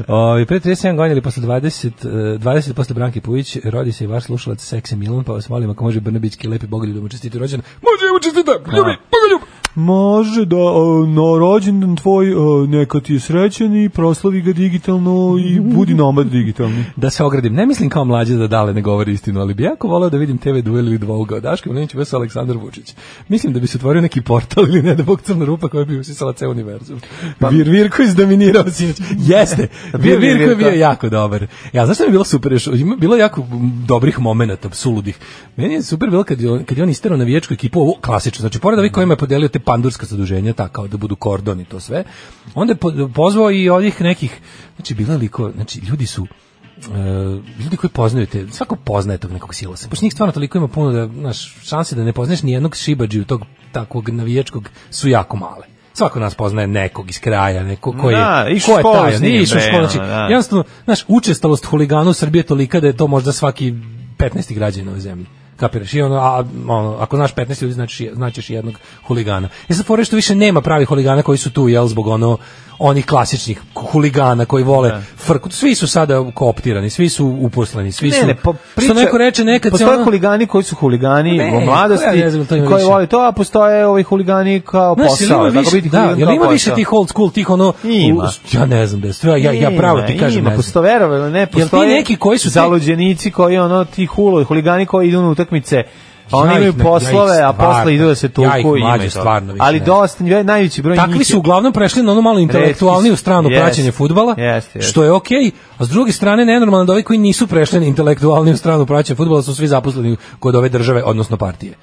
o, i pre 37 godina ili posle 20, eh, 20 posle Branke Pujić, rodi se i vaš slušalac Seksi Milan, pa vas molim ako može Brnabićki lepi bogolju da mu čestiti rođen. Može mu čestiti, ljubi, bogoljub! Može da uh, na rođendan tvoj uh, neka ti je srećan i proslavi ga digitalno i budi nomad digitalni. Da se ogradim, ne mislim kao mlađe da dale ne govori istinu, ali bi jako volao da vidim TV duel ili dvouga od Daška Milinovića vs. Aleksandar Vučić. Mislim da bi se otvorio neki portal ili ne da bog crna rupa koja bi usisala ceo univerzum. Vir Virko je izdominirao sinoć. Jeste, Pa- Bio je Vir Virko je Virko. bio jako dobar. Ja, znaš što mi je bilo super? još? Ima bilo je jako dobrih momenata, suludih. Meni je super bilo kad je on, kad je on isterao navijačku ekipu, ovo klasično, znači pored ovih kojima je podelio te pandurska zaduženja, tako kao da budu kordon i to sve, onda je po- pozvao i ovih nekih, znači bilo je liko, znači ljudi su, e, ljudi koji poznaju te, svako poznaje tog nekog silosa. Pošto njih stvarno toliko ima puno da, znaš, šanse da ne poznaš ni jednog šibađiju tog takvog navijačkog su jako male. Svako nas poznaje nekog iz kraja, neko ko je, Da, išao ko u je školu taj, s njim, nije išao u bre, školu, ono, znači, da. jednostavno, znaš, učestalost huligana u Srbiji je tolika da je to možda svaki 15. građanin ove zemlje. Kapiraš? I ono, a, ono, ako znaš 15 ljudi, znači, značiš jednog huligana. E sad, fore što više nema pravih huligana koji su tu, jel, zbog ono, onih klasičnih huligana koji vole frku. Svi su sada kooptirani, svi su uposleni, svi su... Ne, ne, po, što neko reče nekad se postoje ono... huligani koji su huligani Ne, u mladosti, ja ne znam, to ima koji više. vole to, a postoje ovi huligani kao Znaš, jel posao. ima tako više, biti da, huligan jel kao ima više posao. tih old school, tih ono... Ima. Ja ne znam, bez, ja, ja, ja pravo ti Ima, kažem, Ima, ne znam. postoje verovali, ne, ti postoje neki koji su ti- zaluđenici koji ono ti hulo, huligani koji idu na utakmice, a oni Ja ih imaju ne- ja ih poslove, a stvarno- posle idu da se tuku ja ih i mlađe imaju to. stvarno više Ali ne. dosta, najveći broj njih Takvi je- su uglavnom prešli na ono malo intelektualniju Retki su. stranu Jest. praćenja fudbala, Jest, jest. što je okej, a s druge strane nenormalno da ovi koji nisu prešli na intelektualniju stranu praćenja fudbala su svi zaposleni kod ove države, odnosno partije.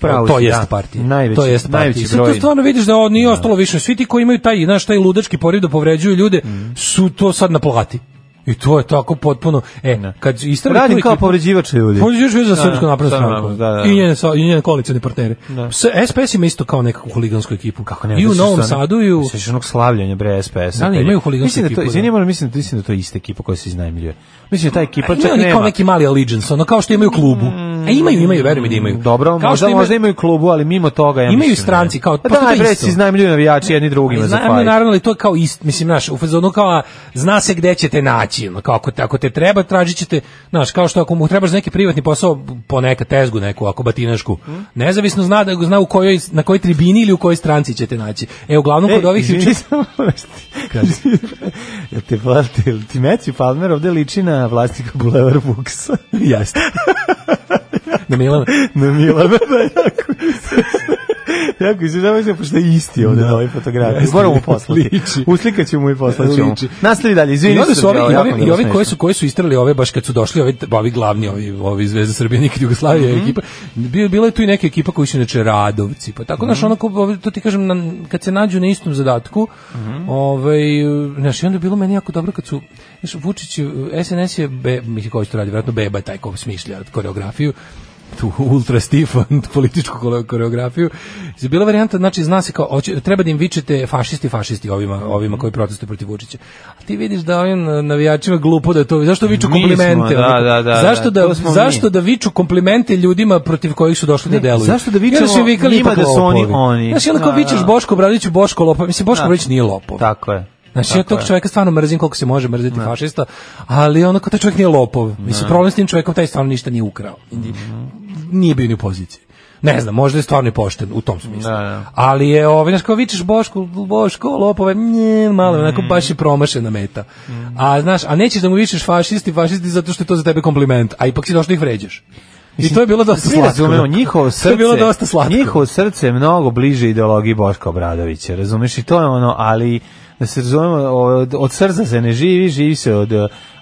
Pravo to si, jest da. partija. Najveći- to jest partija. najveći I sad broj. tu stvarno vidiš da ovo nije ostalo više. Svi ti koji imaju taj, znaš, taj ludački poriv da povređuju ljude, Mm. su to sad na plati. I to je tako potpuno... E, kad istrali Radim tu kao ekipu- povređivač ljudi. on je za Da, srpsku naprednu da, stranku. da, da. I njene, sa- i njene koalicione partnere. S, SPS ima isto kao nekakvu huligansku ekipu. Kako Pa Ne, I da u su Novom stvarno- Sadu i u... Sećaš onog slavljanja bre SPS. Da, ne, imaju huligansku Mislim da to, ekipu, izvini, da. moram, mislim, da- mislim da to je ista ekipa koja se iznajmljuje. Mislim da ta ekipa Imaju čak oni kao pa nema. Mm. neki mali Allegiance, ono kao što imaju u klubu. E imaju, imaju, veruj mi da imaju. Dobro, kao možda, što možda imaju klubu, ali mimo toga ja Imaju mislim, i stranci, kao- Pa pa to da, je bre, isto. se iznajmljuju navijači jedni drugima za Znam, fajt. naravno, ali to je kao ist, mislim, znaš, u fazonu kao, a, zna se gde ćete naći, ono, kao ako te, ako te treba, tražit ćete, znaš, kao što ako mu trebaš za neki privatni posao, poneka tezgu neku, ako batinašku, Mm. nezavisno zna, da, zna u kojoj, na kojoj tribini ili u kojoj stranci ćete naći. E, uglavnom, kod ovih izvini, juče- samo nešto. Jel te, pa- te, jel ti Matthew Palmer ovde liči na vlasnika Bulevar Vuksa? Jeste. Na Milana. na Milana, da, jako Jako i se zamislim, pošto je isti ovde na ovoj fotografiji. Jeste, Moramo mu poslati. liči. Uslikat ćemo mu i poslat ćemo. Liči. Nastavi dalje, izvini. I onda što su sam ovi, bio i jako ovi, i ovi nervosno koji su koji su istrali ove baš kad su došli ovi ovi glavni ovi ovi iz Zvezde Srbije nikad Jugoslavije Mhm. ekipa bi- bila je tu i neka ekipa koji su inače radovci pa tako Mhm. znaš ono ko- ovi, to ti kažem na, kad se nađu na istom zadatku Mhm. ovaj znaš i onda je bilo meni jako dobro kad su znaš, Vučić eh, je- SNS je be, mislim koji to radi verovatno Beba je taj ko smišlja koreografiju tu ultra Stefan političku kole- koreografiju. Je bila varijanta, znači zna se kao hoće- treba da im vičete fašisti, fašisti ovima, ovima koji protestuju protiv Vučića. A ti vidiš da ovim eh, navijačima glupo da to, zašto viču Mi komplimente? smo, da, da, da, zašto da, da, to smo mi. zašto da viču komplimente ljudima protiv kojih su došli da deluju? zašto da I onda vičemo su im vikali njima ipak da su oni lopovi. oni? Znaš, i onda kao Da, vičeš da. Boško Obradoviću, Boško lopov. Mislim, Boško Obradović nije lopov. Tako je. Znači, ja Tako tog je. čoveka stvarno mrzim koliko se može mrziti fašista, ali ono kao taj Mhm. čovjek nije lopov. Mislim, problem s tim čovjekom, taj stvarno ništa nije ukrao. Nije bio ni u poziciji. Ne znam, možda je stvarno i pošten u tom smislu. Da, da. Ali je, ovaj, znaš, kao vičeš Bošku, Boško, lopove, nje, malo, Mhm. je onako baš je promašena meta. A, znaš, a nećeš da mu vičeš fašisti, fašisti, zato što je to za tebe kompliment, a ipak si došao da ih vređaš. I to je bilo dosta Svi slatko. razumemo, njihovo srce, to je bilo dosta slatko. njihovo srce je mnogo bliže ideologiji Boška Obradovića, razumeš i to je ono, ali da se razumemo, od, od srca se ne živi, živi se od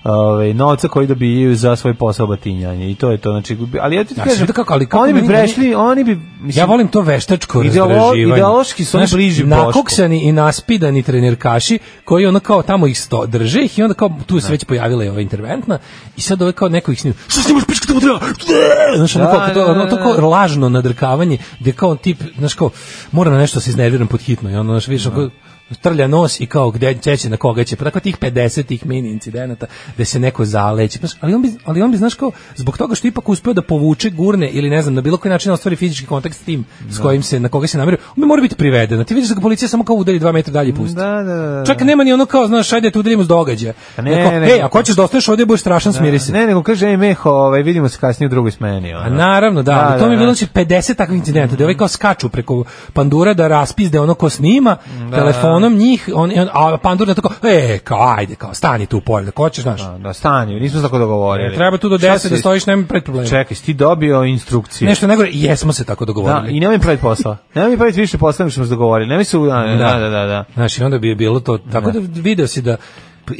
ovaj novca koji dobijaju za svoj posao batinjanje i to je to znači ali ja ti Znači, kažem da kako, ali kako oni bi meni- prešli oni bi mislim, Ja volim to veštačko Ideolo- razdraživanje. ideološki su oni Znaš, bliži Bošku. Nakoksani i naspidani trenerkaši koji ono kao tamo ih sto drže ih i onda kao tu se već pojavila je ova interventna i sad ovo kao neko ih snima. Šta snimaš pička tamo treba? Ne! Znaš, ono Da, kao, to, da, da, ono, to kao lažno nadrkavanje gde kao tip, znaš kao, mora na nešto da se iznerviram pod hitno i ono, znaš, vidiš, ono, trlja nos i kao gde će, će na koga će, pa tako tih 50 tih mini incidenata gde se neko zaleće, znaš, ali on bi, ali on bi, znaš kao, zbog toga što je ipak uspeo da povuče, gurne ili ne znam, na bilo koji način ostvari fizički kontakt s tim s kojim se, na koga se namerio, on bi mora biti priveden, a ti vidiš da ga policija samo kao udari dva metra dalje i pusti. da, da, da, da. Čak nema ni ono kao, znaš, ajde te udarimo s događaja. A ne, Neko, ne. pa Ej, ako hoćeš da ostaneš ovdje, budeš strašan, smiri se. ne nego kaže ej Meho ovaj vidimo se kasnije u drugoj smeni ono. A Pa naravno, da, Da, ali to da, mi je da. bilo znači 50 takvih incidenta, da ovaj kao skaču preko pandura da raspizde ono ko snima telefonom njih, on, on, a pandur da tako, e, kao, ajde, kao, stani tu polje, ko ćeš, znaš. da stani nismo se tako dogovorili E, Treba tu do Šta 10 da si- stojiš, nema pred problema. čekaj si ti dobio instrukcije Nešto ne gore, jesmo se tako Da, dogovorili. i nemoj mi praviti posla. nemoj mi praviti više posla nego što smo se dogovorili. Nemoj se... u- Da, da, da, da. da. Znaš, i onda bi je bilo to, tako da, video si da,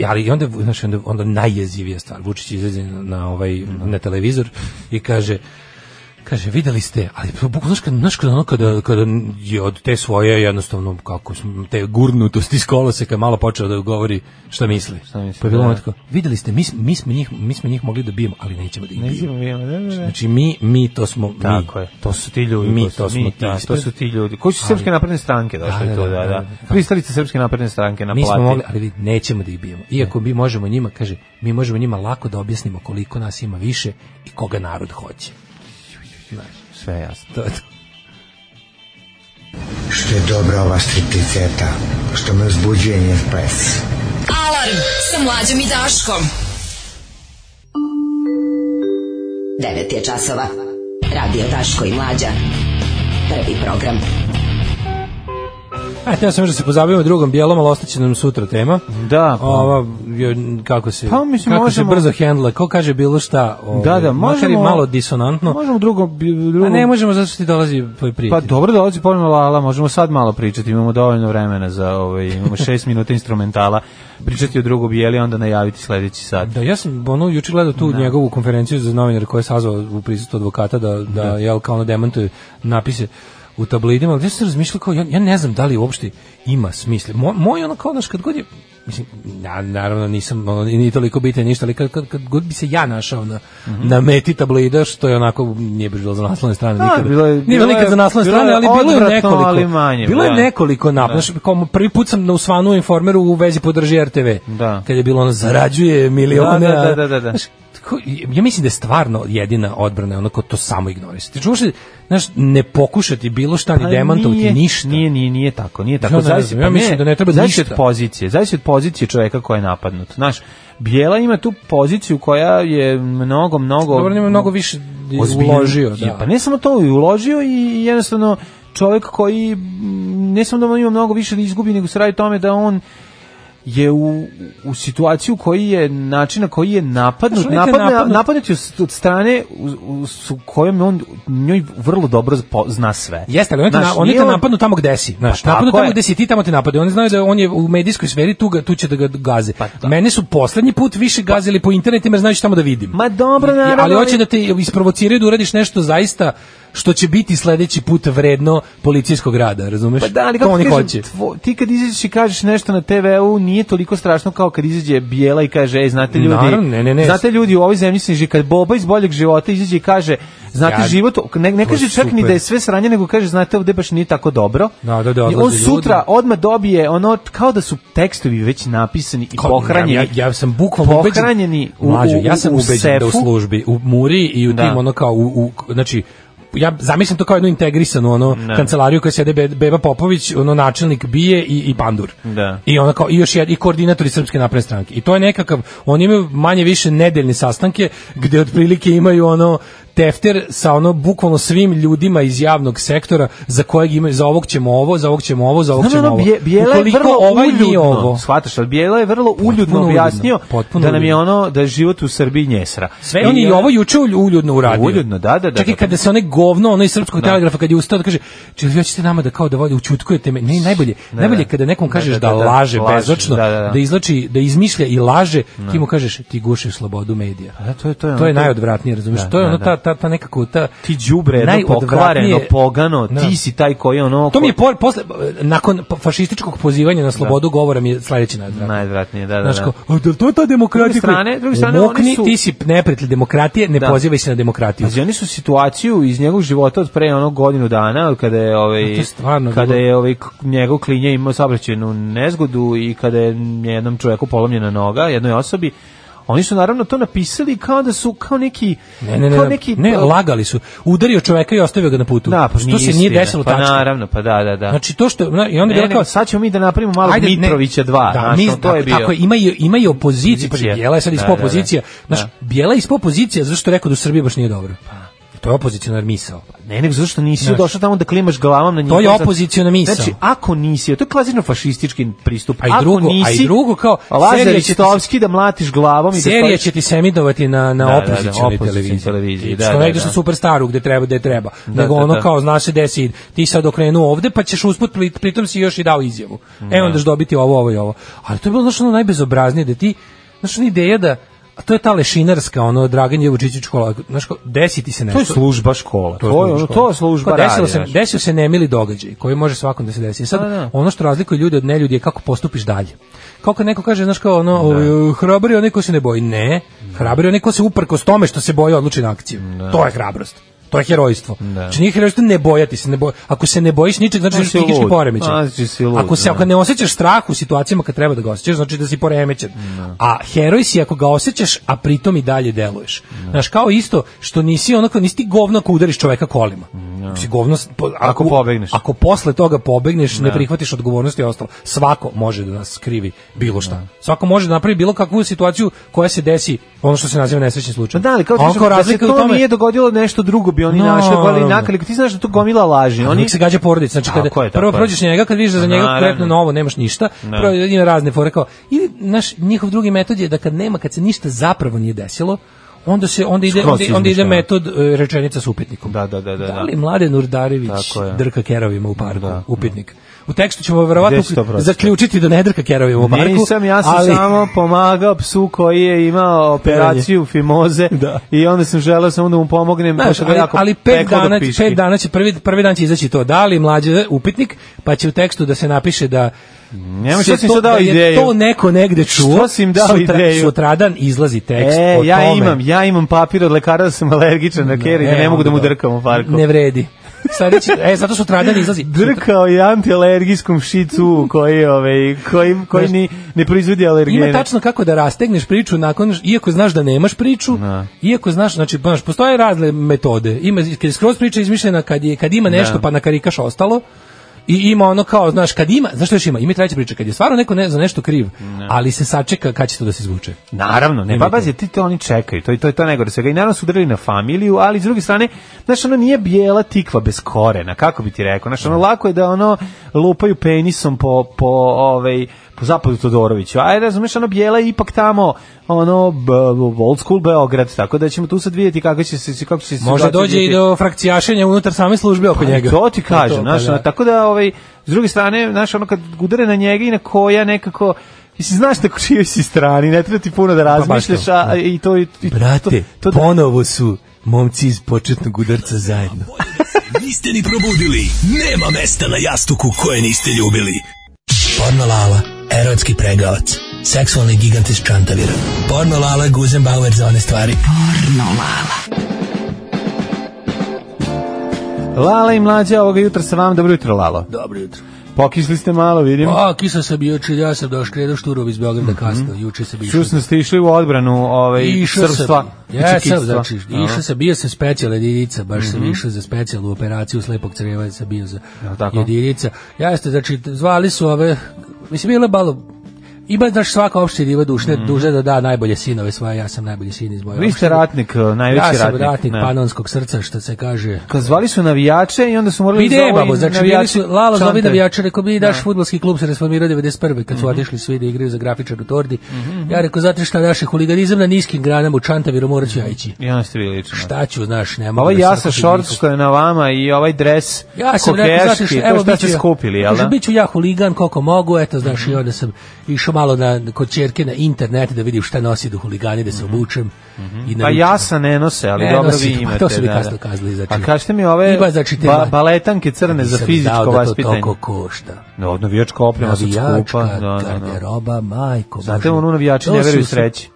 ali i onda, znaš, onda, onda najjezivija stvar, Vučić izađe na, na ovaj, na televizor i kaže, kaže, videli ste, ali bukvalno, znaš, kada, znaš, kada, ono, kada, kada je od te svoje, jednostavno, kako, smo- te gurnutosti iz koloseka malo počeo da govori šta misli. Šta misli, pa je bilo da. ono tako, videli ste, mi, smo- mi, smo njih, mi smo njih mogli da bijemo, ali nećemo da ih Ne znam, bijemo. vijemo, da, da, da. Znači, mi, mi to smo, mi. Tako je, to su ti ljudi. Mi, su to smo ti da, to ispred. su ti ljudi. Koji su srpske napredne stranke došli Da, da, tu, da, da, da, da. da. Pristalice srpske napredne stranke na Mi smo plati. mogli, ali vidi, nećemo da ih bijemo. Iako mi možemo njima, kaže, mi možemo njima lako da objasnimo koliko nas ima više i koga narod hoće. Sve jasno. To je to. Što je dobra ova stripticeta, što me uzbuđuje njen pes. Alarm sa mlađom i Daškom. 9 je časova. Radio Daško i Mlađa. Prvi program. A, teo sam još da se pozabavimo drugom dijelom, ali ostaće nam sutra tema. Da, pa- Ova, je, kako se, Pa, mislim, kako možemo- se brzo hendla, ko kaže bilo šta, ovaj, Da, da, makar i možemo... malo disonantno. Možemo drugom... A drugom ne možemo zato što ti dolazi tvoj Pa prijatelj. dobro, dolazi ponovno Lala, možemo sad malo pričati, imamo dovoljno vremena za ovaj, imamo šest minuta instrumentala, pričati o drugom bijeli, onda najaviti sledeći sat. Da, ja sam ono juče gledao tu njegovu konferenciju za novinare koja je sazvao u prisustvu advokata da da jel kao ono demantuje napise u tablidima, ali ja sam razmišljao kao ja, ja ne znam da li uopšte ima smisla. Moj, moj ono kao znaš kad god je mislim ja naravno nisam ono, ni toliko bitan ništa, ali kad, kad, kad god bi se ja našao na, na meti tablida što je onako nije bilo za naslovne strane Mhm. Da, nikada. bilo je- Nije bilo je- nikad za naslovne bilo je strane, ali bilo je odvratno, nekoliko. ali manje, bilo je da. nekoliko nap- znaš, kao prvi put sam na usvanu informeru u vezi podrži RTV. Da. Kad je bilo ono zarađuje milione. Da, da, a- da, da, da. Znaš, tako, ja mislim da je stvarno jedina odbrana je ono ko to samo ignorisati. Čuvaš li, znaš, ne pokušati bilo šta ni Pa demantovati nije, ništa. Nije, nije, nije tako, nije tako. ne znam, zavisi, pa ja mislim da ne treba zavisi ništa. od pozicije, zavisi od pozicije čoveka koja je napadnut. Znaš, Bijela ima tu poziciju koja je mnogo, mnogo... Dobro, nema mnogo više ozbiljno- uložio. Da. Je, Pa ne samo to, i uložio i jednostavno čovjek koji mm, ne samo da on ima mnogo više da izgubi, nego se radi o tome da on je u, u situaciju koji je način na koji je napadnut, Znaš, on je napadne, napadnut. napadnut. je s- od strane u, u, su kojom on njoj vrlo dobro po- zna sve. Jeste, ali oni te, Znaš, na, oni nije te on- napadnu tamo gde si. Znaš, Pa tako napadnu tamo je. gde si, ti tamo te napade. Oni znaju da on je u medijskoj sferi, tu, ga, tu će da ga gaze. Pa Mene su poslednji put više gazili po internetima, jer znajući tamo da vidim. Ma dobro, I- naravno. ali hoće da te isprovociraju da uradiš nešto zaista što će biti sledeći put vredno policijskog rada, razumeš? Pa da, ali to kako oni ti kažem, hoće. tvo- ti kad izađeš i kažeš nešto na TV-u, nije toliko strašno kao kad izađe Bijela i kaže, ej, znate ljudi, Naravno, ne, ne, ne. znate ljudi u ovoj zemlji se ne živi, kad Boba iz boljeg života izađe i kaže, znate Ja- život, ne, ne To kaže je čak ni super. da je sve sranje, nego kaže, znate, ovde baš nije tako dobro. Da, da, da, I on odlaze ljudi. sutra odmah dobije ono, kao da su tekstovi već napisani i Kao- pohranjeni. Ja, ja, ja sam bukvalno ubeđen- Pohranjeni u- Mlađo, u- ja sam u ubeđen da u sefu. službi, u Muri i u Da. tim ono kao u, u znači ja zamislim to kao jednu integrisanu ono kancelariju koja sjede Be- Beba Popović, ono načelnik bije i, i pandur. Da. I ona kao i još jed, i koordinatori srpske napredne stranke. I to je nekakav oni imaju manje više nedeljne sastanke gde otprilike imaju ono tefter sa ono bukvalno svim ljudima iz javnog sektora za kojeg ima za ovog ćemo ovo, za ovog ćemo ovo, za ovog ćemo ovo. Bijela je Ukoliko vrlo ovaj nije uljudno, ovo. shvataš, ali Bijela je vrlo Potpuno uljudno uljudno, objasnio potpuno da nam je uljudno. ono, da je život u Srbiji njesra. ono- Sve on je i ovo juče ulj- uljudno uradio. Uljudno, da, da, da. Čak i da. kada se onaj govno, onaj srpskog telegrafa, kad je ustao, da kaže, čili vi hoćete nama da kao da vode, učutkujete me. Ne, najbolje, Ne, najbolje ne. je kada nekom Ne, kažeš da, da, da, da, laže laže, bezočno, da, da, da, da. izlači, da izmišlja i laže, ti mu kažeš, ti gušiš slobodu medija. Da, to je, to je, ono, To je najodvratnije, razumiješ? Da, to je da, ono da. ta, ta, ta nekako, ta... ti đubre jedno najodvratnije- pokvareno, pogano, Da. ti si taj koji je ono... To mi je por, posle, nakon fašističkog pozivanja na slobodu govora mi je sledeći najodvratniji. Najodvratnije, da, da, Znaš da. kao, "A, da li to je ta demokratija? S druge strane- s druge strane, Umokni, oni su- ti si neprijatelj demokratije, ne Da. Pa pozivaj se na demokratiju. Pazi, oni su situaciju iz njegovog života od pre onog godinu dana, od kada je ovaj To je stvarno kada bilo- je ovaj k- njegov klinje imao saobraćajnu nezgodu i kada je jednom čovjeku polomljena noga, jednoj osobi. Oni su naravno to napisali kao da su kao neki Ne, ne, ne, kao ne, neki pa- ne, lagali su. Udario čoveka i ostavio ga na putu. Da, pa to se nije istina. desilo pa tačno. naravno, pa da, da, da. Znači to što na- i onda je ne, bilo ne, kao sad ćemo mi da napravimo malo Ajde, ne. Mitrovića 2, Da, znaš, mi, ono, to je bio. Tako, je, ima i, ima i opoziciju, pa Opozicija. Bijela je sad Da, ispod da, da. opozicija. Znaš, Da. Pa. Bijela je ispod opozicija, zašto je rekao da u Srbiji baš nije dobro? To je opozicionar misao. Ne, nego zašto nisi Znaš. došao tamo da klimaš glavom na njih. je opoziciona misao. Znači, ako nisi, to je klasično fašistički pristup. A i ako drugo- a i nisi, drugo kao, serija Lazarić će ti- Tovski da mlatiš glavom i da Serija stojiš- će ti semidovati na na Znači, Da, da, da, opozicionoj opozicionoj televiziji. televiziji, Ti da, što da, ne ideš da. na superstaru gde treba, gde treba. Da, nego da, ono da. kao znaš se gde si, ti sad okrenuo ovde pa ćeš usput pri- pritom si još i dao izjavu. E onda ćeš dobiti ovo, ovo i ovo. Ali to je bilo znaš ono najbezobraznije da ti znaš ona ideja da a to je ta lešinarska ono Dragan Jevučićić škola. Znaš kao desiti se To nešto. je služba škola. To je, služba ono, škola. to je služba Kao desilo radi, se, znaš. desio se nemili događaj koji može svakom da se desi. I Sad, Da, da. ono što razlikuje ljude od neljudi je kako postupiš dalje. Kako kad neko kaže, znaš kao, ono, da. hrabri je onaj ko se ne boji. Ne, hrabri je onaj ko se uprkos tome što se boji odluči na akciju. To je hrabrost. To je herojstvo. Znači nije herojstvo ne bojati se. Ne boj... Ako se ne bojiš ničeg, znači da Znači si psihički lud. poremećen. Znači si lud, ako, se, da. ako ne osjećaš strah u situacijama kad treba da ga osjećaš, znači da si poremećen. A heroj si ako ga osjećaš, a pritom i dalje deluješ. Znaš, kao isto što nisi ono kao nisi ti govno ako udariš čoveka kolima. Si govno, s- po- Ako pobegneš. Ako posle toga pobegneš, ne prihvatiš odgovornost i ostalo. Svako može da nas skrivi bilo šta. Svako može da napravi bilo kakvu situaciju koja se desi, ono što se naziva nesrećni Pa slučaj. da, ali kao ti A što- on da se razlika u to tome- nije dogodilo nešto drugo bi oni No, našli, ali naravno. nakali, ti znaš da tu gomila laži. Oni Oni se gađa porodica, znači kada Tako je, tako prvo je. prođeš njega, kad vidiš da za njega Naravno. konkretno novo nemaš ništa, Da. prvo ima razne fore kao ili naš njihov drugi metod je da kad nema, kad se ništa zapravo nije desilo, onda se onda ide Skroz onda, onda ide izmišljeno. metod e, rečenica s upitnikom. Da, da, da, da, da. Da li Mladen Urdarević Tako je. drka kerovima u parku? Da. Upitnik. U tekstu ćemo Gde si to verovatno pročitao? zaključiti da ne drka kerovima u parku. Nisam, ja sam ali- samo pomagao psu koji je imao operaciju fimoze Da. i onda sam želeo samo da mu pomognem. Znaš, pošto ga ali, jako ali pet, peklo do dana, piški. pet dana će prvi, prvi dan će izaći to da li mlađe upitnik pa će u tekstu da se napiše da Nema šta se si to- sad dao da je ideju. to neko negde čuo Što si im dao ideju? sutradan izlazi tekst E, o ja tome imam, ja imam papir od lekara da sam alergičan na keri, da E, ne mogu da mu onda drkam u parku. ne vredi Sledeći, e, zato sutradan izlazi Drkao je antialergijskom šicu koji, ovaj, koji, koji ni, ne proizvodi alergene. Ima tačno kako da rastegneš priču nakon iako znaš da nemaš priču, iako znaš, znači baš postoje razne metode. Ima kad je skroz priča izmišljena kad je kad ima nešto pa na karikaš ostalo. I ima ono kao, znaš, kad ima, znaš što još ima? Ima i treća priča, kad je stvarno neko ne, za nešto kriv, ali se sačeka kad će to da se izvuče. Naravno, ne, Ne pa vidim. pazi, ti to oni čekaju, to je to, je to najgore svega. I naravno su udarili na familiju, ali s druge strane, znaš, ono nije bijela tikva bez korena, kako bi ti rekao, znaš, ono lako je da ono lupaju penisom po, po, ovaj, po zapadu Todoroviću, a razumeš, ono bijela je ipak tamo, ono, b- b- old school Beograd, tako da ćemo tu sad vidjeti kako će se, kako će se Možda situacija dođe i odvijeti. do frakcijašenja unutar same službe oko njega. To ti kažem, To, pa znaš, da. ono, tako da, ovaj, s druge strane, znaš, ono, kad udare na njega i na koja nekako, Mislim, znaš na čijoj si strani, ne treba ti puno da Pa baš razmišljaš, to, a i to... I, i- Brate, to, to, ponovo su momci iz početnog udarca zajedno. Niste ni probudili. Nema mesta na jastuku koje niste ljubili. Porno Lala, erotski pregavac. Seksualni gigant iz Čantavira. Porno Lala, Guzenbauer za one stvari. Lala i mlađa ovoga jutra sa vam, dobro jutro, Lalo. Dobro jutro. Pokisli ste malo, vidim. A, kisa sam juče, ja sam doškredo šturov iz Beograda kasno, juče sam Mhm. išao. Čusno ste išli u odbranu ovaj, Išao srpstva. i sam, ja sam, čekitstva. znači, Mhm. Dobro. išao sam, bio sam specijal jedinica, baš sam išao za specijalnu operaciju slepog creva, sam bio za tako? jedinica. Ja ste, znači, zvali su ove, mislim, bilo je malo, Ima znaš svaka opština diva dušne, mm. duže da da najbolje sinove svoje, ja sam najbolji sin iz moje Vi ste ratnik, e, najveći Ja ratnik. sam ratnik pa ne. panonskog srca, što se kaže. Kad zvali su navijače i onda su morali Ide, zovu i babo, znači bili navijači su, Lalo zove čante. Mhm. navijače, rekao mi naš fudbalski klub se reformirao 91. kad su otišli svi da igraju za grafičar u Tordi. Ja rekao, znate šta, naše huliganizam na niskim granama u Čantaviru morat ću ja ići. I onda ste bili lično. Šta ću, znaš, nema. Ovaj jasa short što je na vama i ovaj dres Ja sam rekao, znaš, kokeški, to evo šta bit ću ste ja, skupili, jel kaže, da? Mhm. bit ću ja huligan koliko mogu, eto, znaš, i onda sam išao malo na, kod čerke na internet da vidim šta nosi do huligani, da se obučem. i Mhm. Pa naručim. jasa ne nose, ali Ne dobro nosi, vi pa imate. to su mi da, da. kasno kazali, znači. A kažete mi ove Ima, znači, te ba- ma- baletanke crne za Nisam fizičko dao da to vaspitanje. toliko košta. No, navijačka oprema su skupa. Navijačka, Da, da, da. garderoba, majko. Znate, Bože. ono navijači To ne su veruju sve- sreći.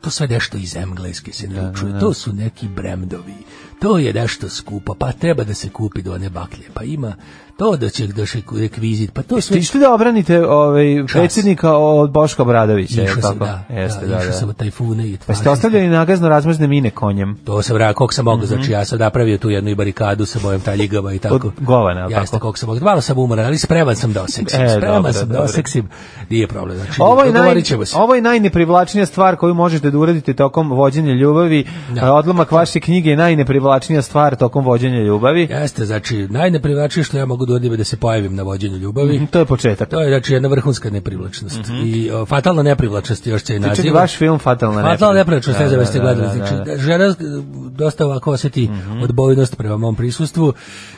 To sve nešto iz engleske se naručuje. To su neki bremdovi. To je nešto skupo, pa treba da se kupi do one baklje, pa ima to da će da se rekvizit, pa to Ste sve išli da obranite ovaj, predsjednika od Boška Bradovića, je Išao li sam, tako? da, Jeste, da, da, išao da. sam od tajfune i Pa tvari. ste ostavljali nagazno razmazne mine konjem. To sam radio, koliko sam mogu, znači ja sam napravio tu jednu i barikadu sa mojim taljigama i tako. Mhm. Od govana, jel ja tako? koliko sam mogu. Malo sam umoran, ali spreman sam da oseksim. E, spreman dobro, sam da dobro. oseksim. Nije problem, znači Ovo je, naj, dogovorit ćemo se. ovo je najneprivlačnija stvar koju možete da uradite tokom vođenja ljubavi. Da. A Odlomak vaše knjige je najneprivlačnija stvar tokom vođenja ljubavi. Jeste, znači, najneprivlačnije što ja mogu da uradim je da se pojavim na vođenju ljubavi. To je početak. To je znači jedna vrhunska neprivlačnost. Mhm. I o, fatalna neprivlačnost još će i Znači, naziv. vaš film Fatalna nepravda. Fatalna neprivlačnost, ne znam jeste Da, da, gledali. da, da, Znači, da. Mhm. da, žena eh, dosta ovako osjeti odbojnost prema mom prisustvu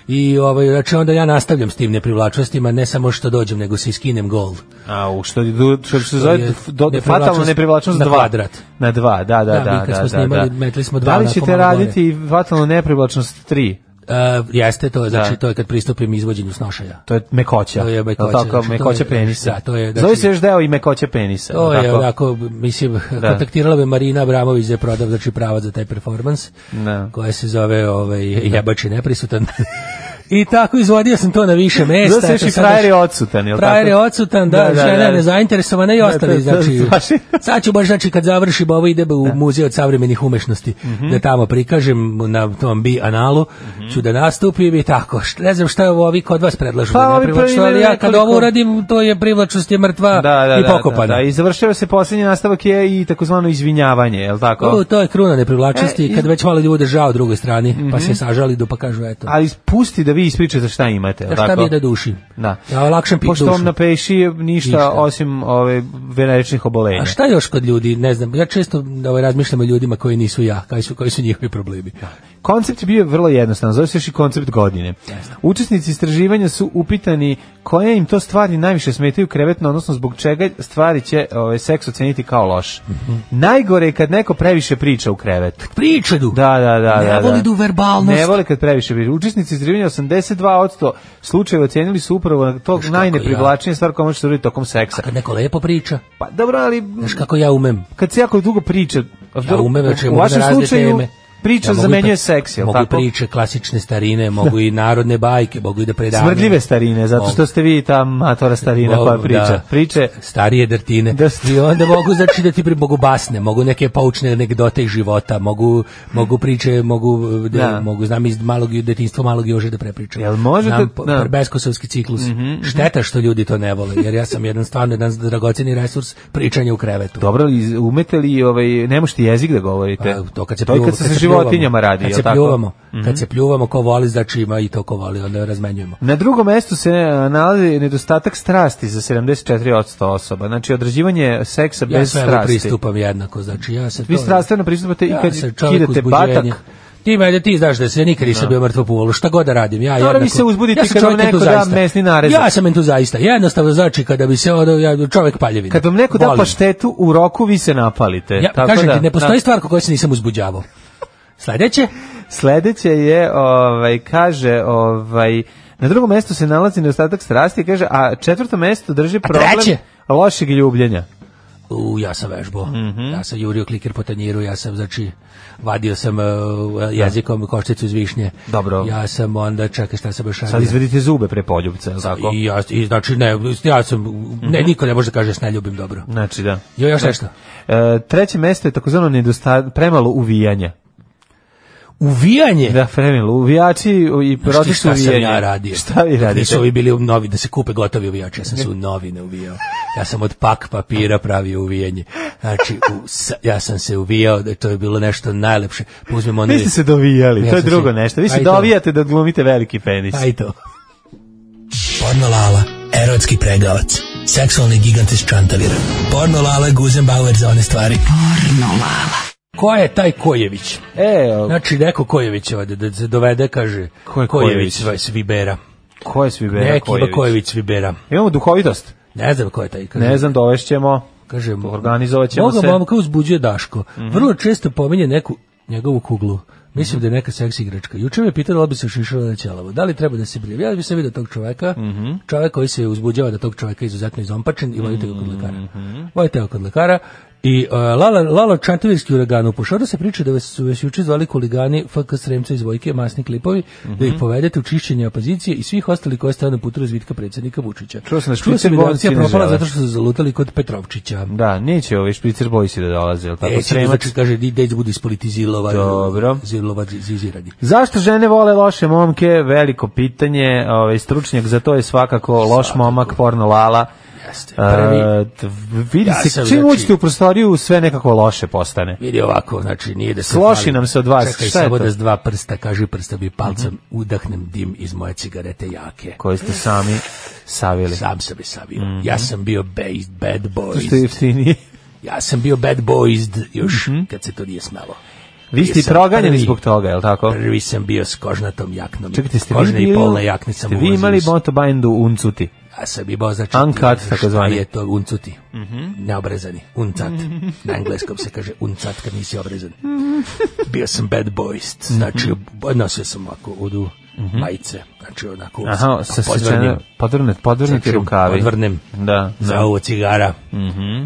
i ovaj, znači onda ja nastavljam s tim neprivlačnostima, ne samo što dođem, nego se i skinem gol. A, u što, je du- što se je zove do, do, neprivlačnost fatalna neprivlačnost na 2. kvadrat. Na 2, da, da, da. Da, mi kad da, smo da, snimali, da. metli smo dva Da li onako ćete malo gore. raditi i fatalnu neprivlačnost 3? Eh, jeste, to je, znači, Da. to je kad pristupim izvođenju snošaja. To je mekoća. To je mekoća, Jel Tako, znači, to mekoća je- penisa. da, to je, Zove znači- se još deo i mekoća penisa. To jel je tako? onako, mislim, Da. kontaktirala me Marina Abramović za prodav, znači pravac za taj performans, Da. koja se zove ovaj, jebači neprisutan. I tako izvodio sam E, to na više mesta. Zato se još eto, i sad frajer je odsutan, jel Frajer je tako? odsutan, da, žena je nezainteresovana i Da, ostali, to- to- znači, baš je. sad ću baš, znači, kad završim ovo, ide u muzej od savremenih umešnosti, Mhm. da tamo prikažem na tom bi analu, ću da nastupim i tako, Št- ne znam šta je ovo, ovi kod vas predlažu, Pa, da ne ovi privlaču, ali imaju ja kad ovo nekoliko- uradim, to je privlačnost je mrtva da, da, i da, pokopana. Da, da, I završava se posljednji nastavak je i takozvano izvinjavanje, je li tako? O, to je kruna neprivlačnosti, Pa. E, iz- Mhm. kad već malo ljude žao drugoj strani, pa se sažali do pa kažu eto. Ali pusti da vi ispričate šta imate, je A li šta tako? mi je da duši? Da. Ja lakše pit Pošto dušu. vam na peši ništa, Ništa. osim ove veneričnih obolenja. A šta još kod ljudi, ne znam, ja često ovaj, razmišljam o ljudima koji nisu ja, koji su, koji su njihovi problemi. Koncept je bio vrlo jednostavan, zove se još i koncept godine. Učesnici istraživanja su upitani koje im to stvari najviše smetaju krevetno, odnosno zbog čega stvari će ovaj, seks oceniti kao loš. Mhm. Najgore je kad neko previše priča u krevetu. Pričadu! Da, da, da. Ne da, da. voli da u verbalnost. Ne voli kad previše priča. Učesnici istraživanja 82% slučajeva ocenili su upravo na to kako najneprivlačnije stvar koja može se uraditi tokom seksa. Kad neko lepo priča, Pa dobro, ali znaš kako ja umem. kad se jako dugo priča, Ja umem, znači u mogu vašem na razne slučaju teme. priča Ja mogu i zamenjuje pri- seks, jel Mogu i tako? priče klasične starine, mogu i narodne bajke, mogu i da predavim. Smrdljive starine, zato što ste vi ta matora starina koja Mogu, priča. da. Priče, starije drtine. Da ste- I onda mogu znači da ti pri- mogu basne, mogu neke poučne anegdote iz života, mogu mogu priče, mogu eh, da, Da. mogu znam iz malog ju- detinjstva malog Jože da prepričam. Jel možete- Znam po- da. Mhm, Beskosovski ciklus. Šteta što ljudi to ne vole, jer ja sam jedan stvarno jedan dragoceni resurs pričanja u krevetu. dobro, iz- umete li, ovaj, ne možete jezik da govorite? A, Pa, to kad se to je pljuvamo, kad se sa životinjama radi, kad jel se tako? Mhm. pljuvamo, kad se pljuvamo ko voli znači ima i to ko voli onda razmenjujemo. Na drugom mestu se e, nalazi nedostatak strasti za 74% osoba. Znači, odrađivanje seksa Ja bez svemu strasti. pristupam jednako, znači ja se Vi to- strastveno pristupate i Ja kad sam čovjek kidate uzbuđenja. batak. Ti mene, ti znaš da se nikad nisam bio mrtvo povolu, šta god da radim. Ja, Dobro, vi jednako, se uzbudite ja sam kad vam čovjek neko da entuziasta. mesni narezak. Ja sam entuziasta, jednostavno znači kada bi se ono, ja, čovjek paljevina. Kad vam neko da Volim. paštetu u roku, vi se napalite. ja, Tako kažem da, ti, ne postoji da. stvar koju se nisam uzbuđavao. Sledeće, Sledeće je, ovaj, kaže, ovaj, na drugom mestu se nalazi nedostatak strasti, kaže, a četvrto mesto drži problem treće? lošeg ljubljenja. u, ja sam vežbao, Mhm. ja sam jurio kliker po tanjiru, ja sam, znači, vadio sam uh, jezikom košticu iz višnje. Dobro. Ja sam onda, čekaj, šta sam još Sad radio? izvedite zube pre poljubca, je li tako? I ja, i znači, ne, ja sam, ne, Mhm. niko ne može da kaže da se ne ljubim dobro. Znači, da. Jo, još nešto. E, treće mesto je takozvano nedosta- premalo uvijanja. uvijanje. Da, Fremil, uvijači i proces šta, šta sam uvijanja. ja radio? Šta vi radite? Nisu ovi bili novi, da se kupe gotovi uvijači, ja sam se u novine uvijao. Ja sam od pak papira pravio uvijanje. Znači, u, sa- ja sam se uvijao, da to je bilo nešto najlepše. Pa Uzmem one... Vi ste se dovijali, Ja to je sam drugo se- nešto. Vi se Aj to. dovijate da glumite veliki penis. Aj to. Pornolala, erotski pregavac, seksualni gigant iz Čantavira. Pornolala je Guzenbauer za one stvari. Pornolala. Ko je taj Kojević? E, o, Znači, neko Kojević ovde, da se dovede, kaže, Ko je Kojević, Kojević? s Vibera. ko je Svibera Neki ima Kojević? Kojević s Vibera. Imamo duhovitost. Ne znam ko je taj. Kaže, Ne znam, dovešćemo. kaže, Organizovat ćemo Boga se. Mhm. momka uzbuđuje Daško. Vrlo često pominje neku njegovu kuglu. Mislim da je neka seks igračka. Juče me pitala da bi se šišala na ćelavo. Da li treba da se brije? Ja bi se vidio tog čoveka. Mhm. Čovek koji se uzbuđava da tog čoveka je izuzetno izompačen i vodite ga kod lekara. Mhm. Vodite ga kod lekara. I uh, Lala, Lalo Čantovirski uragan u pošoru se priča da su vas juče zvali huligani FK Sremca iz Vojke, masni klipovi, Mhm. da ih povedete u čišćenje opozicije i svih ostalih koje stane na putu razvitka predsjednika Vučića. Čuo sam da Čuo sam i da je Špicer Bolnici akcija ne propala žele. zato što su zalutali kod Petrovčića. Da, neće ovi špricer bojsi da dolaze, jel tako? E, sremač Sremač. znači, kaže, di deć budu ispolitizirova, Dobro. zirlova, zizirani. Zašto žene vole loše momke? Veliko pitanje. Ovaj stručnjak za to je svakako loš momak porno lala. Jeste. Prvi, E, t- vidi Ja se, sam, čim znači- uđete u prostoriju, sve nekako loše postane. vidi ovako, znači, nije da se... Sloši hvalim. nam se od vas, Čekaj, šta je samo to? Mhm. da s dva prsta, kaži prsta bi palcem, udahnem dim iz moje cigarete jake. Koje ste sami savili. Sam sam je savio. Mhm. Ja sam bio based, bad Što je boys. jeftinije. Ja sam bio bad boys još Mhm. kad se to nije smelo. Vi ste i Jesam proganjeni prvi. zbog toga, jel tako? Prvi sam bio s kožnatom jaknom. Čekajte, ste vi Kožne bili... i polne jakne ste sam vi uvozio imali iz- motobajndu uncuti? Ja sam imao znači Uncut, šta takozvani. Mhm. je to uncuti, neobrezani, uncat. Na engleskom se kaže uncat kad nisi obrezan. Mhm. Bio sam bad boys, znači nosio sam ovako udu majice, znači onako Mhm. Aha, sa podvrnem, svečane, podvrnet, podvrneti Znači, rukavi. podvrnem. Da, Mhm. za da. ovo cigara.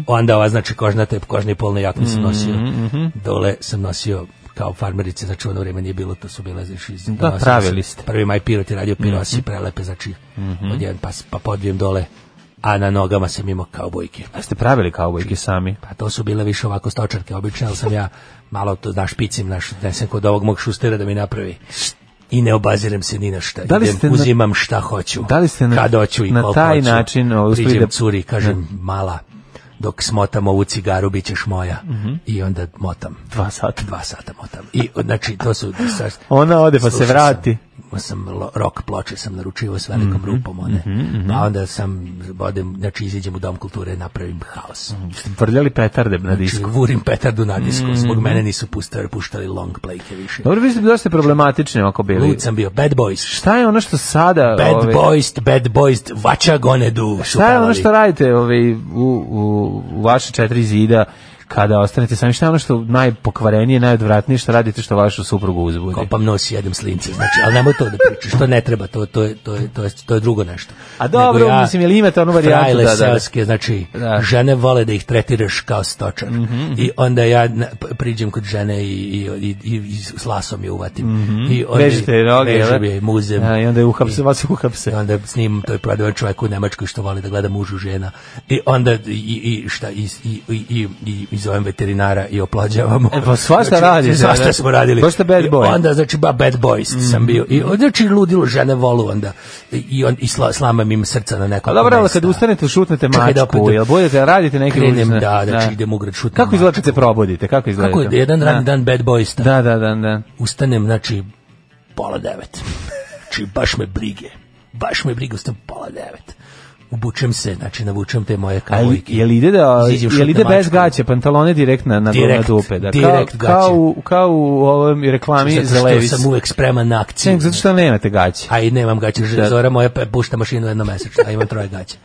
Onda ova znači kožnate, kožne i polne jakne Mhm, sam nosio. Dole sam nosio kao farmerice, znači u ono vreme nije bilo, to su bile znači, iz... nosio sam- pravili ste. Prvi maj pirot je radio pirosi, Mhm. prelepe, znači od jedan pas, pa podvijem dole, a na nogama sam imao kaubojke. A ste pravili kaubojke sami? Pa to su bile više ovako stočarke, obično, ali sam ja malo to, znaš, picim, naš, nesem kod ovog mog šustera da mi napravi. I ne obazirem se ni na šta. Da li Idem, ste na- uzimam šta hoću. Da li ste na- kad hoću i na koliko taj hoću. način, o, uspeli Priđem da- curi, kažem, mala, dok smotam ovu cigaru, bit ćeš moja. I onda motam. Mhm. Dva sata. Dva sata motam. I, znači, to su... Sa, Ona ode pa se Slušao vrati. Mhm, Sam, imao sam lo- rock ploče, sam naručivao s velikom rupom one. Pa onda sam, odem, znači, iziđem u Dom kulture, napravim haos. Ste vrljali petarde na Znači, disku. vurim petardu na disku, Mhm. zbog mene nisu puštali, puštali long playke više. Dobro, vi ste dosta problematični ako bili. Lud sam bio, bad boys, Šta je ono što sada... bad ovaj, boys, bad boys, vača gone du. su Šta je ono pevali. što radite ovaj, u, u, u vaše četiri zida kada ostanete sami? Šta je ono što najpokvarenije, najodvratnije što radite što vašu suprugu uzbudi? Kopam nos i jedem slince, znači, ali nemoj to da pričaš, to ne treba, to, to, je, to, je, to, je, to je drugo nešto. A dobro, Nego mislim, jel imate onu varijantu, Frajle da, da, da. seoske, znači, Da. Mhm, žene vole da ih tretiraš kao stočar. I onda ja na- p- priđem kod žene i, i, i, i, i s lasom je uvatim. I onda Mhm. Vežite roge, jel? vežem je, muzem. A, I onda je uhapse, I- vas uhapse. I onda snimam, to je prodavan čovjek u Nemačkoj što voli da gleda mužu žena. I onda i, i šta, i, i, i, i, i, i zovem veterinara i oplađavamo. E, pa svašta radite, da. Svašta smo radili. Baš ste bad I boy. Mm. onda, znači, ba, bad boys sam bio. I, onda, znači, ludilo žene volu onda. I, i, on, i sla, slamam im srca na nekoliko A dobro, ali mesta. kad ustanete, šutnete Čekaj da opet mačku, jel budete, radite neke Krenem, ružne- da, da, znači, idem u grad, šutnem Kako izgledate se probudite? Kako izgledate? Kako je jedan radni dan bad boys? Da, da, da, da. ustanem, znači, pola devet. Znači, baš me brige. Baš me brige, ustanem pola devet. Obučem se, znači, navučem te moje A jel, kavojke. jel ide, da, Izađem, jel šutnem ide bez mačku. gaće, pantalone direkt na, na, Direkt, na dupe? Da, direkt kao, kao, gaće. u, kao u ovom reklami Zato za što Levis. sam uvek spreman na akciju. Ček, zato što nemate gaće. A i nemam gaće Da. da. Zora moja pe- pušta mašinu jednomesečno, a imam troje gaće.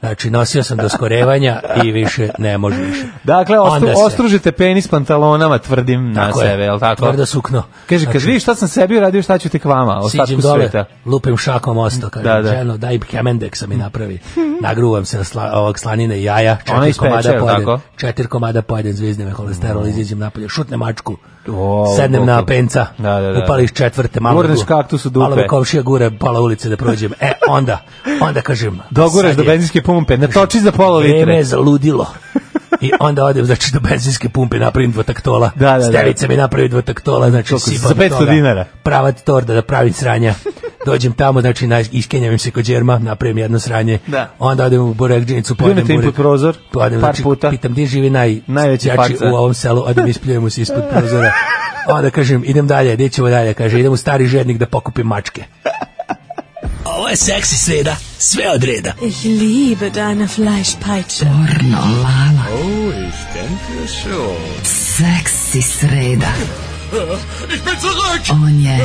Znači, nosio sam do skorevanja i više ne može više. Dakle, ostru, Onda se- ostružite penis pantalonama tvrdim na Tako je, sebe, jel tako? Tvrdo sukno. Kaže, kad Znači, vidiš šta sam sebi uradio, šta ću ti k vama, ostatku Siđem dole, sveta. lupim šakom osto, kažem, Da, da. ženo, daj kemendeksa mi napravi. Nagruvam se na sla, ovog slanine i jaja, Ona četiri ispeče, komada jel pojedem, tako? četiri komada pojedem zvizne me kolesterol, izađem napolje, šutne mačku, O, sednem Bog. na penca, Da, da, da. upališ četvrte, malo, Gurneš gu- kaktus u dupe. malo me komšija gure, pola ulice da prođem. E, onda, onda kažem, Doguraš sad do je- benzinske pumpe, natoči za pola Vreme litre. je zaludilo. I onda odem, znači, do benzinske pumpe napravim dvotaktola. Da, da, da. Stevica mi napravi dvotaktola, znači, Koliko, sipam za 500 toga. dinara? Prava torda da pravim sranja. Dođem tamo, znači, naj- iskenjam im se kod džerma, napravim jedno sranje. Da. Onda odem u Borekđinicu, pojedem Pljunete im burek. pod prozor, Pojedem, par znači, puta. Pitam, gdje živi naj, Najveći jači farca. u ovom selu, odem ispljujem mu se ispod prozora. Onda kažem, idem dalje, gdje ćemo dalje? Kaže, idem u stari žednik da pokupim mačke. Ovo je seksi sreda, sve od reda. Ich liebe deine Fleischpeitsche. Pornolala. Oh, ich denke schon. Seksi sreda. Ich bin zurück! On je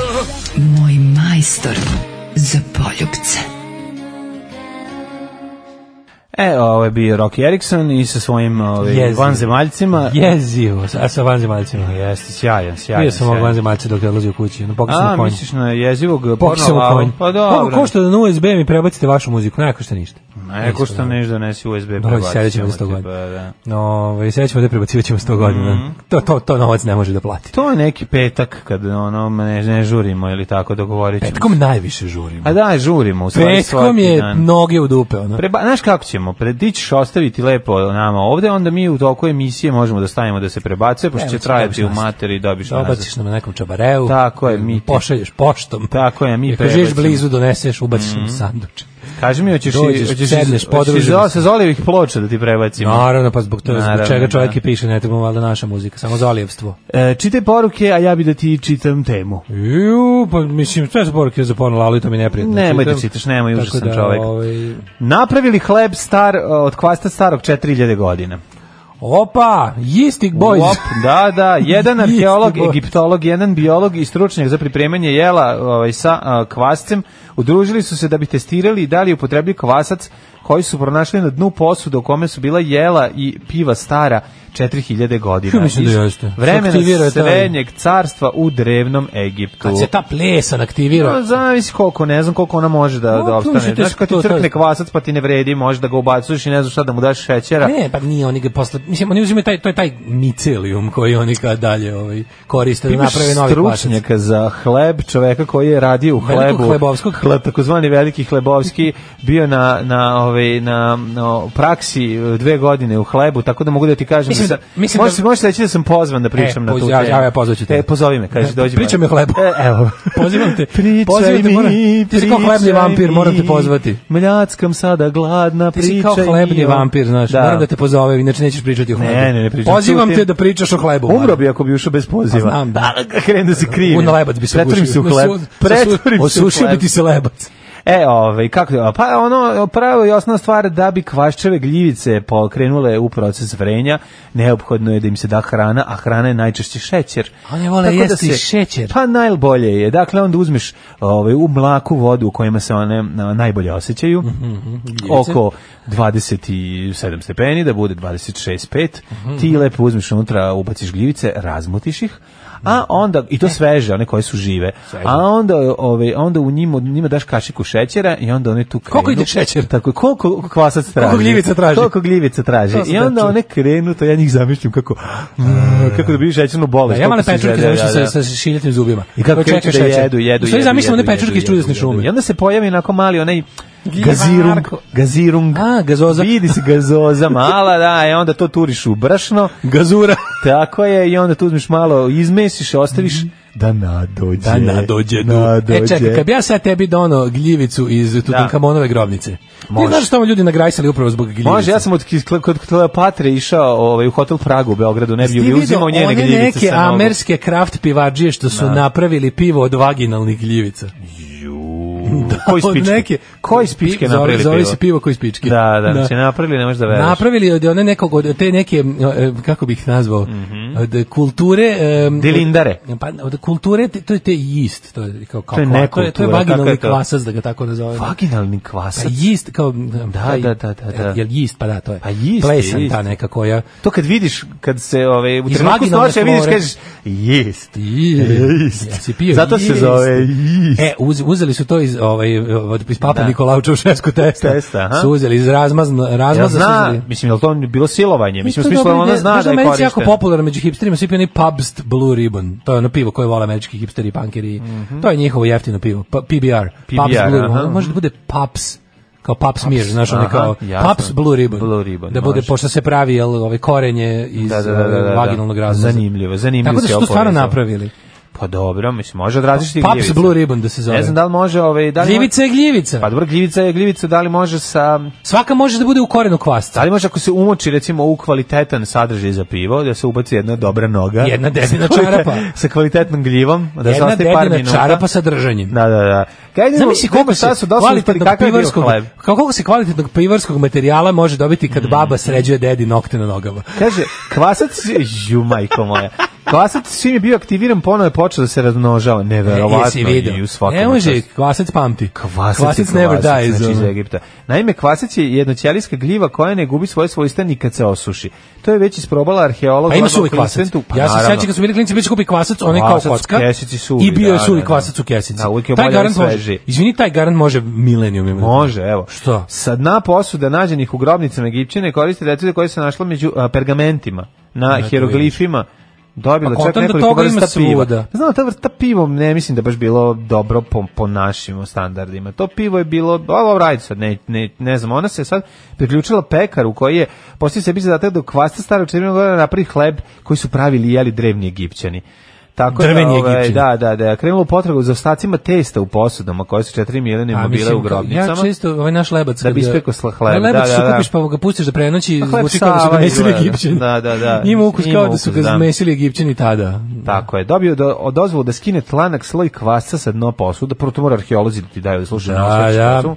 moj majstor za poljubce. E, ovo je bio Rocky Erickson i sa svojim ovaj, Jezivo. vanzemaljcima. Jezivo, a sa vanzemaljcima. Jeste, sjajan, sjajan. Bio sam ovog sjajan. vanzemaljca dok je odlazio kući, ono, na pokisnu A, konju. misliš na jezivog Pokisnu porno konju. Pa dobro. Ovo košta da na USB mi prebacite vašu muziku, ne košta ništa. Ne, ko što neš donesi USB Dođi, prebaci. sedećemo za 100 ćemo ti, godina. pa da. Ove, Ovaj, sve ćemo da prebacivat ćemo 100 godina. To, to, to novac ne može da plati. Mhm. To je neki petak kad ono, ne, ne žurimo ili tako dogovorit ćemo. Petkom najviše žurimo. A da, žurimo. U stvari Petkom svaki je dan. noge u dupe, ono. Preba, znaš kako ćemo? Pre, ti ćeš ostaviti lepo nama ovde, onda mi u toku emisije možemo da stavimo da se prebacuje, pošto Evo će ti, trajati u dobiš nas. materi i dobiš nazad. Dobaciš nam na nekom čabareu. Tako je, mi ti- Pošalješ poštom. Tako je, mi Mhm. Ako živiš prebacimo. blizu, doneseš, ubaciš nam sanduče. Kaži mi, hoćeš, Dođeš, i- hoćeš, sedneš, hoćeš podružimo iz- se. sa Zolijevih ploča da ti prebacimo. Naravno, pa zbog, toga, Naravno, zbog čega čovjek da. i piše, ne trebamo valjda naša muzika, samo zalijevstvo. E, čite poruke, a ja bi da ti čitam temu. Ju, pa mislim, sve su poruke za porno, ali to mi je neprijatno. Nemoj da Čitam. čitaš, nemoj, Tako užasan da, čovek. ovaj, Napravili hleb star, e, od kvasta starog 4000 godina. Opa, Yistic Boys. Op, da, da, jedan Isti arheolog, boy. egiptolog, jedan biolog i stručnjak za pripremanje jela ovaj, sa a, kvascem udružili su se da bi testirali da li je upotrebljiv kvasac koji su pronašli na dnu posuda u kome su bila jela i piva stara 4000 Ja godina. mislim da Iz jeste. Aktivira Vremena je taj- srednjeg carstva u drevnom Egiptu. Kad se ta plesa No, aktivira. zavisi koliko, ne znam koliko ona može da, No, da to opstane. mislim, to je Znaš, kad ti to- to je- crkne kvasac pa ti ne vredi, možeš da ga ubacuješ i ne znaš šta da mu daš šećera. Ne, pa nije oni ga posle, mislim oni uzimaju taj to je taj micelium koji oni kad dalje ovaj koriste da Imaš naprave novi kvasac. stručnjaka za hleb, čoveka koji je radio u Velikog hlebu. Hlebovskog? Hle, takozvani veliki hlebovski, bio na, na, ovaj, na, na praksi e, dve godine u hlebu, tako da mogu da ti kažem. Mislim da, da- sam- mislim možeš, da- možeš reći da sam pozvan da pričam E, na tu poz- ja- temu. ja- ja pozvaću te. E, pozovi me, kaži, E, dođi. pričaj mi o hlebu. E, evo. Pozivam te. Pričaj Pozivam te, mi, moram- ti si kao pričaj hlebni vampir, mi. moram te pozvati. Mljackam sada gladna, Ti pričaj si kao hlebni mi o- vampir, znaš. Moram da te pozovem, inače nećeš pričati o hlebu. Ne, ne, ne pričam. Pozivam Čutim. te da pričaš o hlebu. Umro mladi. bi ako bi ušao bez poziva. Pa znam, da. Krenem da se krivim. U na lebac bi se Pretvorim ugušio. se u hleb. Osu- Pretvorim se u Osušio hleb. bi ti se lebac. E, ovaj, kako, pa ono, pravo i osnovna stvar da bi kvaščeve gljivice pokrenule u proces vrenja, neophodno je da im se da hrana, a hrana je najčešće šećer. One vole Tako da jesti šećer. Pa najbolje je, dakle onda uzmeš ovaj, u mlaku vodu u kojima se one na, najbolje osjećaju, Mhm, oko 27 stepeni, da bude 26,5, Mhm, ti lepo uzmeš unutra, ubaciš gljivice, razmutiš ih, a Mhm. onda i E. to sveže, one koje su žive. A onda ovaj onda u njima njima daš kašiku šećera i onda one tu krenu. Koliko ide šećer? Tako je, koliko kvasac traži. gljivica traži? Koliko gljivica traži. To znači- sam I onda tačno. one krenu, to ja njih zamišljam kako kako da bi šećernu bolest. Mm. Da, ja koliko male se pečurke želja, zamišljam da, da. sa, sa šiljetnim zubima. I kako Koje kreću čeka da šećer. jedu, jedu, Pa U stvari jedu. zamišljam one jedu, pečurke jedu, iz čudesne jedu, šume. jedu. I onda se pojavi onako mali onaj Gljivarko. gazirung, gazirung. A, gazoza. Vidi se gazoza mala, da, i onda to turiš u brašno. Gazura. Tako je, i onda tu uzmeš malo, izmesiš, ostaviš da nadođe. Mhm. Da nadođe du. Nadođe. E čekaj, kad bi ja sad tebi dono gljivicu iz Tutankamonove grobnice. Može. Ti znaš što ovo ljudi nagrajsali upravo zbog gljivice. Može, ja sam od Kis- kod kod Kleopatre išao ovaj, u hotel Pragu u Beogradu, ne Ti bi bi vidio uzimao njene one gljivice neke sa nogom. amerske kraft pivađije što su napravili pivo od vaginalnih gljivica. Da, koji od spičke? neke- Koji spičke Pi- napravili zove, pivo? Zove se pivo koji spičke. Da, da, znači napravili, ne možeš da veruješ. Napravili od one nekog od te neke e, kako bih ih nazvao Mhm. od kulture em, Dilindare. od- pa od kulture te- to je te yeast to je kao kao To je kva- to je, to nekultura, je kako je vaginalni to? kvasac da ga tako nazovemo. Vaginalni Pa kvasac. yeast kao taj- da, da, da, da. Jel yeast pa da to je. Pa yeast je, Plesan yeast. ta neka koja To kad vidiš, kad se ovaj, u Iz trenutku vaginalne snoće vidiš, flore. kažeš, jest. Yeast. Jesi pio Zato se yeast? zove yeast. E, uz, uzeli su to iz, ovaj, od- iz Papa Da. Nikolaja Čaušesku testa. Testa, aha. Su uzeli iz razmazna, Ja razmazna. su zna, uzeli. mislim, je li to bilo silovanje? Mislim, u To je smislu, dobra ona ideja. zna Znaš, da je Americi korišten. jako popularno među hipsterima, svi piju onaj Pabst Blue Ribbon. To je ono pivo koje vole američki hipsteri i Mhm. punkeri. To je njihovo jeftino pivo. Pa, PBR. PBR, Pabst Blue Ribbon. Ono aha. Može da bude Pabst kao pap smear, znaš, Aha, ono kao jasno. paps blue ribbon. Blue ribbon, Da bude može. pošto se pravi jel, ovaj korenje iz Da, da, da, da, da. eh, vaginalnog razvoja. Zanimljivo, zanimljivo Tako da si su to ovo stvarno povezao. napravili. Pa dobro, mislim, može od različitih Paps gljivica. Blue Ribbon da se zove. Ne znam da li može... Ovaj, da li Gljivica je gljivica. Pa dobro, gljivica je gljivica, da li može sa... Svaka može da bude u korenu kvasca. Da li može ako se umoči recimo u kvalitetan sadržaj za pivo, da se ubaci jedna dobra noga. Jedna dedina Sa kvalite- čarapa. Sa kvalitetnom gljivom, da se Jedna ostaje par dedina minuta. čarapa sa držanjem. Da, da, da. Kaj idemo, Zamisli koliko se šta su, da li su uspeli, kvalitetnog kakav je bio pivarskog, hleb? Mm. kao koliko se kvalitetnog pivarskog materijala može dobiti kad baba sređuje dedi nokte na nogama. Kaže, kvasac, ju majko moja, kvasac čim je bio aktiviran, ponovo je počeo da se razmnožava, neverovatno Jesi video? i u svakom Ne može, kvasac pamti. Kvasac, je Kvasac never kvasac, dies, znači, iz ono. Egipta. Naime, kvasac je jednoćelijska gljiva koja ne gubi svoje svojstva ni kad se osuši. To je već isprobala arheolog. Pa ima Gordon suvi kvasac. Clinton, pa ja se naravno. sećam kad su bili klinci, bili su kupi kvasac, onaj kao Kvasac u kocka. kesici suvi, I bio je da, suvi da, da. kvasac u kesici. Da, uvijek je taj bolje garant on može. sveži. Izvini, taj garant može milenijum imati. Može, evo. Što? Sa dna posuda nađenih u grobnicama Egipćane koriste recepte koje se našla među a, pergamentima, na Eto, hieroglifima. Dobila Pa čak kontam da nekoliko toga vrsta ima piva. Pa svuda. Znam, ta vrsta pivom ne mislim da baš bilo dobro po, po našim standardima. To pivo je bilo, ovo radi sad, ne, ne, ne znam, ona se sad priključila pekaru koji je poslije sebi zadatak da u kvasta starog četvrnog godina napravi hleb koji su pravili i jeli drevni Egipćani. Tako Drveni da, ovaj, Egipćani. da, da, da, krenula u potragu za ostacima testa u posudama koje su četiri milenijima A, bile Pa mislim, u grobnicama. Ja često, ovaj naš lebac. Da bi kad ga- ispekao sla- hleb, Lebac da, što da, da. kupiš pa ga pustiš da prenoći, A hleb zvuči kao da su ga Sava mesili izgleda. Egipćani. Da, da, da. Ima ukus Ima kao da ukus, su ga da. mesili Egipćani tada. Tako je, dobio do, od dozvolu da skine tlanak sloj kvasca sa dno posuda, prvo to mora arheolozi da ti daju da slušaju Da, na osvetu da. šta su.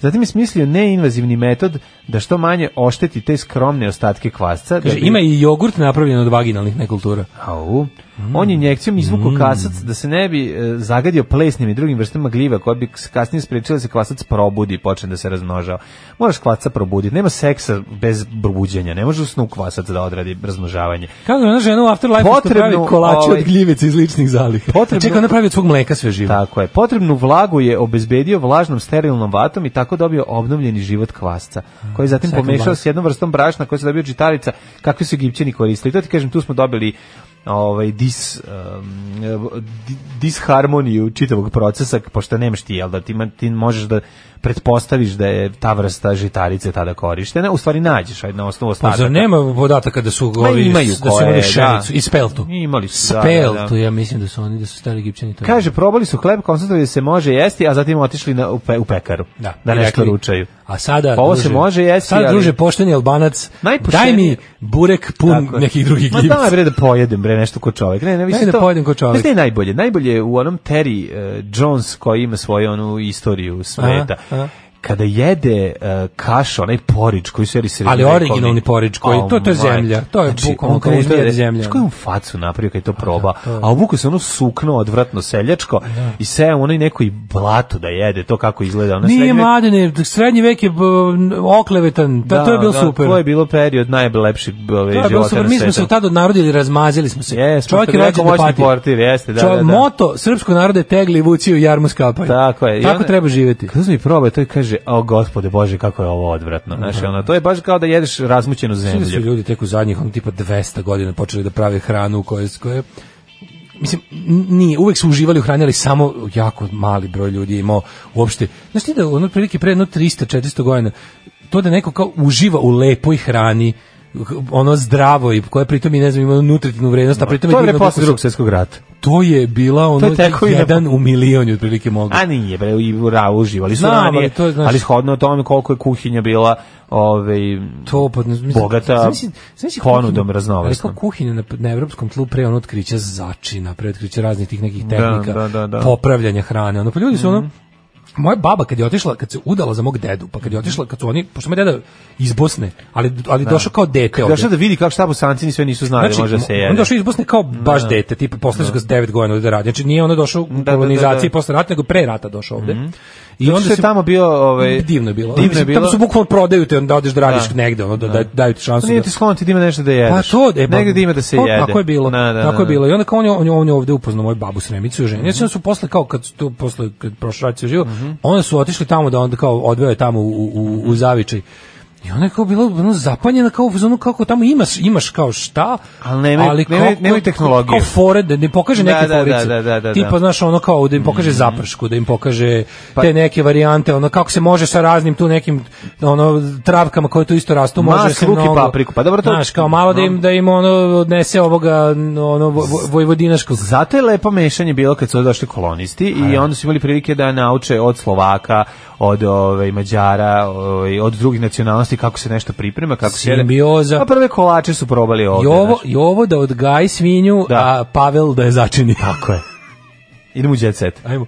Zatim je smislio neinvazivni metod da što manje ošteti te skromne ostatke kvasca. Kaže, da bi- ima i jogurt napravljen od vaginalnih nekultura. Au. On je injekcijom izvukao Mm. kasac da se ne bi e, zagadio plesnim i drugim vrstama gljiva koja bi s- kasnije sprečila da se kvasac probudi i počne da se razmnožava. Moraš kvasca probuditi. Nema seksa bez probuđenja. Ne može u snu kvasac da odradi razmnožavanje. Kako je ona žena u Afterlife što Potrebno, pravi kolače ovaj, od gljivice iz ličnih zaliha? Potrebno- Čekaj, ona pravi od svog mleka sve živo. Tako je. Potrebnu vlagu je obezbedio vlažnom sterilnom vatom i tako dobio obnovljeni život kvasca, koji je zatim Second pomešao life. s jednom vrstom brašna koji se dobio čitarica, kakvi su egipćani koristili. To ti kažem, tu smo dobili ovaj dis um, di- disharmoniju čitavog procesa pošto nemaš ti jel da ti, ima- ti možeš da pretpostaviš da je ta vrsta žitarice tada korištena u stvari nađeš ajde na osnovu Pa ostataka zar nema podataka da su Ma ovi, imaju da su koje, imali da. šenicu, iz peltu? Imali su, da, da, Speltu, da. ja mislim da su oni, da su stari egipćani to. kaže probali su hleb konstatovali da se može jesti a zatim otišli na, u, pe- u pekaru Da, da i nešto rekli, ručaju A sada, Pa ovo se može jesti, sada, ali- druže, pošteni albanac, Najpošteniji- daj mi burek pun Tako je. nekih drugih Ma gljivica. daj bre da pojedem bre nešto ko čovjek. Ne, ne, mislim da pojedem ko čovek. Znaš gde je najbolje? Najbolje je u onom Terry eh, Jones koji ima svoju onu istoriju smeta. Aha, aha. Kada jede eh, kašu, onaj porič koji su jeli srednjevekovni. Ali originalni porič koji- to- to je Oh my. zemlja, to je bukvalno on kao krene uzme da- jede zemlja. Znaš koju on facu napravio kad je to proba? to je. A obuku se ono sukno odvratno seljačko i seja onaj neko i blato da jede, to kako izgleda. ono Ona Nije srednjevek- mladene, srednji vek je b, oklevetan, da, to je bilo da, super. To je bilo period najlepših eh, To je života bilo na super. Mi smo se svetu. tad odnarodili, razmazili smo se. Jesmo, Čovjek što bi je rođen rekao da moćni pati. portir, jeste, da, Čovjek- da, da. Moto srpskog naroda je tegli vuci u jarmu skapaju. Tako je. I Tako onda- treba živjeti. Kada mi probao, to i kaže, o gospode bože, kako je ovo odvratno. Znaš, ono, to je baš kao da jedeš razmućenu Mislim da su zemlju. ljudi tek u zadnjih ono, tipa 200 godina počeli da prave hranu u kojoj s koje mislim n- nije uvek su uživali u hrani ali samo jako mali broj ljudi je imao uopšte znaš ti da ono prilike pre jedno 300 400 godina to da neko kao uživa u lepoj hrani ono zdravo i koje pritom i ne znam ima onu nutritivnu vrednost a pritom To je bre divnog posle ukusa. drugog svjetskog rata. to je bila ono tekovina. jedan u milion otprilike mogu A nije, bre, i u ra, uživali su Znam, ali ranije, to je, znaš- ali shodno o tome koliko je kuhinja bila ovaj, to pod mislim, Bogata zamisli- zamisli ponudom kuhinju, raznovrsnom. Ali kao kuhinja na, na evropskom tlu pre ono otkrića začina, pre otkrića raznih tih nekih tehnika, da, da, Mhm. da. popravljanja hrane. Ono, pa ljudi su ono, moja baba kad je otišla, kad se udala za mog dedu, pa kad je otišla, kad su oni, pošto moj deda iz Bosne, ali, ali došao kao dete ovde. Znači, došao da vidi kako šta bosancini sve nisu znali, može da se on jede. došao iz Bosne kao baš dete, tipa posle su ga s 9 godina ovde da radi. Znači nije ono došao u da, kolonizaciji da, da. posle rata, nego pre rata došao ovde. I I onda je tamo bio... Ovaj, divno je bilo. Divno je bilo. Tamo su bukvalno prodaju te da odeš da radiš negde, ono, da, da, daju ti šansu. Nije da- ti sklon ti Pa da ima nešto da pa jedeš. to, e, pa, Negde da ima da se to jede. Tako je bilo. Da, da, tako je da. bilo. I onda kao on je, on je, on je ovde upoznao moju babu Sremicu i ženio se, onda su posle kao kad su tu posle Mhm. kad prošao rat se živo, onda su otišli tamo da onda kao odveo je tamo u u u, u zavičaj I ona je kao bila ono, zapanjena kao u fazonu kako tamo imaš imaš kao šta, ali nema ali kao, nema, nema tehnologiju. Kao fore da ne pokaže Da, neke da, forice. da, da, Mhm. da, Tipa da. znaš ono kao da im pokaže zapršku, da im pokaže Pa- te neke varijante, ono kako se može sa raznim tu nekim ono travkama koje tu isto rastu, Mas, može se luk i mnogo. papriku, pa dobro, to- Znaš, kao malo da im da im ono odnese ovoga ono vo- vo- vojvodinaškog. Zato je lepo mešanje bilo kad su došli kolonisti i onda su imali prilike da nauče od Slovaka, od ove, Mađara, ovaj, od drugih nacionalnosti kako se nešto priprema, kako se jede. Simbioza. A prve kolače su probali ovde. I ovo, znaš. I ovo da odgaji svinju, Da. a Pavel da je začini. Tako je. Idemo u jet set. Ajmo.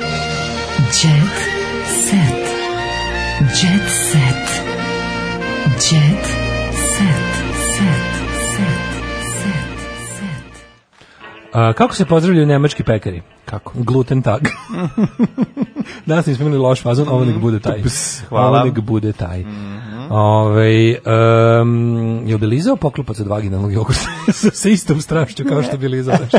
Jet set. Jet set. Jet set. Set. Set. Set. Set. A, kako se pozdravljaju nemački pekari? Kako? Gluten tag. Danas nismo imali loš fazon, ovo nek bude taj. hvala. Mhm. Ovo nek bude taj. Ovaj, em, jel bi lizao poklopac od vaginalnog jogurta sa, sa istom strašću kao što bi lizao nešto,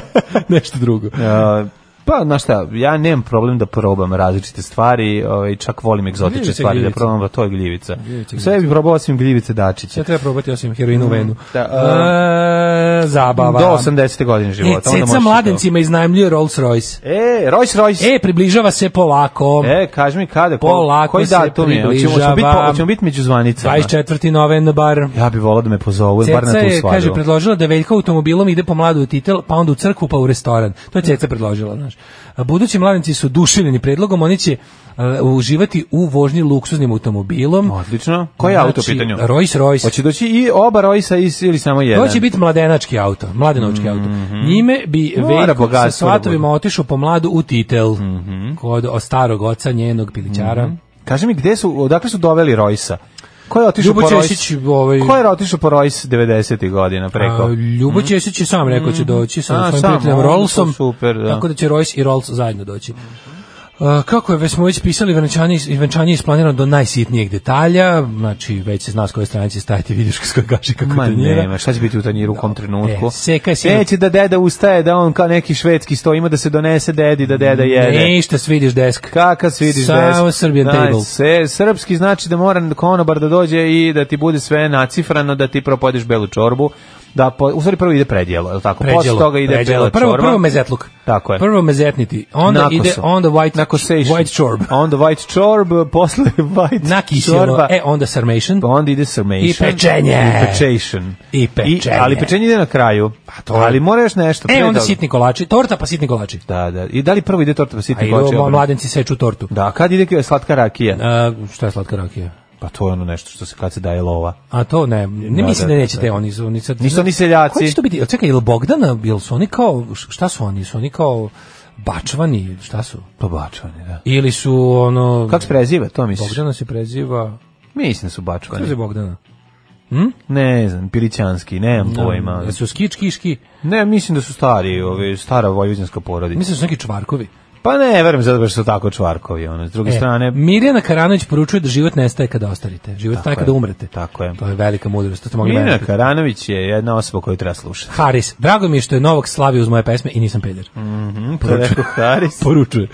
nešto drugo? Uh, pa, znaš šta, ja nemam problem da probam različite stvari, ovaj, čak volim egzotične Gljivica je stvari da gljivica. probam, a to je gljivica. Gljivica je Sve bih probao osim gljivice dačića. Sve treba probati osim heroinu u venu. Da, um, E, zabava. Do 80. godine života. onda E, možeš i ceca to. mladencima iznajmljuje Rolls Royce. E, Rolls Royce. E, približava se polako. E, kaži mi kada, ko- Polako koji se datum je? Hoćemo- Hoćemo biti, po- približavam. hoćemo biti među zvanicama. 24. novembar. Ja bih volao da me pozovu, bar na Ceca tu je, svadbu. kaže, predložila da Veljka automobilom ide po mladu u titel, pa onda u crkvu, pa u restoran. To je Ceca predložila, znaš. A Budući mladenci su duševljeni predlogom, oni će e, uživati u vožnji luksuznim automobilom. Odlično. Koji je auto u Znači, pitanju? Rolls Royce. Hoće doći i oba Royce-a is- ili samo jedan? Mhm. To će biti mladenački auto, mladenovački auto. Njime bi Mora Veljko bogatstvo sa da svatovima bude. Mhm. otišao po mladu u titel kod o starog oca njenog pilićara. Kaži mi, gde su, odakle su doveli Royce-a? Ko je otišao Ljubo po Ćesić, Royce? ovaj- Ko je otišao po Royce 90. godina preko? A, Ljubo Ćesić je sam rekao će doći Mm. A, sa svojim sam, prijateljem onda to Rollsom, super, da. tako da će Royce i Rolls zajedno doći. A, kako je već smo već pisali, venčanje, venčanje je isplanirano do najsitnijeg detalja, znači već se zna s koje strane će stajati, vidiš s koje gaši kako Ma tanjira. nema, šta će biti u tanjiru u kom trenutku? E, seka je sinu- Neće da deda ustaje, da on kao neki švedski sto ima da se donese dedi, da deda jede. Ništa, svidiš desk. Kaka se vidiš Samo desk. Serbian Znaš, table. Se, srpski znači da mora konobar da dođe i da ti bude sve nacifrano, da ti propodiš belu čorbu. Da po, u stvari prvo ide predjelo, je li tako? Posle toga ide pređelo. bela Prvo, čorba. prvo mezetluk. Tako je. Prvo mezetniti. Onda Nakoso. ide, onda white, Nakosation. white chorb. A onda white čorb, posle white Nakisilo. čorba. E, onda sarmation. Pa onda ide sarmation. I pečenje. I pečation. I pečenje. ali pečenje ide na kraju. Pa to- Ali mora još nešto. E, pre onda toga. sitni kolači. Torta pa sitni kolači. Da, da. I da li prvo ide torta pa A sitni i koče? ovo mladenci seču tortu. Da, kad ide slatka rakija? A, šta je slatka rakija? Pa to je ono nešto što se kad se daje lova. A to ne, ne Da, mislim da, da da, nećete da. oni su oni sad. Nisu oni seljaci. Ko će to biti? Jel Čekaj, jel Bogdana, jel su oni kao šta su oni? Su oni kao bačvani, šta su? Pa bačvani, da. Ili su ono Kako se preziva, to misliš? Bogdana se preziva, Mislim da su kako se bačvani. Bogdana? Ne znam, pilićanski, nemam pojma. Jel su skičkiški? Ne, mislim da su stari, ovi, stara vojvođanska porodica. Mislim da su neki čvarkovi. Pa ne, verujem zato što su tako čvarkovi. Ono. S druge E, strane, Mirjana Karanović poručuje da život nestaje kada ostarite. Život nestaje je, kada umrete. tako je. To je velika mudrost. To ste mogli Mirjana mene pitati. Karanović je jedna osoba koju treba slušati. Haris, drago mi je što je Novak slavio uz moje pesme i nisam peder. Mm. Mm, To je rekao Haris. Poručuje.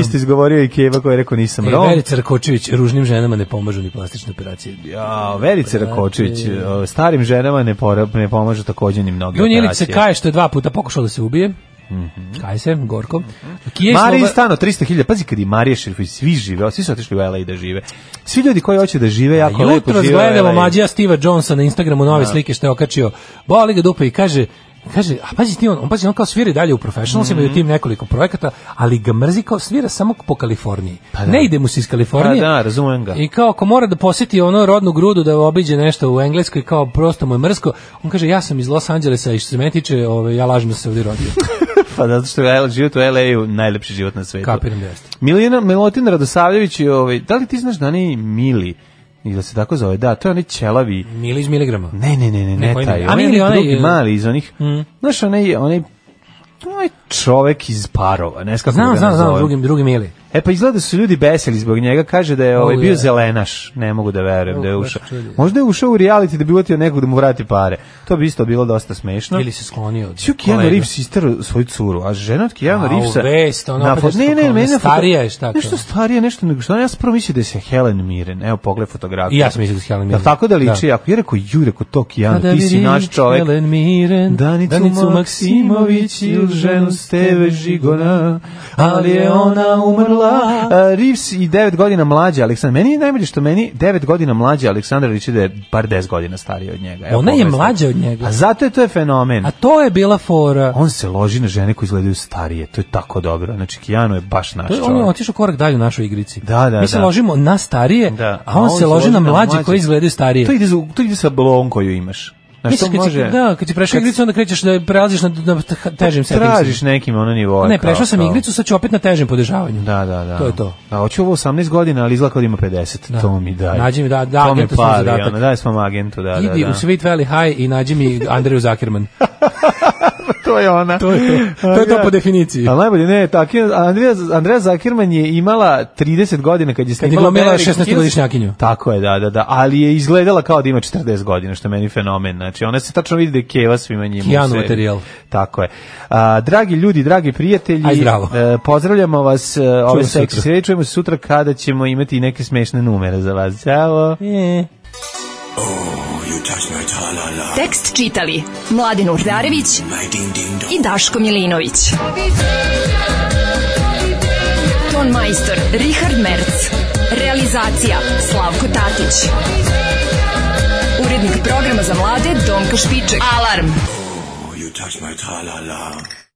Isto izgovorio i Keva koji je rekao nisam E, Rom. Verica Rakočević, ružnim ženama ne pomažu ni plastične operacije. Ja, Verica Rakočević, o, starim ženama ne, pora- ne pomažu takođe ni mnogi Dunja Ilić se operacije. kaje što je dva puta pokušao da se ubije. Mhm. Kaje se, gorko. Kije Marija Slova- stano 300.000, pazi kad i Marija Šerifović, svi žive, svi su otišli u LA da žive. Svi ljudi koji hoće da žive, jako lepo ovaj- Jutro žive. u Pa gledamo LA. mlađija Steva Jonesa na Instagramu nove slike što je okačio. Boli ga dupe i kaže kaže, a pazi ti on, on pazi on kao svira i dalje u professionalsima Mhm. i u tim nekoliko projekata, ali ga mrzi kao svira samo po Kaliforniji. da. Ne ide mu se iz Pa Kalifornije. da, razumem ga. I kao ako mora da posjeti ono rodnu grudu da obiđe nešto u Engleskoj kao prosto mu je mrsko, on kaže ja sam iz Los Angelesa i što se mene tiče, ovaj, ja lažem da sam se ovdje rodio. Pa zato što je LA život u LA-u najlepši život na svetu. Kapiram da jeste. Milina, Milotin Radosavljević, je, ovaj, da li ti znaš da oni Mili, i da se tako zove, da, to je onaj ćelavi, Mili iz miligrama. ne, ne, ne, ne, Neko ne ime. taj, A onaj Mili, onaj, drugi e, mali iz onih, znaš, onaj, onaj, onaj, čovek iz parova, ne znam kako Znam, ga znam, znam, nazovem. drugim, drugim ili. E pa izgleda da su ljudi beseli zbog njega, kaže da je ovaj bio zelenaš, ne mogu da verujem da je baš ušao. čudno. Možda je ušao u reality da bi uvatio nekog da mu vrati pare. To bi isto bilo dosta smešno. Ili se sklonio od Sju Keanu kolega. Reeves isterao svoju curu, a žena od Keanu A, Reevesa... u vest, ono, na opet fo- nešto ne, ne, kao, meni na foto- starija je, šta Nešto kao. ono. starija, nešto nego što. Ja sam prvo mislio da je Helen Mirren. Evo, pogled fotografiju. I ja sam mislio da Pa je Helen Mirren. Da, tako da liči. Da. Ako je rekao, ju, rekao, to Keanu, ti si naš čovek. Helen Miren, Danicu, Maksimović ili ženu Steve Žigona, ali je ona umrla. A, Reeves i 9 godina mlađa Aleksandra. Meni je najbolje što meni 9 godina mlađa Aleksandra liči da je bar 10 godina starija od njega. Evo, Ona je pogledajte. mlađa od njega. A zato je to je fenomen. A to je bila fora. On se loži na žene koje izgledaju starije. To je tako dobro. Znači, Kijano je baš naš To je, čovjek. on je otišao korak dalje u našoj igrici. Da, da, Mi se da. ložimo na starije, Da. a on, se loži na mlađe koji izgledaju starije. To ide, za- to ide sa blon koju imaš. Znaš, Misliš, to kad može... si, da, kad si prešao Kad igricu, onda krećeš da prelaziš na, na težim settingsima. Tražiš nekim ono nivoje. Ne, kao- prešao sam kao- igricu, sad ću opet na težem podržavanju. Da, da, da. To je to. Da, hoću ovo 18 godina, ali izgleda kao da ima 50. To mi daj. Nađi mi, da, da, to mi agentu smo pali, zadatak. ono, daj smo agentu, da, Idi da, da. u Sweet Valley High i nađi mi Andreju Zakirman. to je ona. To je to, to, je to po definiciji. A najbolje, ne, tako, je, Andreja, Andreja Zakirman je imala 30 godina kad je Kad je snimala glomila Beverly Hills. 16-godišnjakinju. Tako je, da, da, da, ali je izgledala kao da ima 40 godina, što je meni fenomen. Znači, ona se tačno vidi da je keva svima njima. u Kijanu seriji. materijal. Tako je. A, dragi ljudi, dragi prijatelji, Aj, zdravo. e, pozdravljamo vas e, ove se seksi sutra. srede, čujemo se sutra kada ćemo imati i neke smešne numere za vas. Ćao! E. Oh, Tekst čitali Mladin Urdarević i Daško Milinović. Ton majstor Richard Merc. Realizacija Slavko Tatić. Urednik programa za mlade Donka Špiček. Alarm! Oh, You touch my tra-la-la.